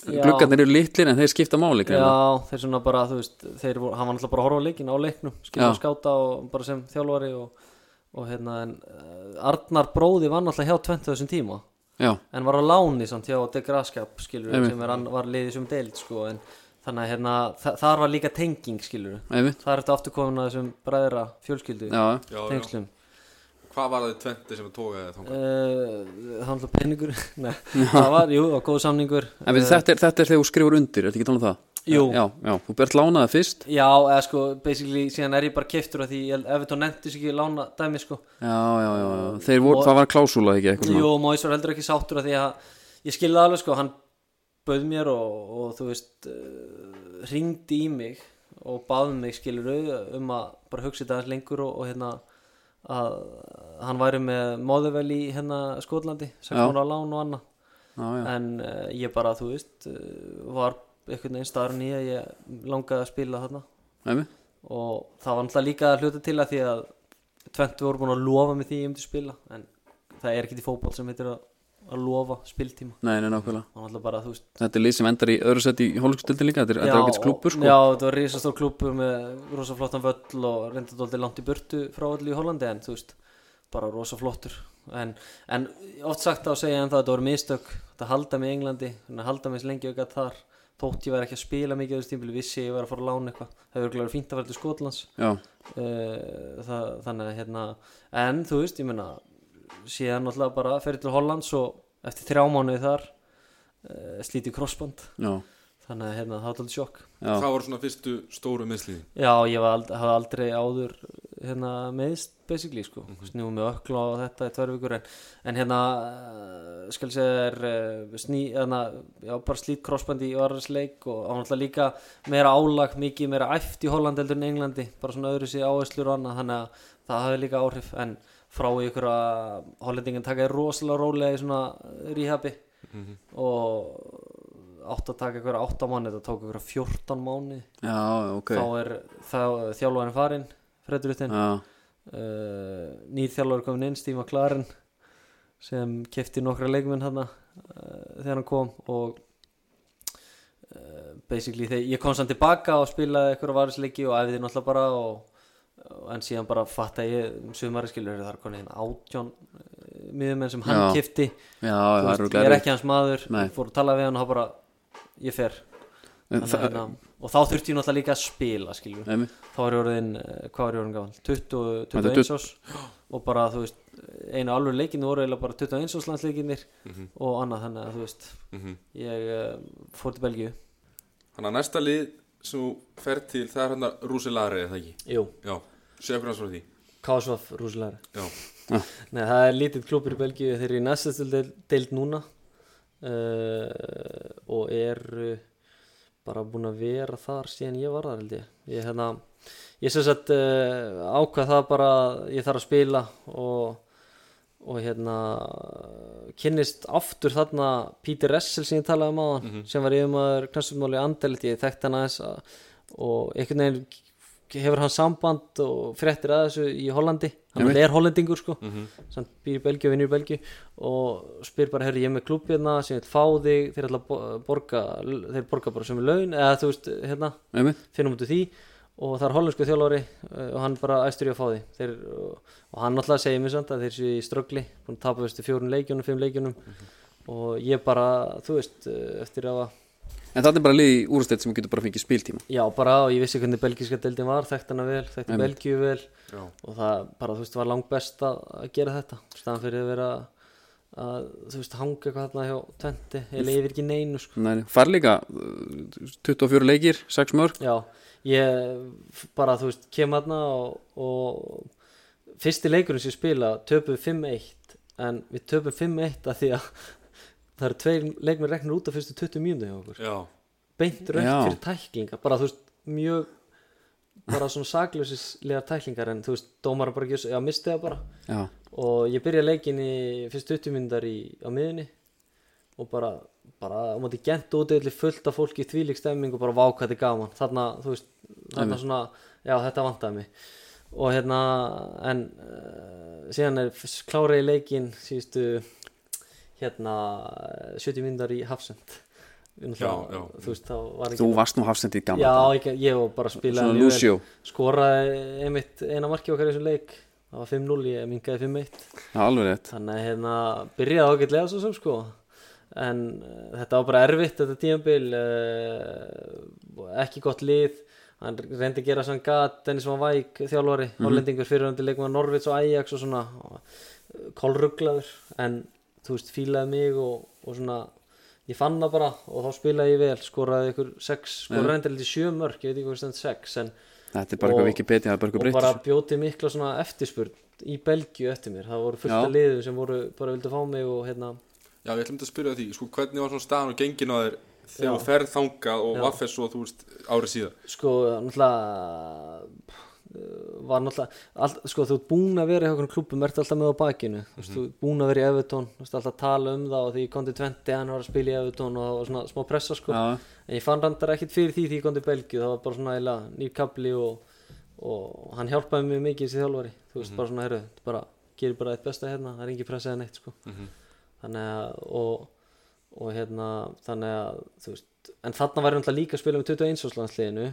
Speaker 2: Já.
Speaker 3: Gluggarnir eru litlir en þeir skipta máli greinilega.
Speaker 2: Já, þeir svona bara, þú veist, þeir, voru- hann var náttúrulega bara að horfa á leikin á leiknum, skilja
Speaker 3: Já.
Speaker 2: að skáta og bara sem þjálfari og, og hérna, en uh, Arnar bróði var náttúrulega hjá 20 þessum tíma,
Speaker 3: Já,
Speaker 2: en var á láni samt hjá Degraskap, skilur,
Speaker 3: Einmitt.
Speaker 2: sem er, hann var liðið sem deild, sko, en þannig að hérna, þa þar var líka tenging, skilur,
Speaker 3: einmitt
Speaker 2: þar eftir afturkomin að þessum bræðra fjölskyldu,
Speaker 3: Já,
Speaker 1: Já, já.
Speaker 2: tengslum.
Speaker 1: Hvað var það tventi sem tókaði þangað?
Speaker 2: Uh, það var náttúrulega peningur, nei, það var, jú, það var góð samningur.
Speaker 3: en við, þetta, er, þetta er þegar þú skrifur undir, er þetta ekki talað um það?
Speaker 2: Jú.
Speaker 3: Já, já, þú bært lánaði fyrst
Speaker 2: Já, eða sko, basically, síðan er ég bara keiftur af því, ég held- ef þetta nefndi sig ekki lána dæmi, sko
Speaker 3: Já, já, já, já. Þeir voru, það var klásúla ekki eitthvað svona
Speaker 2: Jú, Móis var heldur ekki sáttur af því að ég skilði alveg, sko, hann bauð mér og, og þú veist uh, ringdi í mig og baði mig, skilur um að bara hugsa þetta aðeins lengur og, og hérna að hann væri með móðuvel í hérna Skotlandi, sem
Speaker 3: Já.
Speaker 2: hún á lán og annað
Speaker 3: Já, já,
Speaker 2: en uh, ég bara, þú veist uh, var einhvern veginn starun í að ég langaði að spila þarna
Speaker 3: einmitt
Speaker 2: og það var náttúrulega líka að hluta til að því að Tventu voru búin að lofa mig því að ég myndi spila en það er ekkit í fótball sem heitir að, að lofa spiltíma
Speaker 3: Nei, nei, nákvæmlega
Speaker 2: og náttúrulega bara þú veist
Speaker 3: Þetta er lið sem endar í öðru sett í hólkstildin líka Þetta er, þetta er ágætis klúppur sko
Speaker 2: Já, þetta var risastór klúppur með rosa flottan völl og reyndadóldi langt í burtu frá öllu í Hollandi en þú veist, bara rosa flottur en, en oft sagt þá segja ég en það að þetta voru mistök, þetta halda mig í Englandi þannig að halda mig eins lengi og ekki þar þótt ég væri ekki að spila mikið á þessu tímpil vissi ég væri að fara að lána eitthvað, það hefur glæður fínt að fara til Skotlands
Speaker 3: Já,
Speaker 2: uh, það, þannig að hérna en þú veist, ég meina síðan náttúrulega bara fyrir til Hollands og eftir þrjá mánuði þar uh, slítið krossband
Speaker 3: já,
Speaker 2: þannig að hérna, það var alltaf sjokk
Speaker 3: já,
Speaker 1: Það var svona fyrstu stóru meðslíðin
Speaker 2: já, ég var ald hafði aldrei áður hérna, meðist basically sko snúið með ökla og þetta í tvær vikur en, en hérna eh, skal segja er eh, sný, hérna, já, bara slít krossband í varðarsleik og hann alltaf líka meira álag mikið meira æft í Holland heldur en Englandi bara svona öðru sér áherslur og annað þannig að það hafi líka áhrif en frá ykkur að hollendingin taka þér rosalega rólega í svona rehabi og átt að taka ykkur átta mánu þetta tók ykkur 14 mánu
Speaker 3: já, ok Ah.
Speaker 2: þá er þá, þjálfarinn farinn Fredruttin uh,
Speaker 3: Já,
Speaker 2: nýr þjálfar komin inn, Steve McLaren sem kefti nokkra leikmenn hann uh, þegar hann kom og uh, basically þegar ég kom samt tilbaka og spilaði eitthvað varisleiki og æfiði náttúrulega bara og, og en síðan bara fatta ég um sumari skilur þar konið hinn átjón uh, miðumenn sem hann
Speaker 3: Já.
Speaker 2: kefti Þú
Speaker 3: já,
Speaker 2: veist,
Speaker 3: það eru
Speaker 2: ég er
Speaker 3: glæri
Speaker 2: ekki hans maður,
Speaker 3: Nei.
Speaker 2: fór að tala við hann og þá bara, ég fer Þannig, að hérna, og þá þurfti ég náttúrulega líka að spila skilur
Speaker 3: Einmitt,
Speaker 2: þá er ég orðin, eh, hvað er ég orðin gaman 20,
Speaker 3: Þetta er
Speaker 2: 21 ás og bara þú veist, einu alveg leikinu voru eiginlega bara 21 ás landsleikinir og annað þannig að þú veist ég uh, fór til Belgíu
Speaker 1: Þannig að næsta lið sem þú fer til það er hann að Rúsilari eða ekki
Speaker 2: Jú,
Speaker 1: Já, séu okkur hans frá því
Speaker 2: Kásvaf rúslega
Speaker 1: Já,
Speaker 2: Nei, það er lítill klubur í Belgíu þeir eru í næstastu deild, deild núna uh, og eru bara búin að vera þar síðan ég var þar held ég ég, hérna, ég sem sagt uh, ákvað það bara að ég þarf að spila og, og hérna kynnist aftur þarna Peter Ressel sem ég talaði um áðan sem var yfirmaður knastummáli andalit ég þekkti hann aðeins að, og einhvern veginn hefur hann samband og fréttir að þessu í Hollandi hann
Speaker 3: Einmitt.
Speaker 2: er hollendingur sko samt býr í Belgíu og vinnur í Belgíu og spyr bara, herri, ég er með klubbiðna sem ég vil fá þig, þeir ætla að bo- borga þeir borga bara sömu laun eða þú veist, hérna,
Speaker 3: einmitt,
Speaker 2: finnum út úr því og það er hollensku þjálfari uh, og hann bara æstur í að fá því þeir, og, og hann náttúrulega segir mér samt að þeir séu í ströggli búin að tapa fyrstu fjórun leikjunum, fimm leikjunum og ég bara, þú veist uh, eftir að
Speaker 3: en þetta er bara lið í úrstætt sem getur bara fengið spiltíma
Speaker 2: já bara og ég vissi hvernig belgíska deildin var þekkt hana vel, þekkt
Speaker 3: Einmitt.
Speaker 2: Belgíu vel
Speaker 1: já,
Speaker 2: og það bara, þú veist, var langt best að að gera þetta, staðan fyrir að vera að, þú veist, hanga eitthvað hérna hjá tventi, ég leifir ekki neinu sko.
Speaker 3: Nei, far líka uh, 24 leikir, 6 mörg
Speaker 2: já, ég f- bara, þú veist, kem hérna og, og fyrsti leikurinn sem ég spila, töpum 5-1 en við töpum 5-1 að því að það eru tveir leikmenn reknir út af fyrstu 20 mjöndu hjá okkur
Speaker 1: já,
Speaker 2: beint rönt
Speaker 3: Já.
Speaker 2: fyrir tæklinga bara þú veist mjög bara svona saklausislegar tæklingar en þú veist dómar bara ekki, já misti það bara
Speaker 3: Já,
Speaker 2: og ég byrja leikin í fyrst 20 minnundar á miðunni og bara, bara á móti gent út eða fullt af fólki í þvílík stemming og bara vákvæði gaman þarna, þú veist, þarna svona já, þetta vantaði mig og hérna en uh, síðan er f- kláraði leikin síðustu hérna 70 myndar í Hafsend
Speaker 1: Já, já.
Speaker 2: þú veist þá var
Speaker 3: Þú
Speaker 2: ekki
Speaker 3: varst nú hafsendið gamla
Speaker 2: já
Speaker 3: daga.
Speaker 2: ég, ég var bara að spila
Speaker 3: Svona
Speaker 2: mjög vel.
Speaker 3: Lucio
Speaker 2: skoraði einmitt eina marki okkar í þessum leik það var 5-0 ég mingaði 5-1
Speaker 3: Já, alveg rétt
Speaker 2: þannig að hérna byrjaði ágætlega svo sem sko en uh, þetta var bara erfitt þetta tímabil uh, ekki gott lið hann reyndi að gera sem hann gat Dennis Van Væk þjálfari, mm -hmm. hollendingur fyrirhandi leikmaður Norvits og Ajax og svona kolruglaður en þú veist fílaði mig og, og svona ég fann það bara og þá spilaði ég vel skoraði ykkur 6, skoraði reyndi lítið 7 mörg ég veit ekki hvað stend 6 en
Speaker 3: Þetta er bara
Speaker 2: Og-
Speaker 3: eitthvað Wikipedia, það er bara eitthvað
Speaker 2: og bara
Speaker 3: breytt
Speaker 2: bjóti mikla svona eftirspurn í Belgíu eftir mér, það voru fullt
Speaker 3: Já.
Speaker 2: af liðum sem voru bara vildi fá mig og hérna
Speaker 1: Já, við ætlum þetta að spyrja því, sko, hvernig var svona staðan og gengin á þér þegar
Speaker 2: Já.
Speaker 1: þú ferð þangað og
Speaker 2: Já.
Speaker 1: vaffes svo, þú veist, árið síðan
Speaker 2: sko náttúrulega uh, var náttúrulega all, sko þú ert búin að vera í einhvern klubum ert alltaf með á bakinu mm -hmm. þú ert búin að vera í Evertón, þú ert alltaf að tala um það og því ég kom til 20 hann var að spila í Evertón og það var svona smá pressa sko
Speaker 3: Já,
Speaker 2: en ég fann randar ekkit fyrir því því ég kom til Belgíu það var bara svona eila nýr kapli og, og hann hjálpaði mér mikið þessi þjálfari þú veist bara svona herru, þetta bara gerir bara eitt besta hérna, það er engin pressa eða neitt sko þannig að og, og hérna þannig að þú veist, en þarna væri náttúrulega líka að spila með 21 áslandsliðinu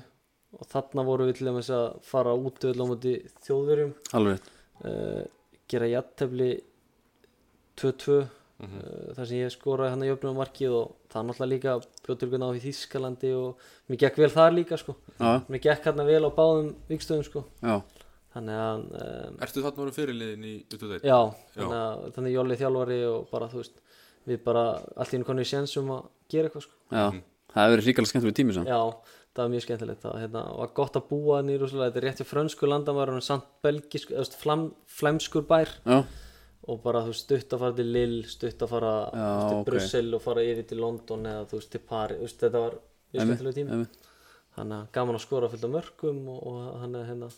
Speaker 2: og þarna voru við til dæmis að fara út öll á móti þjóðverjum
Speaker 3: alveg rétt
Speaker 2: uh, gera jattefli 2-2 uh, þar sem ég skoraði hann að jöfnum markið og það náttúrulega líka bjótturgun á í Þískalandi og mér gekk vel þar líka sko
Speaker 3: Já,
Speaker 2: mér gekk hann vel á báðum vikstöðum sko
Speaker 3: já,
Speaker 2: þannig að um,
Speaker 1: Ertu þarna voru fyrirliðin í U21?
Speaker 2: Já, þannig að þannig að Jolli þjálfari og bara þú veist við bara allt í einu konið sénsum að gera eitthvað sko.
Speaker 3: já Það hefur verið ríkala skemmtilega tími samt
Speaker 2: Já, það var mjög skemmtilegt það hérna, var gott að búa þannig í Rússalega þetta er rétt hjá frönsku landamæður og samt belgisk, eða þú veist, flam, flæmskur bær
Speaker 3: Já,
Speaker 2: og bara þú veist, stutt að fara til Lille stutt að fara þú veist, til
Speaker 3: ok.
Speaker 2: Brussel og fara yfir til London eða þú veist til Paris þú veist, þetta var mjög skemmtilega tími
Speaker 3: einmitt.
Speaker 2: þannig að gaman að skora fullt af mörgum og, og hann er hérna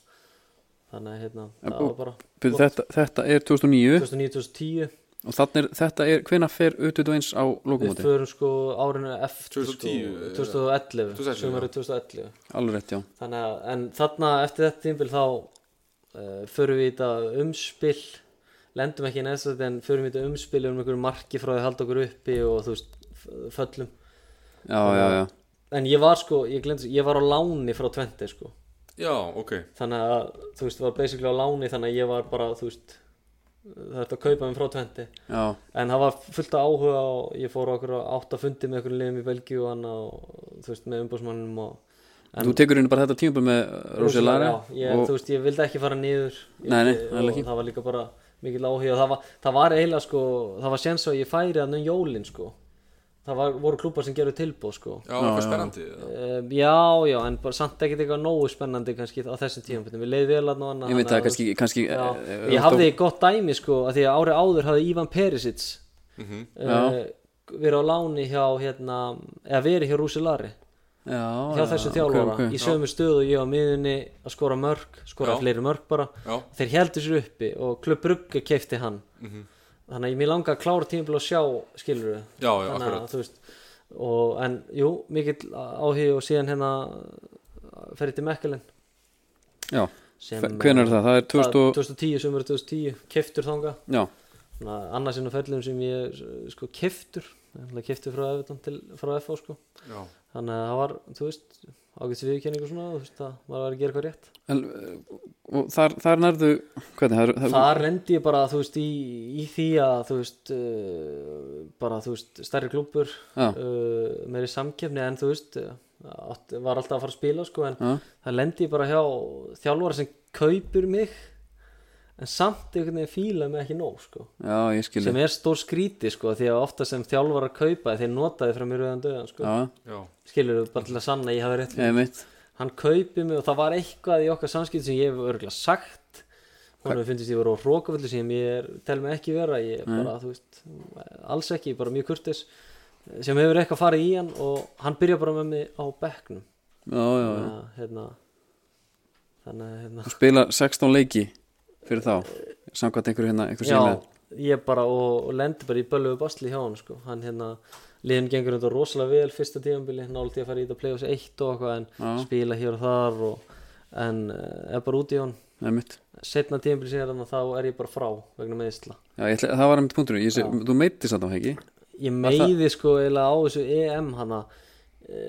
Speaker 2: þannig að hérna, það
Speaker 3: og-
Speaker 2: var bara
Speaker 3: Byrðu, þetta, þetta er 2009
Speaker 2: 2009-2010
Speaker 3: og þannig er, þetta er, hvenær fer U21 á
Speaker 2: Við
Speaker 3: lokumóti?
Speaker 2: förum sko árinu eftir
Speaker 1: 2010,
Speaker 2: sko, 2011,
Speaker 1: 2011,
Speaker 2: sumarið 2011
Speaker 3: Alveg rétt, já
Speaker 2: þannig að, en þarna eftir þetta tímbil þá uh, förum við í þetta umspill lendum ekki í neðstu þetta en förum við í þetta umspill um einhverju marki frá því að halda okkur uppi og þú veist, f- föllum
Speaker 3: Já, já, já,
Speaker 2: en ég var sko, ég glemt, ég var á láni frá 20 sko,
Speaker 1: Já, ok
Speaker 2: þannig að þú veist, var basically á láni þannig að ég var bara, þú veist það ert að kaupa mér frá 20
Speaker 3: já,
Speaker 2: en það var fullt af áhuga og ég fór á okkur átt að fundi með okkur liðum í Belgíu og annað og þú veist með umbúsmannum og En-
Speaker 3: Þú tekur henni bara þetta tíma með Rosilari
Speaker 2: Já, ég,
Speaker 3: og
Speaker 2: þú veist ég vildi ekki fara niður Ég-
Speaker 3: Nei, nei,
Speaker 2: og
Speaker 3: alveg ekki.
Speaker 2: það var líka bara mikil áhuga og það var, það var eiginlega sko það var séns að ég færi hann um jólin sko það var, voru klúpar sem gerðu tilbúð sko
Speaker 1: Já, hvað spennandi
Speaker 2: Um, já, já, en bara samt ekkert eitthvað nógu spennandi kannski á þessum tíum við leið vel að ná annað
Speaker 3: ég veit það kannski, kannski
Speaker 2: Já,
Speaker 3: eh, eh,
Speaker 2: ég hafði gott dæmi sko að því að árið áður hafði Ivan Perisic mm
Speaker 1: Mhm.
Speaker 2: verið á láni hjá hérna, eða verið hjá Rúsilari
Speaker 3: já,
Speaker 2: hjá þessu þjálfara í sömu stöðu og ég á miðunni að skora mörg skora
Speaker 1: Já.
Speaker 2: fleiri mörg bara
Speaker 1: Já,
Speaker 2: þeir heldur sér uppi og Klubb Brugge keifti hann þannig að ég mér langa að klára tímabil og sjá skilur við
Speaker 1: Mhm. já, já,
Speaker 2: þannig að
Speaker 1: akkurat
Speaker 2: þú veist og, en jú, mikill áhug og síðan hérna uh, ferði til Mekkelin
Speaker 3: já, hvenær er það? Það er
Speaker 2: eh,
Speaker 3: 2000 og,
Speaker 2: 2010, sömur 2010, keftur þanga
Speaker 3: já,
Speaker 2: Svona annars inn á ferlum sem ég eh, sko keftur, keftur frá Evertón til frá FH sko,
Speaker 1: Já,
Speaker 2: þannig að það var þú veist, ágætt viðurkenningu svona þú veist, að maður var að gera eitthvað rétt
Speaker 3: en, eh, og þar, þar nærðu hvernig, það er, það,
Speaker 2: þar lendi ég bara, þú veist, í, í því að þú veist, uh, bara þú veist, stærri klúpur
Speaker 3: Já.
Speaker 2: uh, meiri samkefni en þú veist eh, átt, var alltaf að fara að spila sko en
Speaker 3: Já.
Speaker 2: það lendi ég bara hjá þjálfara sem kaupir mig en samt einhvern veginn fíla mig ekki nóg sko
Speaker 3: já, ég skilji
Speaker 2: sem er stór skríti sko því að ofta sem þjálfar að kaupa þeir notaði frá mér auðan döðan sko
Speaker 3: já,
Speaker 1: já,
Speaker 2: skilur þú bara til að sanna að ég hafi rétt fyrir.
Speaker 3: ég veit
Speaker 2: hann kaupi mig og það var eitthvað í okkar samskipt sem ég hef örgulega sagt hún hefur fundist ég voru á rókafullu sem ég er, tel mig ekki vera ég er bara þú veist alls ekki, bara mjög kurtis sem hefur eitthvað farið í hann og hann byrja bara með mig á bekknum
Speaker 3: já, já, já.
Speaker 2: þannig að hérna, þannig að hérna
Speaker 3: og spila 16 leiki fyrir þá samkvæmt einhverju hérna, einhverju
Speaker 2: Já,
Speaker 3: síðlega
Speaker 2: ég bara og, og lendi bara í bölluðu basli hjá hann sko. hann hérna, liðin gengur þetta rosalega vel fyrsta tíðanbili, nála til að fara í þetta play-offs 1 og eitthvað en spila hér og þar og, en eh, er bara út í hann
Speaker 3: Nei, mitt.
Speaker 2: setna tímabili síðan þannig að þá er ég bara frá vegna meðisla
Speaker 3: Já, ég ætla, það var einmitt punkturinn, ég sé,
Speaker 2: Já.
Speaker 3: þú meitist þetta á heggi
Speaker 2: ég
Speaker 3: Var það-
Speaker 2: meiði sko eiginlega á þessu EM hana e,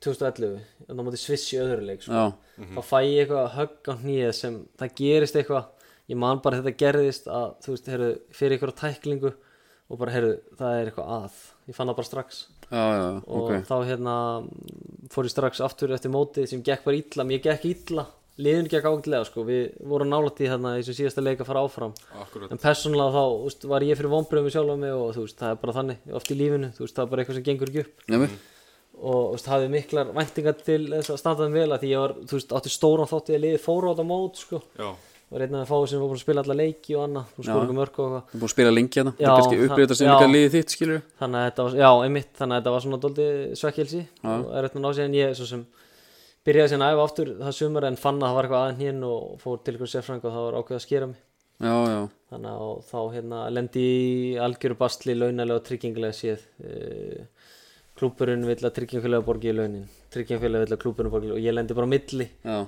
Speaker 2: 2011 en það mátti sviss í öðru leik sko.
Speaker 3: Já,
Speaker 2: þá fæ ég eitthvað högg á hnýð sem það gerist eitthvað ég man bara að þetta gerðist að þú veist, heyrðu, fyrir ykkur tæklingu og bara, heyrðu, það er eitthvað að ég fann það bara strax
Speaker 3: já, já, já,
Speaker 2: og
Speaker 3: ok
Speaker 2: þá hérna mm, fór ég strax aftur eftir mótið sem gekk bara illa, mér gekk illa liðun gekk ágætlega sko, við vorum nálætt í þarna í þessum síðasta leik að fara áfram
Speaker 1: Akkurat
Speaker 2: en persónulega þá úst, var ég fyrir vonbröðum í sjálfa mig og þú veist, það er bara þannig oft í lífinu, þú veist, það er bara eitthvað sem gengur ekki upp
Speaker 3: Nei, mitt,
Speaker 2: og þú veist, hafði miklar væntingar til þess að standa þeim vel að því ég var, þú veist, átti stóran þátt í að liði fóra á þetta mót, sko
Speaker 1: Já,
Speaker 2: var einn af þeim fáið sem var búin að spila alla leiki og annað, þú skor
Speaker 3: Já.
Speaker 2: ekki mörg og eitthvað
Speaker 3: þú er búin að spila lengi hérna
Speaker 2: Já,
Speaker 3: Það er kannski
Speaker 2: það-
Speaker 3: upplýta sem
Speaker 2: já.
Speaker 3: líka liðið þitt, skilur
Speaker 2: þannig að þetta var, já, einmitt, þannig að þetta var svona doldi svekkelsi og er þetta ná sér en ég svo sem byrjaði síðan að æfa aftur það sumar en fann að það var eitthvað aðeins hinn og fór til ykkur sérfræng og það var ákveð að skera mig
Speaker 3: Já, já,
Speaker 2: þannig að þá hérna lendi í algjöru bastli launalega og tryggingilega séð uh, klúburinn vill að tryggingfélaga borgi í launin tryggingfélaga vill að klúburinn borgi í launin og ég lendi bara á milli
Speaker 3: já,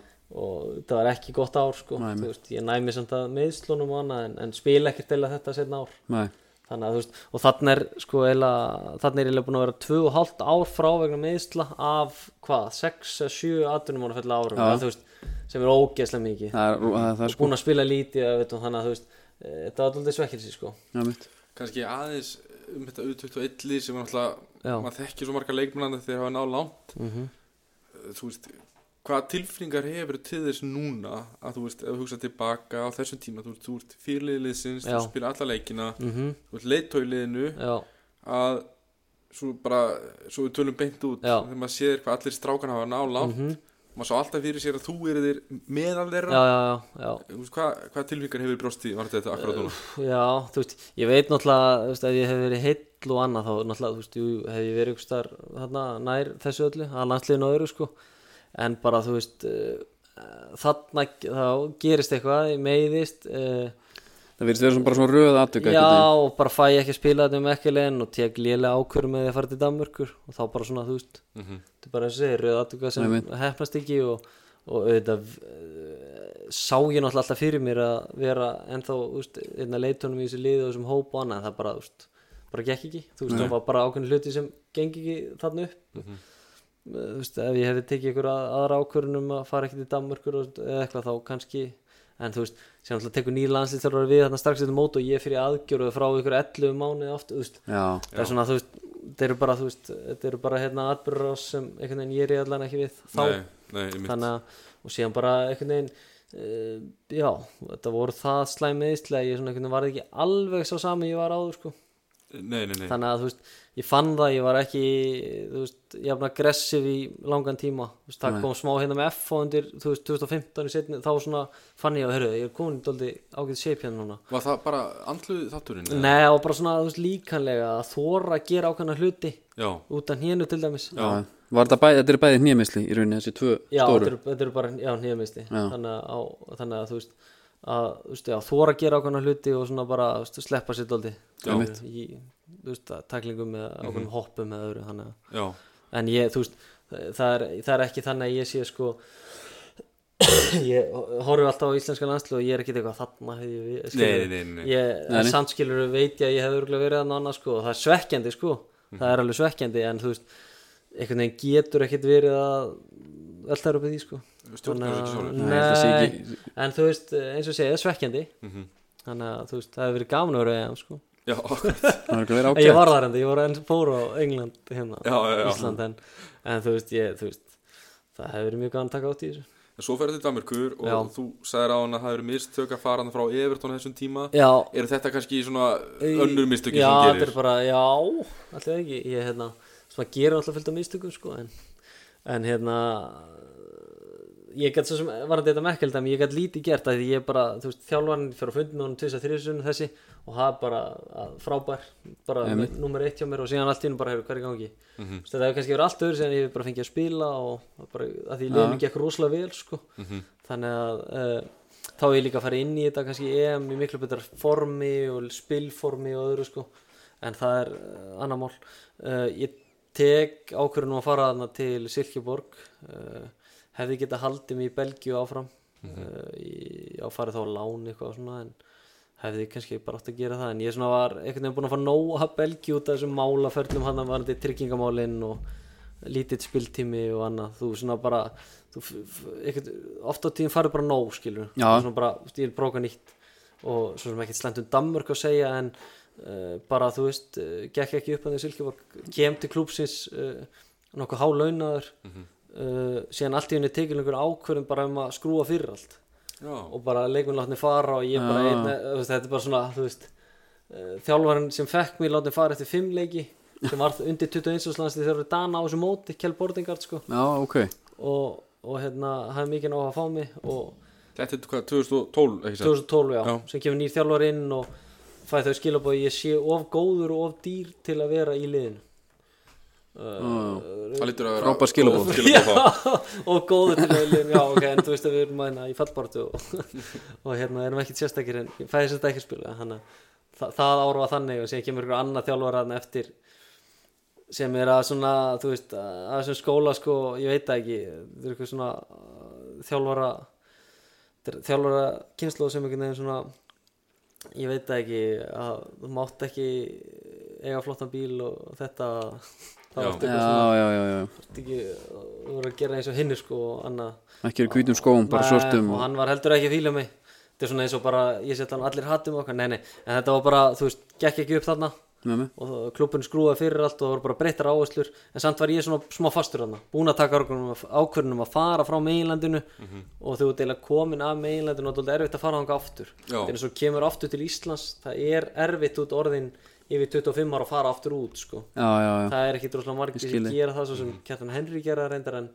Speaker 2: og það var ekki gott ár sko,
Speaker 3: Nei,
Speaker 2: þú veist, ég næmi samt að meðslunum og annað en, en spila ekkert eða þetta setna ár
Speaker 3: nei,
Speaker 2: þannig að þú veist, og þannig er sko eila, þannig er eiginlega búin að vera 2,5 ár frá vegna meðsla af hvað, 6 að 7 aðdunum ára fælla árum,
Speaker 3: Já.
Speaker 2: eða, þú veist, sem er ógeðslega mikið,
Speaker 3: það er, það er, það er sko
Speaker 2: búin að spila lítið eða, veitum, þannig að þú veist, e, þetta var alltaf svekkelsi sko,
Speaker 3: Já, mitt,
Speaker 1: kannski aðeins um þetta U21 lið sem er náttúrulega,
Speaker 2: já,
Speaker 1: maður þekkir svo marga leikmennandi þegar hafa náð langt
Speaker 2: mm
Speaker 1: Þú veist, hvaða tilfinningar hefur til þess núna að þú veist, ef þú hugsa tilbaka á þessum tíma, þú veist, þú ert fyrirliðliðsins, þú
Speaker 2: Já.
Speaker 1: spila alla leikina
Speaker 2: mhm,
Speaker 1: þú ert leittóliðinu
Speaker 2: já,
Speaker 1: að svo bara, svo við tölum beint út
Speaker 2: Já.
Speaker 1: þegar maður séð hvað allir strákan hafa náð langt
Speaker 2: mhm,
Speaker 1: maður svo alltaf fyrir sér að þú eru þér meðal
Speaker 2: já,
Speaker 1: þeirra
Speaker 2: já, já, já.
Speaker 1: Þú veist, hvað, hvað tilfingar hefur brostið var þetta akkurat núna?
Speaker 2: Já, þú veist, ég veit náttúrulega, þú veist, ef ég hef verið heill og annað þá náttúrulega, þú veist, jú, hef ég verið ykkur star þarna nær þessu öllu, að landsliðinu og öðru, sko, en bara, þú veist, uh, þarna, þá gerist eitthvað, ég meiðist, uh,
Speaker 3: það virðist vera svona bara svona röð atvika
Speaker 2: já,
Speaker 3: einhvern
Speaker 2: og bara fæ ég ekki að spila þetta um ekki leginn og tek lélega ákvörðum með því að fara til Danmörkur og þá bara svona, þú veist,
Speaker 1: Mm -hmm.
Speaker 2: þetta er bara eins og segir, rauð aðtuga sem
Speaker 3: Nei, mitt.
Speaker 2: hefnast ekki og, og auðvitað eh, sá ég náttúrulega alltaf fyrir mér að vera ennþá úst, einna leitunum í þessu liði og þessum hóp og annað en það bara, úst, bara gekk ekki þú veist,
Speaker 3: Nei.
Speaker 2: það var bara ákveðin hluti sem gengi ekki þarna upp Eh, þú veist, ef ég hefði tekið ykkur aðra ákvörðun um að fara ekki til Danmörkur og- eða eitthvað þá kannski en þú veist, sem alltaf tekur nýja landslýstjálfari við þarna strax eftir mót og ég fyrir aðgjöru frá ykkur 11 mánuði aftur, þú veist
Speaker 3: Já,
Speaker 2: það er svona, þú veist, þetta eru bara þú veist, þetta eru bara hérna atbyrðarás sem einhvern veginn ég er í allan ekki við þá,
Speaker 1: Nei, nei, ég mitt
Speaker 2: þannig að, og síðan bara einhvern veginn uh, já, þetta voru það slæmið íslega, ég svona einhvern veginn var ekki alveg sá sami ég var áður, sko
Speaker 1: Nei, nei, nei,
Speaker 2: þannig að, þú veist, ég fann það, ég var ekki þú veist, jafn aggressiv í langan tíma, þú veist, það
Speaker 3: Nei.
Speaker 2: kom smá hérna með F og undir, þú veist, 2015 í setni, þá svona fann ég að, hörru, ég er komin dóldi ágætt shape hérna núna
Speaker 1: Var það bara andluð þátturinn? eða?
Speaker 2: Nei, og bara svona, þú veist, líkanlega að þóra að gera ákveðna hluti
Speaker 1: Já,
Speaker 2: utan hénu til dæmis
Speaker 1: Já.
Speaker 3: já, var þetta bæði, þetta er bæði hnýmisli í rauninni þessi tvö
Speaker 2: já þetta,
Speaker 3: stóru
Speaker 2: eru, þetta eru bara já, nýjamiðsli
Speaker 3: Já.
Speaker 2: þannig, að á- þannig að þú veist að þú veist, já, þóra að gera ákveðna hluti og svona bara þú veist, sleppa sér dóldi
Speaker 1: Já. Mhm.
Speaker 2: í þú veist, að taklingum eða ákveðnum hoppum eða öðru þannig að
Speaker 1: já,
Speaker 2: en ég, þú veist, það er, það er ekki þannig að ég sé sko ég horfi alltaf á íslenska landslið og ég er ekki eitthvað þarna hefði ég við- skilurðu.
Speaker 1: Nei, nei, nei, nei.
Speaker 2: ég,
Speaker 3: Nei, nei.
Speaker 2: samt skilur veit ég að ég hefði örgulega verið þannig annað sko og það er svekkjandi sko, það er alveg svekkjandi en þú veist, einhvern veginn getur ekkit verið að alltaf er uppið því sko
Speaker 1: stjórnar þessu ekki sjálfur
Speaker 2: Þannig að-
Speaker 3: Nei, þetta sé ekki-
Speaker 2: en þú veist, eins og segja, það er svekkjandi þannig að þú veist, það hefur verið gaman að vera EM sko
Speaker 1: Mhm. Já, akkurat,
Speaker 3: Það er ekki verið
Speaker 2: okay. ég
Speaker 3: ágætt
Speaker 2: var þar enda, ég var enn fór á England hérna,
Speaker 1: Já, já, já.
Speaker 2: Ísland en, en þú veist, ég, þú veist það hefur verið mjög gaman að taka átt í þessu
Speaker 1: en svo ferðu til Damerkur og
Speaker 2: Já.
Speaker 1: þú sagðir á hann að það eru mistök að fara hann frá Evertón á þessum tíma
Speaker 2: já,
Speaker 1: Eru þetta kannski svona önnur mistöki
Speaker 2: já,
Speaker 1: sem þú
Speaker 2: þetta er
Speaker 1: gerir?
Speaker 2: bara, já, alltaf ekki ég, hérna, sem að gera alltaf fullt af mistökum sko, en, en hérna ég gæt svo sem var þetta mekkildæmi, ég gæt lítið gert af því ég bara, þú veist, þjálfarinn fyrir að fundi með honum tvisar þrjusunum þessi og það er bara að, frábær, bara
Speaker 3: Einmitt.
Speaker 2: nummer eitt hjá mér og síðan allt í innum bara hefur hverju gangi mm -hmm. þetta hefur kannski verið allt öðru sem ég hef bara fengið að spila og bara, að því liðum ekki eitthvað rosalega vel sko. þannig að uh, þá hef ég líka að fara inn í þetta kannski EM í miklu betra formi og spilformi og öðru sko. en það er uh, annar mál uh, ég tek um Eh, ákvörðunum að fara þarna til Silkeborg uh, hefði geta haldið mig í Belgíu áfram uh, ég á farið þá að lána eitthvað og svona en hefði kannski bara átt að gera það en ég svona var einhvern veginn búin að fá nóg að belgi út af þessum málaförnum hann var þetta tryggingamálinn og lítill spiltími og annað þú svona bara þú, f- f- einhvern, oft á tíðin farið bara nóg skilur
Speaker 3: Já.
Speaker 2: svona bara þú veist, ég vil bróka nýtt og svo sem ekkert slæmt um Danmörk að segja en uh, bara þú veist uh, gekk ekki upp að því Silkeborg kem til klúpsins uh, nokkuð hálaunaður uh, síðan allt í henni tekið einhver ákvörðum bara um að skrúa fyrir allt
Speaker 1: Já,
Speaker 2: og bara leikmenn látni fara og ég bara
Speaker 3: Já.
Speaker 2: einn, eh, þú veist, þetta er bara svona þú veist, uh, þjálfarinn sem fekk mér látni fara eftir fimm leiki sem var undir 21 áslandi þegar við dana á þessu móti Kjell Bordingard sko
Speaker 3: já, ok
Speaker 2: og, og hérna hafði mikið á að fá mig og
Speaker 1: þetta er hvað, 2012 ekki sagt?
Speaker 2: 2012 já,
Speaker 1: Já.
Speaker 2: sem kemur nýr þjálfar inn og fæði þau skilabóð ég sé of góður og of dýr til að vera í liðinu uh,
Speaker 1: Það lítur að vera
Speaker 3: Frábær skilaboð.
Speaker 2: já,
Speaker 1: Skilaboð það.
Speaker 2: og góður til auðlum já ok, en þú veist að við erum aðeina í fallbartu og, og hérna erum ekkert sérstakir en ég fæði þetta ekki að spila þannig að þa það ára var þannig og síðan kemur ykkur annað þjálfar þarna eftir sem er að svona, þú veist að að þessum skóla sko, ég veit það ekki það er eitthvað svona uh, þjálfara þetta er þjálfara kynslu sem einhvern veginn svona ég veit það ekki að þú mátt ekki eiga flottan bíl og þetta
Speaker 1: Já.
Speaker 2: það var alltaf
Speaker 3: já,
Speaker 2: eitthvað svona
Speaker 3: já, já, já.
Speaker 2: þú veist ekki að voru að gera eins og hinnir sko og annað
Speaker 3: ekki er hvítum skóum, bara
Speaker 2: Nei,
Speaker 3: svörtum
Speaker 2: og
Speaker 3: og...
Speaker 2: hann var heldur ekki að fíla mig þetta er svona eins og bara ég setja hann allir hattum okkar nei nei en þetta var bara þú veist gekk ekki upp þarna
Speaker 3: með mig
Speaker 2: og klubun skrúaði fyrir allt og það voru bara breyttar áherslur en samt var ég svona smá fastur þarna búin að taka ákvörnum að fara frá meginlandinu og þú ert eiginlega komin af meginlandinu og það er erfitt að fara þangað aftur
Speaker 1: Já.
Speaker 2: þegar svo kemur aftur til Íslands það er erfitt út orðin yfir 25 ára að fara aftur út sko
Speaker 3: já, já, já,
Speaker 2: það er ekki droslega margir
Speaker 3: Ég
Speaker 2: sem
Speaker 3: skil þig. Mhm.
Speaker 2: gera það svo sem Kjartan Henry gera reyndar en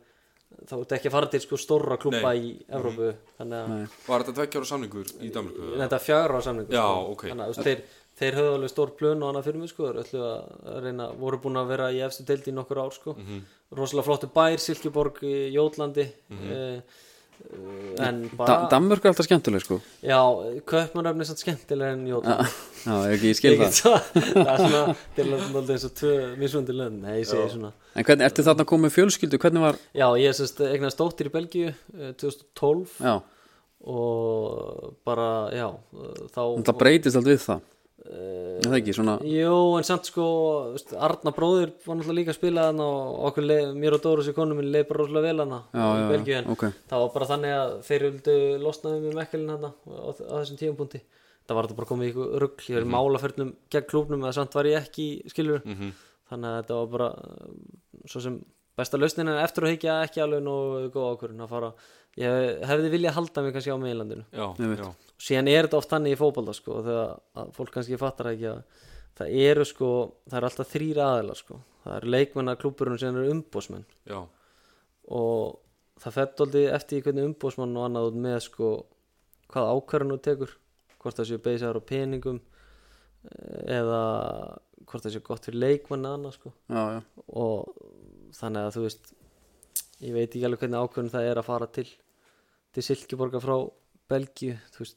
Speaker 2: þá ertu ekki að fara til sko stórra klúpa í Evrópu þannig að
Speaker 3: Nei.
Speaker 1: Var þetta tveggja ára samningur í Danmarku?
Speaker 2: þetta er fjagra á samningu
Speaker 1: Já,
Speaker 2: sko.
Speaker 1: ok.
Speaker 2: þannig að þú veist, þeir, þeir höfðu alveg stór plön og annað fyrir mig sko þeir ætlu að reyna, voru búin að vera í efstu deildi í nokkur ár sko
Speaker 1: Mhm.
Speaker 2: rosalega flottu bær, Silkeborg í Jótlandi
Speaker 1: Mhm.
Speaker 2: eh, eh, en bara
Speaker 3: Da- Danmörk er alltaf skemmtileg sko
Speaker 2: já, Kaupmannöfni er samt skemmtilega en Jótlandi
Speaker 3: já, ekki, ég skil
Speaker 2: Ég
Speaker 3: það
Speaker 2: get svo- það er svona til að nálda eins og tvö mismundi lönd nei, ég segi svona
Speaker 3: en hvernig, ertu þarna komið með fjölskyldu, hvernig var
Speaker 2: Já, ég semst eignast dóttir í Belgíu eh, 2012
Speaker 3: já,
Speaker 2: og bara, já, eh, þá
Speaker 3: það breytist allt við það
Speaker 2: Eh,
Speaker 3: er það ekki, svona
Speaker 2: Jú, en samt sko, veist, Arna bróðir var náttúrulega líka að spila hann og okkur leið, mér og Dóru sér konum minn leið bara rosalega vel hann
Speaker 3: já,
Speaker 2: í
Speaker 3: já,
Speaker 2: Belgíu
Speaker 3: já,
Speaker 2: en
Speaker 3: ok
Speaker 2: það var bara þannig að þeir vildu losnaði með mekkelin hann á, á þessum tíumpunkti það var þetta bara komið í ykkur rugg ég var
Speaker 3: Mhm.
Speaker 2: í málaferðnum gegn klúbnum eða samt var ég ekki í skilur
Speaker 3: Mhm.
Speaker 2: þannig að þetta var bara eh, svo sem besta lausnin en eftir að higgja ekki alveg nógu góð ákvörðun að fara ég hefði viljað halda mig kannski á meginlandinu
Speaker 1: Já,
Speaker 3: Ég veit.
Speaker 1: já,
Speaker 2: síðan er þetta oft þannig í fótbolta sko, þegar að fólk kannski fattar ekki að það eru sko, það eru alltaf þrýra aðila sko. það eru leikmennar klúburinn sem eru umbósmenn
Speaker 1: já,
Speaker 2: og það fætt aldrei eftir því hvernig umbósmann og annað út með sko, hvað ákvarðan þú tekur hvort það séu beisar á peningum eh, eða hvort það séu gott fyrir leikmann eða annað sko.
Speaker 3: já, já,
Speaker 2: og þannig að þú veist ég veit ekki alveg hvernig ákvörðun það er að fara til til Silkeborga frá Belgíu þú veist,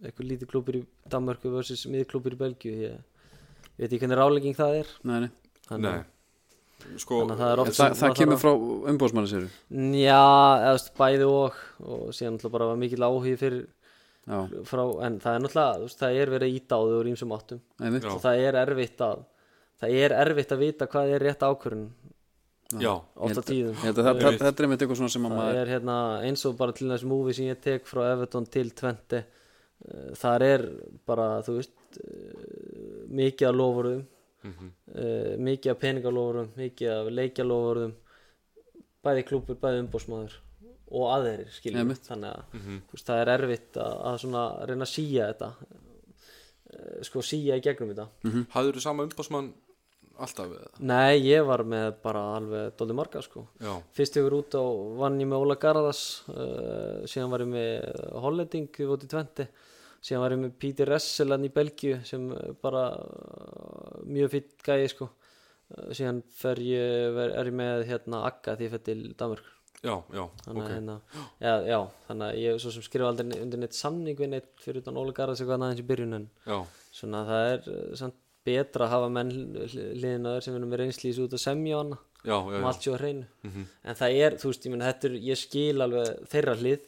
Speaker 2: eitthvað lítið klúpur í Danmörku versus miðklúpur í Belgíu ég, ég veit ekki hvernig rálegging það er
Speaker 3: nei, nei
Speaker 1: nei Sko,
Speaker 2: þannig að það er
Speaker 3: En
Speaker 2: oft
Speaker 3: það,
Speaker 2: sem
Speaker 3: það
Speaker 2: maður
Speaker 3: kemur
Speaker 2: þarf
Speaker 3: frá umbóðsmanni sér
Speaker 2: að- já, eða þú veist, bæði og og síðan náttúrulega bara var mikill áhugi fyrir
Speaker 3: já,
Speaker 2: frá, en það er náttúrulega þú veist, það er verið að íta á þau úr ímsum áttum
Speaker 3: einmitt
Speaker 1: Já.
Speaker 2: og það er erfitt að það er erfitt að vita hvað er rétt ákvörðun
Speaker 1: já,
Speaker 2: oft á tíðum
Speaker 3: Ég held að það- það- þetta er einmitt eitthvað svona sem að
Speaker 2: það
Speaker 3: maður
Speaker 2: er hérna eins og bara til þessu múvi sem ég tek frá Everton til 20 þar er bara þú veist eh, mikið af lofurum
Speaker 3: Mhm.
Speaker 2: mm. mikið af peningalofurum mikið af leikjalofurum bæði klúpur, bæði umbósmaður og aðeirir skiljum
Speaker 3: Einmitt. Mhm.
Speaker 2: þannig að þú veist, það er erfitt að, að svona reyna að síja þetta eh, sko síja í gegnum þetta
Speaker 3: Mm.
Speaker 1: hafður þú sama umbásmann alltaf eða?
Speaker 2: nei ég var með bara alveg dóldi marga sko
Speaker 1: Já,
Speaker 2: Fyrst yfir út á vann ég með Óla Garðas uh, síðan var ég með Hollending við votum í 20 síðan var ég með Peter Ressel hann í Belgíu sem eh, bara uh, mjög fýtt gæði sko uh, síðan fer ég, ver, er ég með hérna Akka því ég fætt til Danmark
Speaker 1: já, já,
Speaker 2: þannig,
Speaker 1: ok
Speaker 2: að, hérna, já, já, þannig að ég svo sem skrifa aldrei ne- undir neitt samning við neitt fyrir utan Óla Garðas eitthvað annað eins í byrjun en
Speaker 1: Já,
Speaker 2: svona það er eh, samt betra að hafa menn liðinaður sem verður með reynslýs út að semja á hana
Speaker 1: já, já,
Speaker 2: um
Speaker 1: já,
Speaker 2: allt sé á hreinu en það er, þú veist, ég, meni, er, ég skil alveg þeirra hlið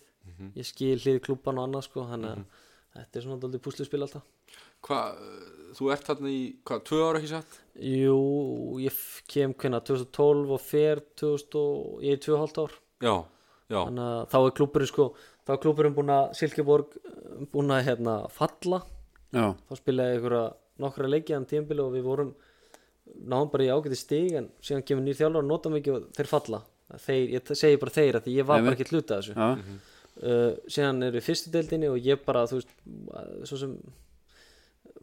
Speaker 2: ég skil hlið klúban og annað sko þannig að þetta er svona daldið púsluspil alltaf
Speaker 1: Hvað, eh, þú ert þarna í, hvað, tvö ára ekki satt?
Speaker 2: Jú, ég f- kem hvenna 2012 og fer 2000 og, ég er 2,5 ár
Speaker 1: Já, já,
Speaker 2: þannig að þá er klúburinn sko þá er klúburinn búin að Silkeborg eh, búin að hérna falla
Speaker 3: já,
Speaker 2: þá spilaði ykkur að nokkra leikja en tímbili og við vorum náðum bara í ágæti stig en síðan kemur nýr þjálfur og notum ekki og þeir falla þeir, ég t- segi bara þeir að því ég var bara
Speaker 3: Einmitt.
Speaker 2: ekki hluta þessu
Speaker 3: já,
Speaker 2: uh, síðan eru við fyrstu deildinni og ég bara þú veist, að- svo sem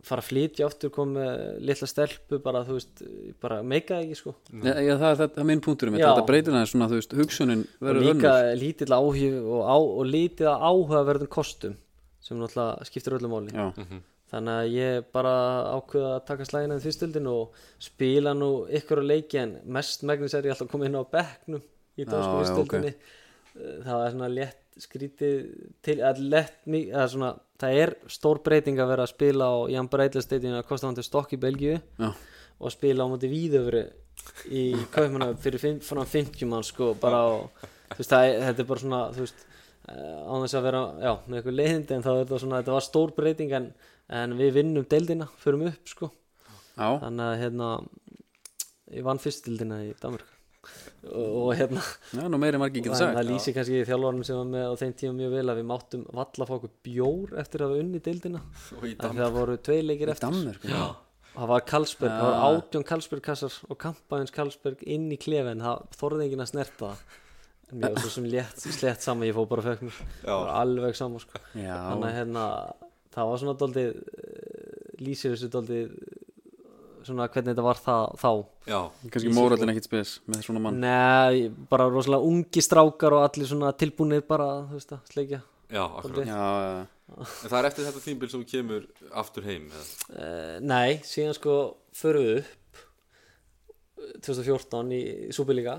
Speaker 2: fara að flytja aftur kom með litla stelpu bara þú veist, bara meika ekki sko
Speaker 3: já, já það er þetta það er minn punktur um
Speaker 2: Já.
Speaker 3: þetta, þetta breytir aðeins svona, þú veist, hugsunin
Speaker 2: og
Speaker 3: verður
Speaker 2: líka
Speaker 3: önnur
Speaker 2: lítill áhug og, á, og lítið að áhugaverðum kostum sem náttúrulega skiptir öllum máli
Speaker 3: já,
Speaker 2: þannig að ég bara ákveða að taka slægina í fyrstöldin og spila nú ykkur á leiki en mest megnis er ég alltaf komið inn á bekknum í dansku
Speaker 3: Já, já,
Speaker 2: fyrstöldinni það er svona lett skrítið til, eða lett mi- eða svona, það er stór breyting að vera að spila á Jan Breitlersteytinu að kosta hann til stokk í Belgíu
Speaker 3: já,
Speaker 2: og spila á móti víðöfri í kaupmanna fyrir fimm- svona 50 mann sko bara á, þú veist, það, er- þetta er bara svona þú veist, eh, án þess að vera já, með eitthvað leiðindi en þá er þetta svona, þetta var stór breyting en, en við vinnum deildina, förum upp sko
Speaker 3: já,
Speaker 2: þannig að hérna ég vann fyrst deildina í Danmark og, og hérna
Speaker 3: já, nú meiri margir
Speaker 2: og
Speaker 3: getur
Speaker 2: það
Speaker 3: sagt
Speaker 2: lýsi kannski þjálfvarum sem var með á þeim tíma mjög vel að við máttum valla að fá okkur bjór eftir að við unni deildina
Speaker 1: og í
Speaker 2: af því
Speaker 1: Danmark
Speaker 2: það voru tvei leikir eftir
Speaker 3: Dammir, já,
Speaker 2: það var Karlsberg, það
Speaker 3: Ah.
Speaker 2: var átjón Karlsberg kassar og kampaðins Karlsberg inn í klefin það þorði enginn að snerta það en mér var svo sem létt, slett sama ég fóð bara fekk mér, það var alveg sama sko. þannig að
Speaker 3: já,
Speaker 2: hérna það var svona doldið eh, lýsir þessu doldið eh, svona hvernig þetta var það, þá
Speaker 1: Já,
Speaker 3: kannski mórallin ekkit spes með svona mann
Speaker 2: Nei, bara rosalega ungi strákar og allir svona tilbúinir bara þú veist að sleikja
Speaker 1: já, akkurat
Speaker 3: já, já,
Speaker 1: En það er eftir þetta tímbil sem þú kemur aftur heim eða?
Speaker 2: Uh, nei, síðan sko förum við upp eh, 2014 í Súbílíka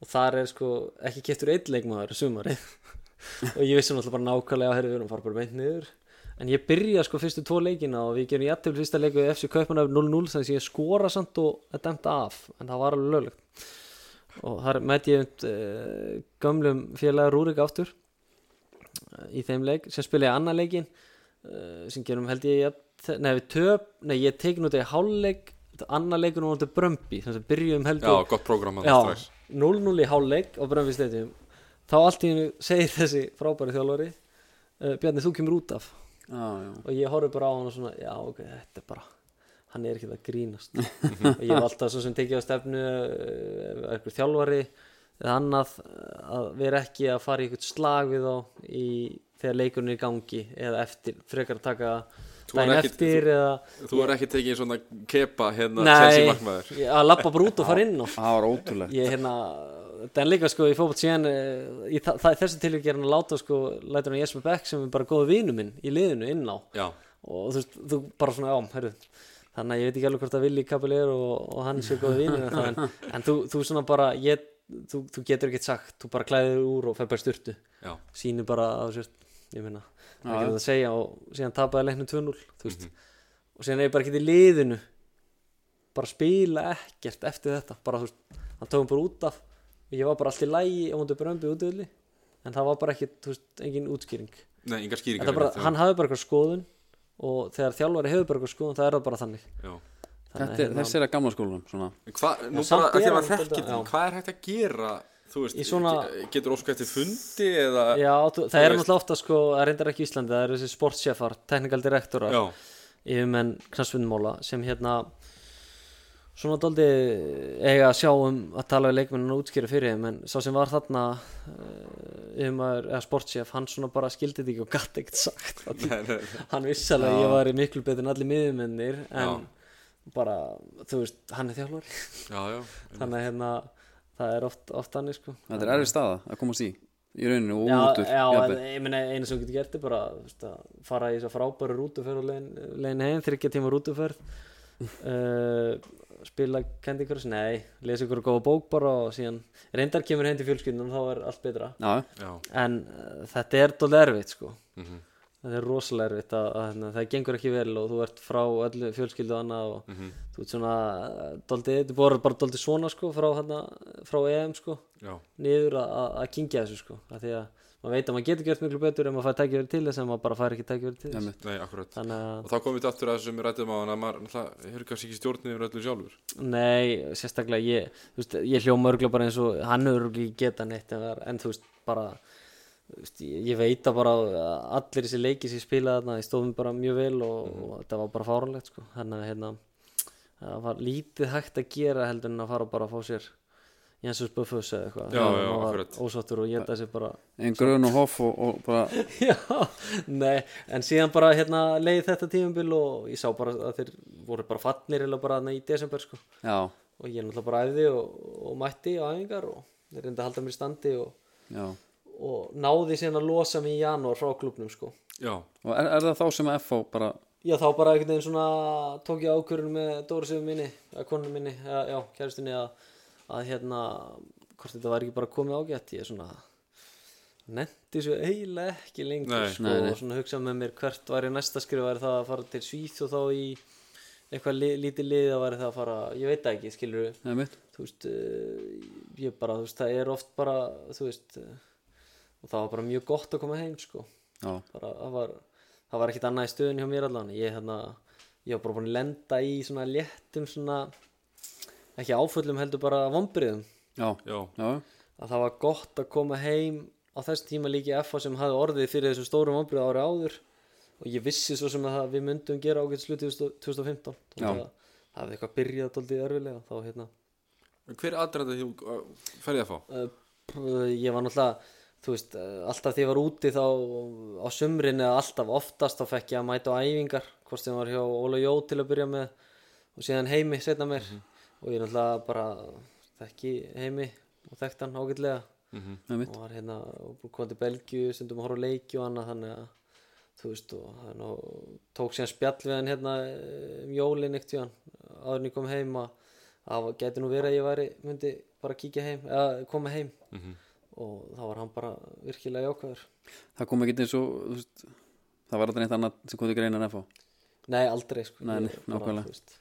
Speaker 2: og þar er sko ekki keftur einn leikmaður sumarið og ég vissi náttúrulega bara nákvæmlega að herri við erum að fara bara meint niður en ég byrja sko fyrstu tvo leikina og við gerum jættil fyrsta leiku í FC Kaupmanöf 0-0 þannig að ég skora samt og er dæmt af en það var alveg löglegt og þar mætti ég und uh, gömlum félaga Rúrik aftur eh, í þeim leik sem spila ég annan leikin uh, sem gerum held ég jafn- nei við töp, nei ég tekin út í hálfleik annar leikunum var þetta Brömbi þannig að byrjum held
Speaker 1: Já,
Speaker 2: ég
Speaker 1: gott prógram að
Speaker 2: Já,
Speaker 1: það strax
Speaker 2: 0-0 í hálfleik á Brönnvi stadium þá allt í hennu segir þessi frábæri þjálfari uh, Bjarni þú kemur út af
Speaker 3: já, Ah, já.
Speaker 2: og ég horfði bara á hann og svona já ok, þetta er bara hann er ekki að grínast og ég var alltaf svo sem tekið á stefnu uh, eitthvað þjálfari eða annað eh, að vera ekki að fara í eitthvað slag við þá í, þegar leikurinn er í gangi eða eftir, frekar að taka
Speaker 1: Þú er
Speaker 2: daginn
Speaker 1: ekki-
Speaker 2: eftir eða
Speaker 1: Þú er ekki tekið svona kepa hérna Chelsea markmaður
Speaker 2: nei, að lappa bara út og fara inn á
Speaker 3: það var ótrúlegt
Speaker 2: ég hérna þetta er líka sko í fótbolt síðan eh, í þa- það- þessu tilvík er hann að láta sko lætur hann Jesper Beck sem er bara góðu vinnu minn í liðinu inn á
Speaker 1: Já,
Speaker 2: og þú veist þú bara svona ám heyrðu þannig að ég veit ekki alveg hvort að Willi Kapil er og, og hann sé góðu vinnu en, en þú, þú svona bara ég, þú, þú getur ekkert sagt þú bara klæðir þig úr og fer bara í sturtu
Speaker 1: já,
Speaker 2: sýnir bara að þú sért, ég meina, það er
Speaker 3: Já.
Speaker 2: ekki hægt að segja og síðan tapaði leiknum 2-0 þú veist, og síðan er ég bara ekki í liðinu bara spila ekkert eftir þetta, bara þú veist hann tóðum bara út af, ég var bara allt í lægi og hún er brömbi út öðli en það var bara ekki, þú veist, engin útskýring
Speaker 1: nei, yngar
Speaker 2: þetta
Speaker 1: skýringar
Speaker 2: er bara,
Speaker 1: fyrir þetta.
Speaker 2: hann hafi bara eitthvað skoðun og þegar þjálfari hefur bara eitthvað skoðun það er það bara þannig,
Speaker 1: Já.
Speaker 2: þannig að
Speaker 3: Þetta er,
Speaker 2: hérna-
Speaker 3: þessi er að gamla skólanum svona.
Speaker 1: En Hvað, nú
Speaker 2: samt
Speaker 1: bara,
Speaker 2: er
Speaker 1: að því að
Speaker 2: hann
Speaker 1: maður þekkir
Speaker 2: svolítið-
Speaker 1: þetta,
Speaker 2: já.
Speaker 1: hvað er hægt að gera, þú veist,
Speaker 2: Í svona-
Speaker 1: ge- getur óskar eftir fundi eða,
Speaker 2: Já, þú,
Speaker 1: Þú
Speaker 2: það er
Speaker 1: veist.
Speaker 2: náttúrulega ofta sko, það reyndar ekki í Íslandi, það eru þessi sportsjefar, technical direktorar
Speaker 1: já,
Speaker 2: yfirmenn knastvinnmála sem hérna svona daldi eiga að sjá um að tala við leikmennin og útskýra fyrir þeim en sá sem var þarna eh, yfirmaður eða sportsjef, hann svona bara skildi þetta ekki og gatt ekkert sagt Af því
Speaker 1: nei, nei, nei,
Speaker 2: hann vissi alveg að ég var miklu betur en allir miðumennir en bara, þú veist, hann er þjálfari
Speaker 1: já, já,
Speaker 2: þannig að hérna, það er oft, oft hann sko.
Speaker 3: Þetta er erfið staða að komast í í rauninu og
Speaker 2: Já,
Speaker 3: útur
Speaker 2: já
Speaker 3: jafnvel.
Speaker 2: en ég meina einu sem þú getur gert er bara þú veist, að fara í þess að frábæru rútuferð og legin, legin heim, þryggja tíma rútuferð uh, spila Candy Crush, nei, lesa ykkur góða bók bara og síðan, reyndar kemur heim til fjölskyldunum þá eh, er allt betra
Speaker 3: Já,
Speaker 1: já,
Speaker 2: en uh, þetta er dólega erfitt sko það er rosalega erfitt að, að, hérna, það gengur ekki vel og þú ert frá öllu fjölskyldu og annað og þú ert svona eh, dálítið, þú voru bara dálítið svona sko frá, hérna, frá EM sko
Speaker 1: já,
Speaker 2: niður að- að að kynkja þessu sko af því að maður veit að maður getur gert miklu betur ef maður fær tækifæri til þess en maður bara fær ekki tækifæri til þess
Speaker 3: Einmitt.
Speaker 1: nei, akkurat
Speaker 2: þannig að
Speaker 1: og þá komum við aftur að þessum við rættum á hann að maður náttúrulega hefur kannski ekki stjórnið yfir öllu sjálfur
Speaker 2: Nei, sérstaklega ég þú veist, ég hljóma örgla bara eins og hann hefur örgla ekki geta neitt en, það er- en þú veist bara þú veist, ég, ég veit að bara allir þessi leiki sem ég spilaði þarna ég stóðum bara mjög vel og,
Speaker 1: Mhm.
Speaker 2: og þetta var bara fáránlegt sko. þannig að hérna, það var lítið hægt að gera heldur en að fara bara að fá sér Jensús Buffus eða eitthvað
Speaker 1: Já,
Speaker 2: Þannig
Speaker 1: já,
Speaker 2: að maður var
Speaker 1: akkurat.
Speaker 2: ósáttur og geta sér bara
Speaker 3: en grön og hoff og, og bara
Speaker 2: Já, nei, en síðan bara hérna leið þetta tímabil og ég sá bara að þeir voru bara fallnir eða bara þarna í desember sko
Speaker 3: já,
Speaker 2: og ég náttúrulega bara æfði og, og mætti á æfingar og þeir reyndi að halda mér í standi og,
Speaker 3: já
Speaker 2: og náði síðan að losa mig í janúar frá klubnum sko
Speaker 1: já,
Speaker 3: og er, er það þá sem að FH bara
Speaker 2: Já, þá bara einhvern veginn svona tók ég ákvörðun með Dórusiðu minni, að konu minni, að, já, kæristinni að, að hérna, hvort þetta var ekki bara komið ágætt, ég svona nefndi svo eiginlega ekki lengur,
Speaker 1: Nei.
Speaker 2: sko,
Speaker 3: Nei, nei.
Speaker 2: og svona hugsa með mér hvert væri næsta skrif, væri það að fara til Svíþ og þá í eitthvað li, lítið lið að væri það að fara, ég veit það ekki, skilur
Speaker 3: eða mitt,
Speaker 2: þú veist eh, ég bara, þú veist, það er oft bara þú veist, eh, og það var bara mjög gott að koma heim, sko
Speaker 3: já,
Speaker 2: bara, það var, það var ekkit annað í stöðun hjá mér allan ég, hérna, ég var bara búin að lenda í svona léttum svona ekki áföllum heldur bara vombriðum
Speaker 3: já,
Speaker 1: já,
Speaker 3: já
Speaker 2: að það var gott að koma heim á þessum tíma líka í FA sem hafði orðið fyrir þessum stórum vombrið ári áður og ég vissi svo sem að það- við myndum gera ágætt sluti 2015 og
Speaker 3: Já.
Speaker 2: það, það hefði eitthvað byrjað daldið erfilega þá hérna
Speaker 1: en hver aðræða því uh, ferðið að fá?
Speaker 2: Uh, p- ég var náttúrulega þú veist, uh, alltaf því ég var úti þá á sumrin eða alltaf oftast þá fekk ég að mæta á æfingar hvort sem var hjá Óla Jó til að byrja með og síðan heimi setna mér og ég náttúrulega bara þekki heimi og þekkt hann ágætlega
Speaker 3: eða mitt,
Speaker 2: og var hérna og kom til Belgíu stundum að horfa á leiki og annað þannig að þú veist og hann og tók síðan spjall við hann hérna eh, um jólin eitt tíðan áður en ég kom heim að það geti nú verið að ég væri myndi bara kíkja heim eða koma heim
Speaker 3: Mhm.
Speaker 2: og þá var hann bara virkilega jákvæður
Speaker 3: það kom ekki eins og þú veist, það var aldrei neitt annað sem kom til greina en FH
Speaker 2: nei aldrei sko
Speaker 3: Nei, nei,
Speaker 2: Ég bara,
Speaker 3: nákvæmlega.
Speaker 2: þú veist,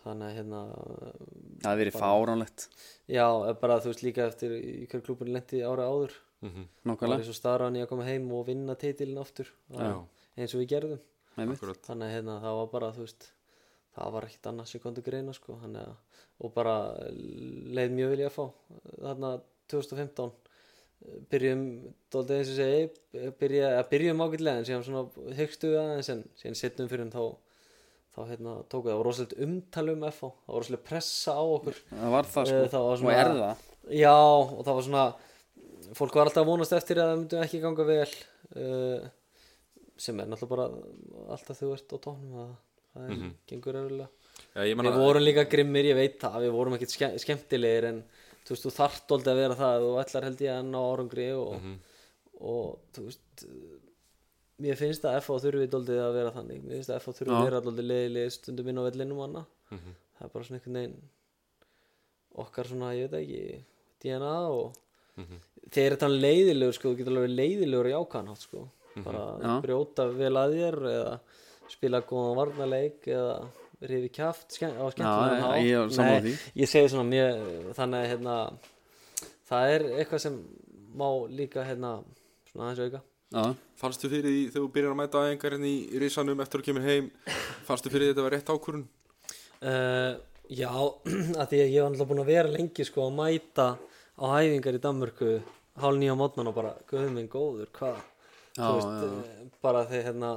Speaker 2: þannig að hérna
Speaker 3: það hefði verið fáránlegt,
Speaker 2: já eh, bara þú veist líka eftir í hver klubun lendi ára áður það var
Speaker 3: nákvæmlega
Speaker 2: eins og starran í að koma heim og vinna titilin aftur
Speaker 1: Já.
Speaker 2: eins og við gerðum
Speaker 3: eða mitt,
Speaker 1: akkurat,
Speaker 2: þannig að hérna, það var bara þú veist, það var ekkit annað sem kom til greina sko, þannig að, og bara leið mjög vilja að fá þarna 2015 eh, byrjum dóldi eins og ég segi eh, byrja, eða byrjum ágætlega en síðan svona hugstu við aðeins en síðan setnum fyrir en þá þá hérna tók við, það var rosalega umtal um FH það var rosalega pressa á okkur
Speaker 3: það var það
Speaker 2: Eh,
Speaker 3: sko
Speaker 2: það var
Speaker 3: og
Speaker 2: svona-
Speaker 3: er það,
Speaker 2: Já, og það var svona fólk var alltaf að vonast eftir að það myndi ekki ganga vel uh, sem er náttúrulega bara alltaf þú ert á tónum að það er, gengur erulega
Speaker 1: já, ég
Speaker 2: Við
Speaker 1: menna
Speaker 2: vorum líka grimmir, ég veit það, við vorum ekkit ske skemmtilegir en þú veist, þú þarft aldrei að vera það ef þú ætlar held ég að ná árangri og, og þú veist mér finnst að FH þurfi doldið að vera þannig, mér finnst að FH þurfi að vera doldið leiðileg stundum inn á vellinum og annað það er bara svona einhvern veginn okkar svona, ég veit það ekki DNA og þeir eru þannig leiðilegur sko, þú getur alveg verið leiðilegur í ákvæðanhátt sko, bara
Speaker 3: Já.
Speaker 2: brjóta vel að þér eða spila góðan varnarleik eða rifi kjaft sken á skemmtilegan
Speaker 3: Já,
Speaker 2: hátt
Speaker 3: ég er sammála því.
Speaker 2: ég segi svona mjög þannig að hérna, það er eitthvað sem má líka hérna, svona aðeins auka
Speaker 3: já,
Speaker 1: fannstu fyrir því þegar þú byrjar að mæta aðengar hérna í risanum eftir að þú kemur heim fannstu fyrir því að þetta var rétt ákvörun?
Speaker 2: Uh, já, að því að ég var alltaf búin að vera lengi sko að mæta á hæfingar í Danmörku hálf nýja mótnan og bara, guð minn góður, hvað
Speaker 3: Já,
Speaker 2: þú veist, já. bara þegar hérna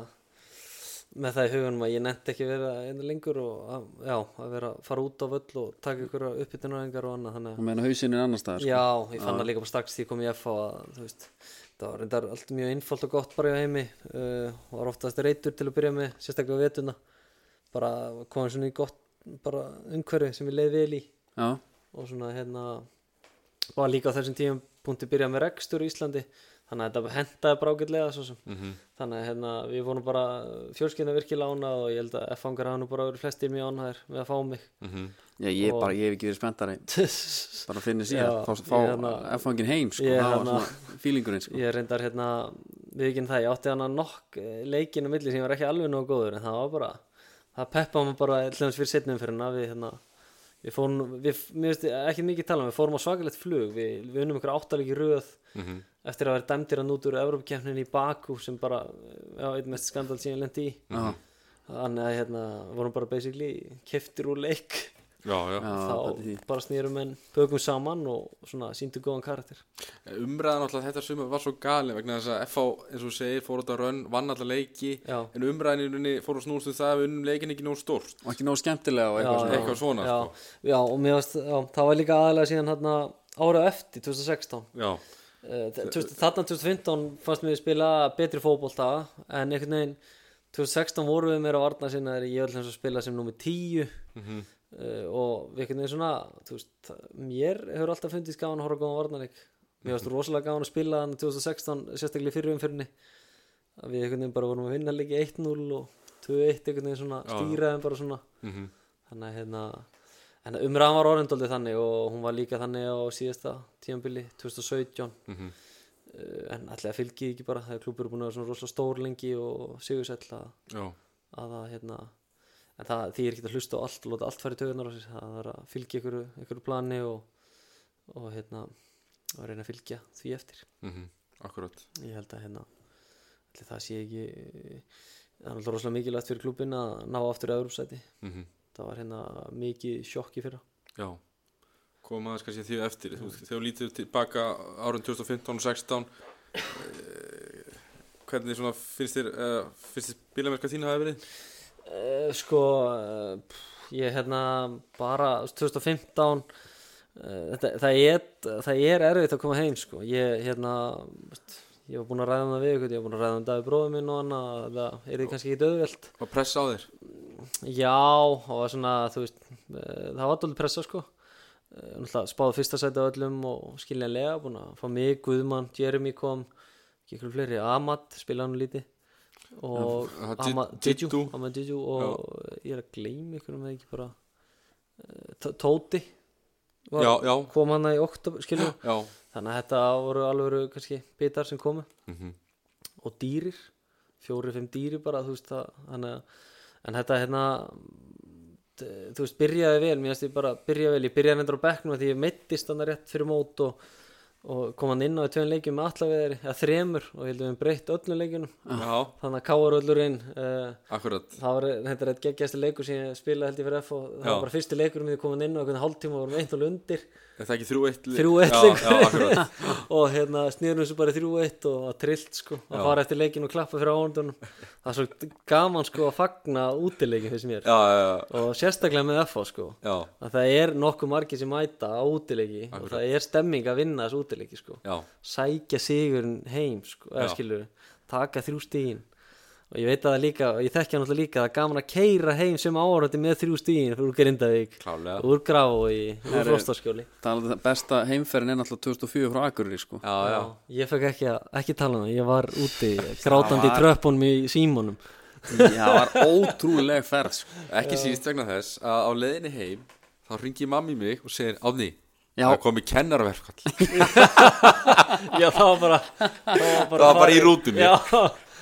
Speaker 2: með það í hugunum að ég nefndi ekki vera einu lengur og að, já, að vera að fara út á völl og taka ykkur uppbytunarengar og annað þannig að
Speaker 3: og meðan hausinn er annars staðar sko.
Speaker 2: Já, ég fann það líka bara strax því ég kom í F að, þú veist, það var reyndar allt mjög einfalt og gott bara hjá heimi uh, var oftast reytur til að byrja með sérstaklega á vetuna bara komið svona í gott bara umhverfi sem ég leið vel í
Speaker 3: já,
Speaker 2: og svona hérna var líka á þessum tíum punkti byrjað með rekstur í Íslandi þannig að þetta hendaði bara ágætlega svo sem þannig að hérna við vorum bara fjölskyldina virkilega ánað og ég held að F-fangar hafa nú bara verið flestir mjög ánæðir með að fá mig
Speaker 3: já, ég er bara, ég hef ekki verið spenntari bara að finna sér,
Speaker 2: Já,
Speaker 3: fá, fá
Speaker 2: ég hérna-
Speaker 3: FH-ingin heim sko,
Speaker 2: ég
Speaker 3: það var
Speaker 2: hérna-
Speaker 3: svona fílingurinn sko
Speaker 2: Ég reyndar hérna við ekki það, ég átti hana nokk eh, leikinn á milli sem ég var ekki alveg nógu góður en það var bara, það peppaði mig bara hljóðans fyrir setnum fyrir hana við hérna við fórum, við, mér veist ekki mikið tala um við fórum á svakalegt flug, við, við unnum ykkur áttalegi röð eftir að vera dæmdir að nút úr Evrópkeppninni í Baku sem bara, eh, já, einn mest skandal sem ég lendi í
Speaker 3: Já,
Speaker 2: þannig að hérna, vorum bara basically keftir úr leik
Speaker 1: já, já.
Speaker 3: já, þetta er því.
Speaker 2: þá bara snýrum en pökum saman og svona síndu góðan karakter
Speaker 1: Umræðan alltaf þetta sumar var svo galin vegna þess að FH, eins og þú segir, fór út að rönn, vann alltaf leiki
Speaker 2: Já.
Speaker 1: en umræðan í rauninni fór að snúast um það að við unnum leikin ekki nóg stórt
Speaker 3: og ekki nóg skemmtilega og eitthvað
Speaker 2: Já,
Speaker 3: svona
Speaker 2: já.
Speaker 1: eitthvað svona, sko.
Speaker 2: já, já, og mér varst, já, það var líka aðalega síðan hérna ára eftir 2016
Speaker 1: Já,
Speaker 2: Eh, þ- 2000 þarna 2015 fannst mér spila betri fótbolta en einhvern veginn 2016 vorum við meira varna sinna þegar ég öll hans að spila sem nummer 10
Speaker 1: Mhm.
Speaker 2: uh, og við einhvern veginn svona þú veist, mér hefur alltaf fundist gaman að horfa á góðan varnarleik mér
Speaker 1: Mhm.
Speaker 2: varst rosalega gaman að spila hann 2016 sérstaklega í fyrri umfyrinni að við einhvern veginn bara vorum að vinna leiki 1-0 og 2-1 einhvern veginn svona
Speaker 1: Já, já.
Speaker 2: stýraðum bara svona
Speaker 1: Mhm.
Speaker 2: þannig að hérna en umræðan var orðindóldi þannig og hún var líka þannig á síðasta tíambili 2017
Speaker 1: Mhm.
Speaker 2: Uh, en allega fylgið ekki bara það er klúpur búin að vera svona rosalega stór lengi og sigursæll að
Speaker 1: já,
Speaker 2: að það hérna en það því er ekki að hlusta á allt og láta allt fara í töðunar á sér það er að fylgja ykkur, ykkur plani og, og hérna og reyna að fylgja því eftir
Speaker 1: mm akkurat
Speaker 2: ég held að hérna ætli það sé ekki það er alltaf rosalega mikilvægt fyrir klubin að ná aftur öðrumsæti
Speaker 1: mm
Speaker 2: það var hérna mikið sjokki fyrir
Speaker 1: Já, komum aðeins kannski að því á eftir þú, þegar þú lítur tilbaka árun 2015 og 16 eh, hvernig svona finnst þér uh, finnst þér bílamerka þín hafa verið?
Speaker 2: uh, sko uh, pff, ég hérna bara 2015 Uh, þetta, það, er, það er erfitt að koma heim sko. ég, hérna, veist, ég var búin að ræða um það við ykkur, ég var búin að ræða um Davi bróðum minn og hann að það er þið kannski ekki döðveld
Speaker 1: Var pressa á þér?
Speaker 2: já, og var svona, þú veist uh, það var dólið pressa sko. uh, náttúrulega spáði fyrsta sæti á öllum og skiljanlega, búin að fá mig, Guðmann Jeremy kom, ekki ykkur fleiri Amat, spila hann lítið og
Speaker 1: Já, það-
Speaker 2: Ama-
Speaker 1: Jiddu.
Speaker 2: Jiddu, Ama Jiddu og ég er að gleyma ykkur um það ekki bara uh, T- Tóti var-
Speaker 1: Já, já,
Speaker 2: kom hann í oktober skiljum
Speaker 1: já
Speaker 2: þannig að þetta voru alveg kannski bitar sem komu
Speaker 1: mm -hmm.
Speaker 2: og dýrir, fjóri, fimm dýri bara þú veist það þannig að, en þetta hérna d- þú veist, byrjaði vel, mér finnst ég bara byrjaði vel, ég byrjaði hendur á bekknum af því ég meittist þannig rétt fyrir mót og, og kom hann inn á í tveim leikjum með allaveðari eða þremur og ég held að við höfum breytt öllu leikjunum
Speaker 1: Já,
Speaker 2: þannig að káar öllur inn uh,
Speaker 1: akkurat
Speaker 2: það var þetta er eitt geggjæsti leikur sem ég spilaði held ég fyrir F og það
Speaker 1: Já.
Speaker 2: var bara fyrsti leikur um því komin inn og einhvern hálftíma vorum eitt og lundir
Speaker 1: Er það ekki 3-1? leik? Já,
Speaker 2: 3-1
Speaker 1: já, akkurat
Speaker 2: leikur og hérna snýrum þessu bara í 3-1 og að trillt sko að
Speaker 1: Já.
Speaker 2: fara eftir leikin og klappa fyrir áhundunum það er svo gaman sko að fagna útileikin fyrir mér
Speaker 1: Já, já, já,
Speaker 2: og sérstaklega með FH sko
Speaker 1: já,
Speaker 2: að það er nokkuð margir sem mæta á útileiki og
Speaker 1: Akkurat.
Speaker 2: það er stemming að vinna þessu útileiki sko
Speaker 1: já.
Speaker 2: sækja sigurinn heim sko, eða
Speaker 1: Já.
Speaker 2: skilur, taka þrjú stígin og ég veit að það líka, og ég þekkja náttúrulega líka að það er gaman að keira heim sem áhörandi með þrjú stígin úr Grindavík,
Speaker 1: klálega
Speaker 2: úr Grafói úr Frostaskjóli
Speaker 3: Talandi um það besta heimferðin er náttúrulega 2004 frá Akureyri sko
Speaker 1: Já, já,
Speaker 2: ég fekk ekki, að- ekki tala um það, ég var úti grátandi í tröppunum í símónum
Speaker 3: Já, það var ótrúleg ferð sko.
Speaker 1: ekki síst vegna þess að á leiðinni heim þá ringi mammi mig og segir Ánni,
Speaker 3: Já.
Speaker 1: það komi kennarverkvall
Speaker 2: já það var bara það var
Speaker 1: Það var bara í rútunni.
Speaker 2: já,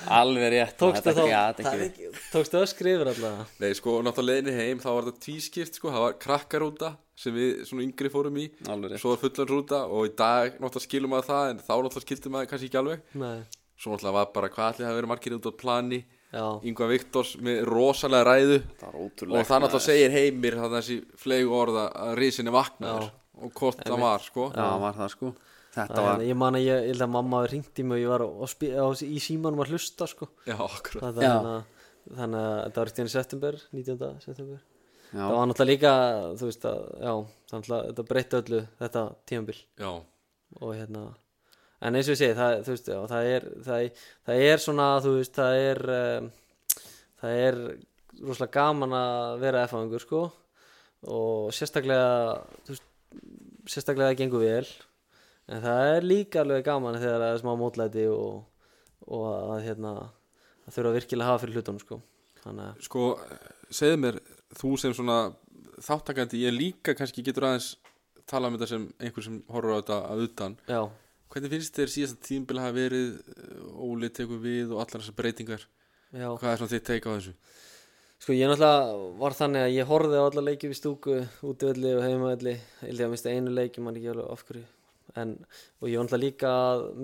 Speaker 3: Alveg rétt
Speaker 2: tókstu
Speaker 3: Þetta
Speaker 2: þá
Speaker 3: gat ekki
Speaker 2: það er
Speaker 3: verið.
Speaker 2: ekki- tókstu öskri yfir allavega
Speaker 1: Nei, sko, og náttúrulega leiðinni heim þá var þetta tvískipt, sko, það var krakkarúta sem við svona yngri fórum í
Speaker 3: Alveg rétt.
Speaker 1: svo var fullanrúta og í dag náttúrulega skilum maður það en þá náttúrulega skildi maður kannski ekki alveg
Speaker 2: Nei,
Speaker 1: svo náttúrulega var bara hvað allir hafa verið margir út á plani
Speaker 2: já,
Speaker 1: Yngvar Viktors með rosalega ræðu
Speaker 3: Það var ótrúleg
Speaker 1: og það náttúrulega segir heimir þannig þessi flegu orða að risinni vaknaður og hvort það var, sko
Speaker 3: Já, var það sko Þetta
Speaker 2: Það
Speaker 3: var
Speaker 2: er- ég man að ég, ég held að mamma ringdi mig og ég var á, á, spi- á, í símanum að hlusta sko.
Speaker 1: Já, akkurat
Speaker 2: það,
Speaker 3: Já.
Speaker 2: þannig, að, þannig að þetta var ekki í september 19. september
Speaker 3: Já.
Speaker 2: það var náttúrulega líka þú veist að já, þannig að þetta breytti öllu þetta tímabil
Speaker 1: Já,
Speaker 2: og hérna en eins og ég segi það, þú veist, já, það, er, það, er- það er svona þú veist það er um, það er rosalega gaman að vera F-angur sko og sérstaklega þú veist, sérstaklega það gengur vel en það er líka alveg gaman þegar það er smá mótlæti og, og að hérna það þurfa virkilega að hafa fyrir hlutunum sko þannig að
Speaker 1: sko, segðu mér þú sem svona þáttakandi ég líka kannski getur aðeins tala um þetta sem einhver sem horfur á þetta að utan
Speaker 2: Já,
Speaker 1: Hvernig finnst þér síðasta tímbil hafa verið eh, Óli tekur við og allar þessar breytingar
Speaker 2: já.
Speaker 1: Hvað er svona þitt teika á þessu?
Speaker 2: Sko ég náttúrulega var þannig að ég horfði á alla leiki við stúku, útivelli og heimavelli held ég að minnst einu leiki, mann ekki alveg af hverju en, og ég var náttúrulega líka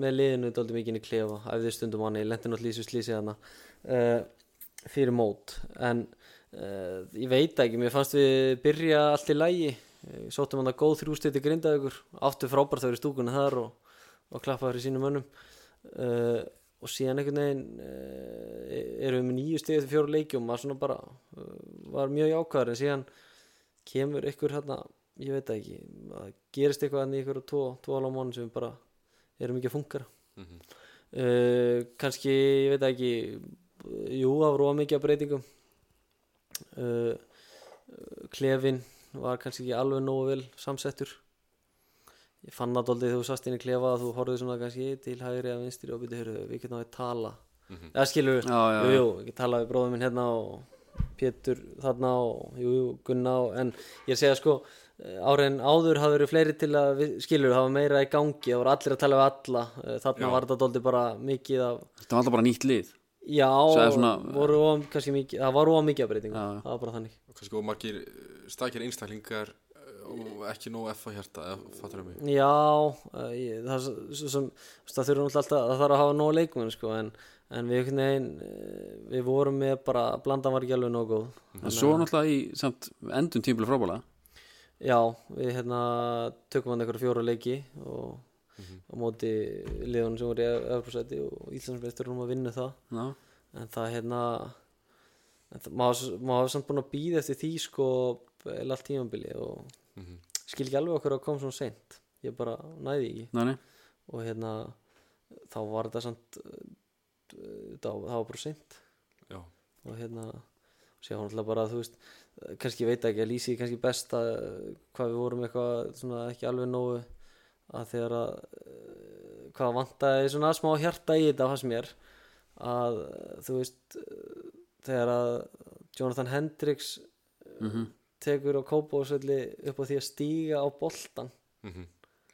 Speaker 2: með liðinu dálítið mikið inn í klefa æfði stundum hann, ég lendi náttúrulega í þessu slísi hana uh, fyrir mót en uh, ég veit það ekki mér fannst við byrja allt í lægi sóttum hann að góð þrjústiti grinda ykkur áttu frábært það verið stúkuna þar og, og klappaður í sínum mönnum uh, og síðan einhvern veginn uh, erum við með nýju stegið til fjóru leiki og maður svona bara uh, var mjög jákvæður en síðan kemur ykkur hérna, ég veit það ekki að gerist eitthvað hérna í ykkur og tvo, tvo alveg mánu sem við bara erum ekki að fungara uh, kannski, ég veit það ekki uh, jú, það var óa mikið að breytingum uh, uh, klefin var kannski ekki alveg nógu vel samsettur ég fann það aldrei þegar þú sast inn í klefa að þú horfið svona kannski til hægri að vinstri og byrju, heyrðu, við getum að tala eða skilur,
Speaker 3: Já, já,
Speaker 2: jú,
Speaker 3: já.
Speaker 2: jú, ég tala við bróðum minn hérna og Pétur þarna og jú, jú, Gunna og, en ég segja sko áriðin áður hafa verið fleiri til að við- skilur, hafa meira í gangi, það voru allir að tala við alla eh, þarna var þetta aldrei bara mikið af
Speaker 3: Þetta var alltaf bara nýtt lið
Speaker 2: já,
Speaker 3: Svo er svona-
Speaker 2: voru of, kannski mikið það var of mikið að breytingu,
Speaker 3: Já, já.
Speaker 2: það var bara þannig
Speaker 1: Og kannski og margir eh, stakir einstaklingar eh, og ekki nóg F á hjarta eða fattur mig
Speaker 2: Já, eh, ég, það, er svo- svo sem, þú veist, það þurfum alltaf það þarf að hafa nóg leikmenn sko, en, en við, einhvern veginn, eh, við vorum með bara blandan var ekki alveg nóg góð
Speaker 3: En svo náttúrulega í samt endum tímbil frábæla
Speaker 2: Já, við hérna tökum hann einhverja fjóra leiki og á móti liðunum sem voru í Evropasæti og Íslandsmeisturum að vinna það
Speaker 3: Já,
Speaker 2: en það hérna en það, maður, maður hafði samt búin að býða eftir því sko eða allt tímambili og skil ekki alveg okkur að koma svona seint ég bara næði því ekki
Speaker 3: nei, nei
Speaker 2: og hérna þá var þetta samt uh, þá, þá var bara seint
Speaker 1: Já,
Speaker 2: og hérna sé hún alltaf bara þú veist eh, kannski ég veit ekki að lýsi kannski best að eh, hvað við vorum eitthvað svona ekki alveg nógu að þegar að eh, hvað vantaði svona smá hjarta í þetta hans mér að eh, þú veist eh, þegar að Jonathan Hendricks
Speaker 3: mm
Speaker 2: tekur á kópásvelli upp á því að stíga á boltan
Speaker 1: mm -hmm.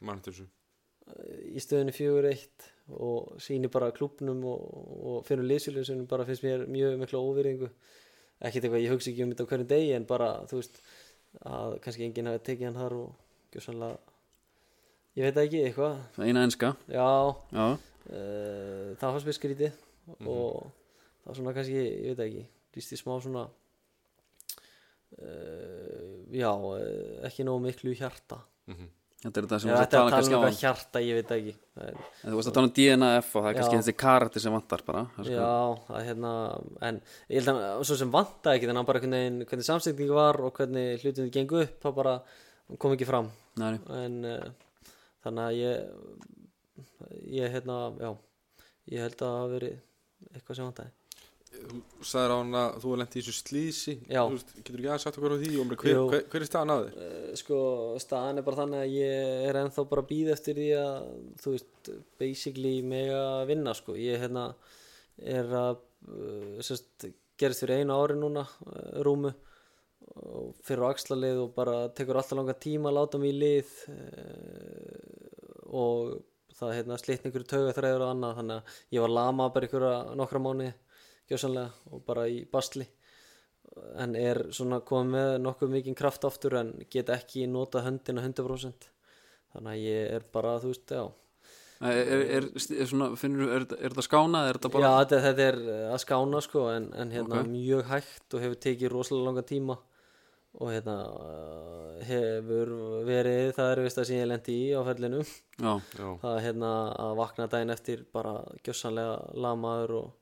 Speaker 1: manntur þessu
Speaker 2: í stöðinu 4-1 og sýnir bara klubnum og, og finnur liðsjölu sem bara finnst mér mjög mikla óvýringu ekkert eitthvað ég hugsa ekki um þetta á hverjum degi en bara þú veist að kannski enginn hafi tekið hann þar og gjössanlega ég veit það ekki eitthvað
Speaker 3: Eina enska
Speaker 2: já
Speaker 3: Já,
Speaker 2: uh, það fannst mér skrítið og það var svona kannski, ég veit það ekki líst í smá svona uh, já eh, ekki nógu miklu hjarta
Speaker 3: þetta er þetta sem
Speaker 2: Já,
Speaker 3: við
Speaker 2: þetta er að tala um
Speaker 3: varum að tala
Speaker 2: eitthvað
Speaker 3: kannski á
Speaker 2: hjarta, ég veit það ekki það er,
Speaker 3: En Þú varst að tala um DNAF og það er kannski
Speaker 2: Já.
Speaker 3: þessi karakter sem vantar bara Það er sko-
Speaker 2: Já, að hérna en ég held að svo sem vantaði ekki þannig að bara hvernig, hvernig samsetning var og hvernig hlutinni gengu upp þá bara kom ekki fram
Speaker 3: Nei, nei.
Speaker 2: en uh, þannig að ég ég hérna, já ég held að það hafi verið eitthvað sem vantaði
Speaker 1: Þú sagðir á hann að þú er lent í þessu slísi
Speaker 2: Já.
Speaker 1: Þú veist, Getur ekki aðeins sagt okkur á því og meina, hver,
Speaker 2: Jú.
Speaker 1: hver, hver er staðan að þér?
Speaker 2: Eh, sko, staðan er bara þannig að ég er ennþá bara að býða eftir því að þú veist, basically mig að vinna, sko, ég hérna er að uh, sérst, gerist fyrir einu ári núna uh, rúmu og fyrir á axlalið og bara tekur alltaf langa tíma að láta mig í lið uh, og það hérna slitni ykkur tauga þræður og annað þannig að ég var lama bara ykkur nokkra mánu gjössanlega og bara í basli en er svona komið með nokkuð mikinn kraft aftur en get ekki nota höndina 100% þannig að ég er bara, þú veist, já
Speaker 3: Er, er, er, er, svona, finnur, er, er þetta skána eða er þetta bara
Speaker 2: já, þetta, þetta er eh, að skána sko en, en hérna
Speaker 3: Ok.
Speaker 2: mjög hægt og hefur tekið rosalega langa tíma og hérna eh, hefur verið, það er vist að síðan ég lendi í á ferlinu
Speaker 3: Já,
Speaker 1: Já,
Speaker 2: það er hérna að vakna daginn eftir bara gjössanlega lamaður og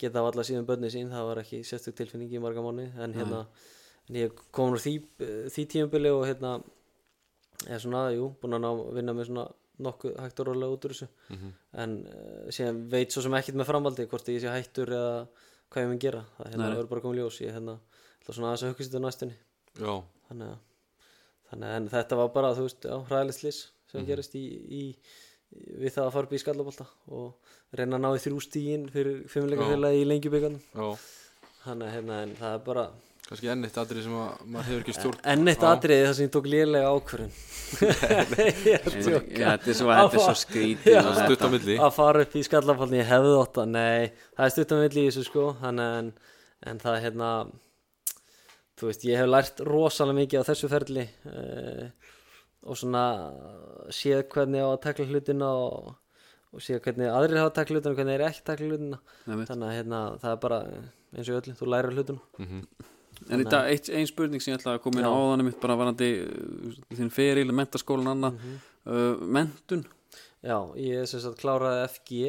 Speaker 2: geta af alla síðan bönni sín það var ekki sérstök tilfinning í marga mánu en hérna, en ég kom úr því, því tímabili og hérna er svona, jú, búin að ná, vinna með svona nokkuð hægt og rólega út úr þessu en uh, síðan veit svo sem ekkert með framhaldi hvort ég sé hættur eða hvað ég mun gera það er hérna,
Speaker 3: Nei.
Speaker 2: verður bara komið ljós ég hérna, ætla svona aðeins að hugsa þetta næstunni
Speaker 1: já,
Speaker 2: þannig að, þannig að en þetta var bara, þú veist, já, hræðilegt slis sem gerist í, í, við það að fara upp í skallabólta og reyna að ná í þrjú stíin fyrir fimmleika félagi í lengjubyggarnum
Speaker 1: já
Speaker 2: þannig að hérna, en það er bara
Speaker 1: kannski enn eitt atrið sem að maður hefur ekki stjórn
Speaker 2: enn eitt
Speaker 1: á.
Speaker 2: atriði þar sem ég tók lélega ákvörun
Speaker 4: Já, Þetta er svo, þetta er svo skrítið og þetta-
Speaker 1: stutt á milli
Speaker 2: að fara upp í skallafallin ég hefði þetta, nei, það er stuttum vill í þessu sko, hann en, en það er hérna þú veist, ég hef lært rosalega mikið á þessu ferli eh, og svona séð hvernig á að takla hlutina og, og séð hvernig aðrir hafa takla hlutina og hvernig er ekki takla hlutina
Speaker 3: Einmitt.
Speaker 2: þannig að hérna, það er bara eins og í öllu, þú lærir hlutina
Speaker 3: En þetta ein, ein spurning sem ég ætlaði að koma inn á áðanum mitt bara varandi uh, þinn feril, mentaskólan annað, uh, mentun
Speaker 2: já, ég sem sagt kláraði FG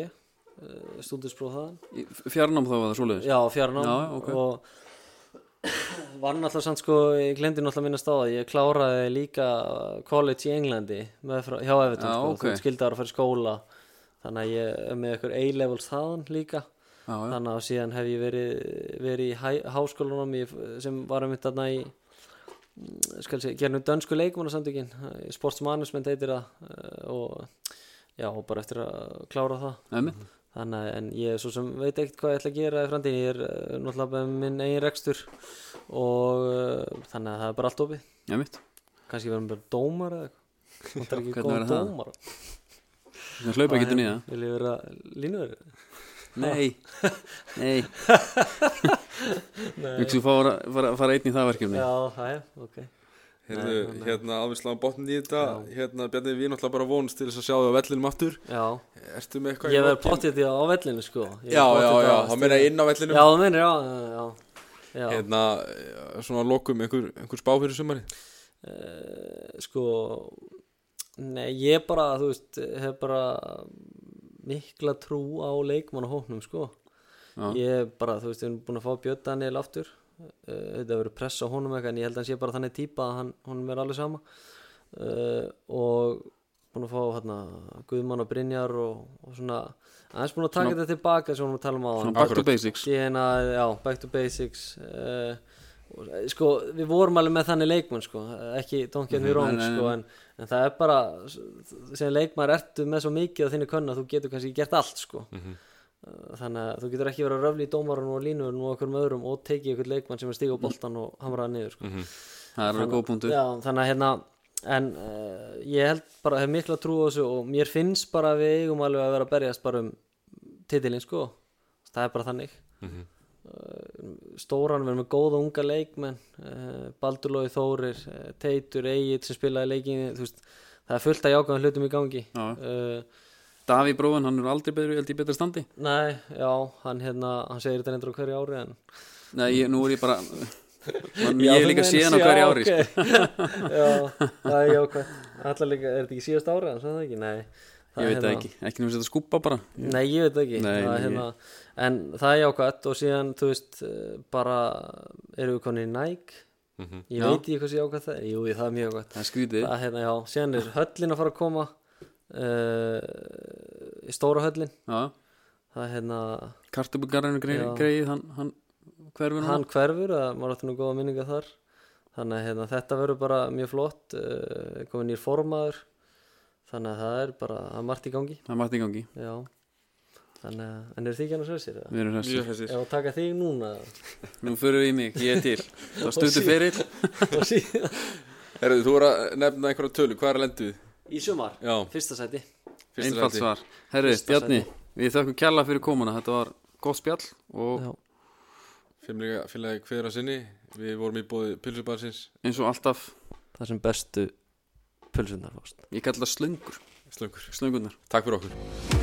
Speaker 2: stúdinspróf þaðan
Speaker 3: Í- fjarnám þá var það svoleiðis
Speaker 2: Já, fjarnám
Speaker 3: Já, já, ok.
Speaker 2: og var náttúrulega samt sko, ég glemdi náttúrulega minna stáð ég kláraði líka college í Englandi með, frá- hjá Everton
Speaker 3: Já,
Speaker 2: sko,
Speaker 3: ok.
Speaker 2: þú skildar að fara í skóla þannig að ég er með ykkur A-levels þaðan líka
Speaker 3: Já, já.
Speaker 2: þannig að síðan hef ég verið, verið í hæ, háskólanum í, sem var um þarna í mm, skal sé, gerðum dönsku leikmannasamtökin sportsmanagement heitir það eh, og já, og bara eftir að klára það
Speaker 3: Einmitt.
Speaker 2: Þannig að en ég svo sem veit ekkert hvað ég ætla að gera í framtíðin, ég er eh, náttúrulega með minn eigin rekstur og uh, þannig að það er bara allt opið.
Speaker 3: Einmitt.
Speaker 2: Kannski verðum bara dómar eða eitthvað. Það er ekki
Speaker 3: hvernig
Speaker 2: góð
Speaker 3: verður það?
Speaker 2: dómar.
Speaker 3: Það hlaupa ekki til nýja
Speaker 2: Vil ég vera línuverið?
Speaker 3: Nei, nei Þú fara, fara, fara einn í það verkefni
Speaker 2: Já, það er, ok.
Speaker 1: Heyrðu, hérna alveg sláðum botn í þetta hérna Bjarni, við náttúrulega bara vonst til þess að sjá þig á vellinum aftur
Speaker 2: Já,
Speaker 1: Ertu með eitthvað í
Speaker 2: ég verð
Speaker 1: lokin?
Speaker 2: pottið því á vellinu sko. Ég
Speaker 1: Já,
Speaker 2: verð
Speaker 1: já,
Speaker 2: pottþétt
Speaker 1: já,
Speaker 2: að
Speaker 1: þá
Speaker 2: stýra-
Speaker 1: meina ég inn á vellinum
Speaker 2: Já, það meina, já, já, já.
Speaker 1: Hérna, eh, svona að lokum einhver, einhver spá fyrir sumari
Speaker 2: Eh, sko nei, ég bara, þú veist hef bara mikla trú á leikmannahóknum sko
Speaker 3: Já.
Speaker 2: ég bara, þú veist, við erum búin að fá Björn Daniel aftur uh, þetta verður press á honum eitthvað en ég held að hann sé bara þannig típa að hann, honum er alveg sama uh, og búin að fá hérna, Guðmann og Brynjar og, og svona, aðeins búin að taka þetta tilbaka sem við vorum að tala um á
Speaker 3: Svona back to
Speaker 1: Akkurat.
Speaker 3: basics
Speaker 2: DNA, já, back to basics uh, sko, við vorum alveg með þannig leikmenn sko, ekki don't get me wrong
Speaker 3: Mhm. nei, nei,
Speaker 2: sko, en, en það er bara sem leikmenn ertu með svo mikið að þínu könna þú getur kannski gert allt sko
Speaker 3: Mhm.
Speaker 2: Uh, þannig að þú getur ekki verið að röfli í dómarun og línurinn og okkur með öðrum og tekið ykkur leikmann sem er stíg á boltan og hamraða niður
Speaker 3: Mhm.
Speaker 2: sko.
Speaker 3: Það er alveg góð punktur
Speaker 2: Já, þannig að hérna en uh, ég held bara, hef mikla trú á þessu og mér finnst bara að við eigum alveg að vera að berjast bara um titilinn sko, það er bara þannig uh, stóran við erum með góða unga leikmenn uh, Baldur Lói Þórir, uh, Teitur Egil sem spilaði leikinni, þú veist það er fullt að jákaðum hlutum í gangi
Speaker 3: Já.
Speaker 2: uh,
Speaker 3: Daví Bróðan, hann er aldrei betri, held ég betra standi
Speaker 2: Nei, já, hann hérna hann segir þetta endur á hverju ári en
Speaker 3: Nei, ég, nú er ég bara Man, Ég hef líka síðan á hverju ári sko.
Speaker 2: sko. Já, það er jákvæmt Alltaf líka, er þetta ekki síðast ári hans, er það ekki? Nei, það er
Speaker 3: Ég
Speaker 2: hérna-
Speaker 3: veit það ekki, ekki nefnir að setja skúpa bara
Speaker 2: Nei, ég veit það ekki
Speaker 3: Nei,
Speaker 2: það, er
Speaker 3: nei,
Speaker 2: hérna, En það er jákvæmt og síðan, þú veist, eh, bara erum við konir í Nike Ég
Speaker 3: Já.
Speaker 2: veit ekki hversu jákvæmt það er Jú, það er mjög jákvæmt
Speaker 3: Það er skrítið
Speaker 2: Það er hérna, já, síðan er höllin að fara að koma uh, í stóra höllin
Speaker 3: Já,
Speaker 2: það er hérna
Speaker 3: kartubugarinn
Speaker 2: Já.
Speaker 3: greið, hann, hann hverfur
Speaker 2: hann hverfur að maður átti nú góða minninga þar þannig að hérna, þetta verður bara mjög flott uh, komin nýr formaður þannig að það er bara það er margt í gangi
Speaker 3: Það er margt í gangi,
Speaker 2: já. þannig að en eru þið ekki annars hressir? eða?
Speaker 3: við erum þessi
Speaker 1: Mjög hressir
Speaker 2: Ef að taka þig núna
Speaker 3: Nú förum við í mig, ég er til Það var stuttur fyrir
Speaker 2: og síðan
Speaker 1: Herðu, þú voru að nefna einhverja tölu, hvað er að lendu þið?
Speaker 2: í sumar,
Speaker 1: Já,
Speaker 2: fyrsta sæti
Speaker 1: fyrsta
Speaker 3: Einfalt
Speaker 1: sæti.
Speaker 3: svar Herri,
Speaker 2: Fyrsta
Speaker 3: Bjarni, við þökkum kjalla fyrir komuna Þetta var gott spjall og
Speaker 2: já.
Speaker 1: Fimleika félagi hver að sinni Við vorum í bóði pilsubarsins
Speaker 3: eins og alltaf
Speaker 2: það sem bestu pulsunar fórst
Speaker 3: Ég kalla það slöngur,
Speaker 1: Slöngur
Speaker 3: slöngurnar
Speaker 1: Takk fyrir okkur
Speaker 3: Takk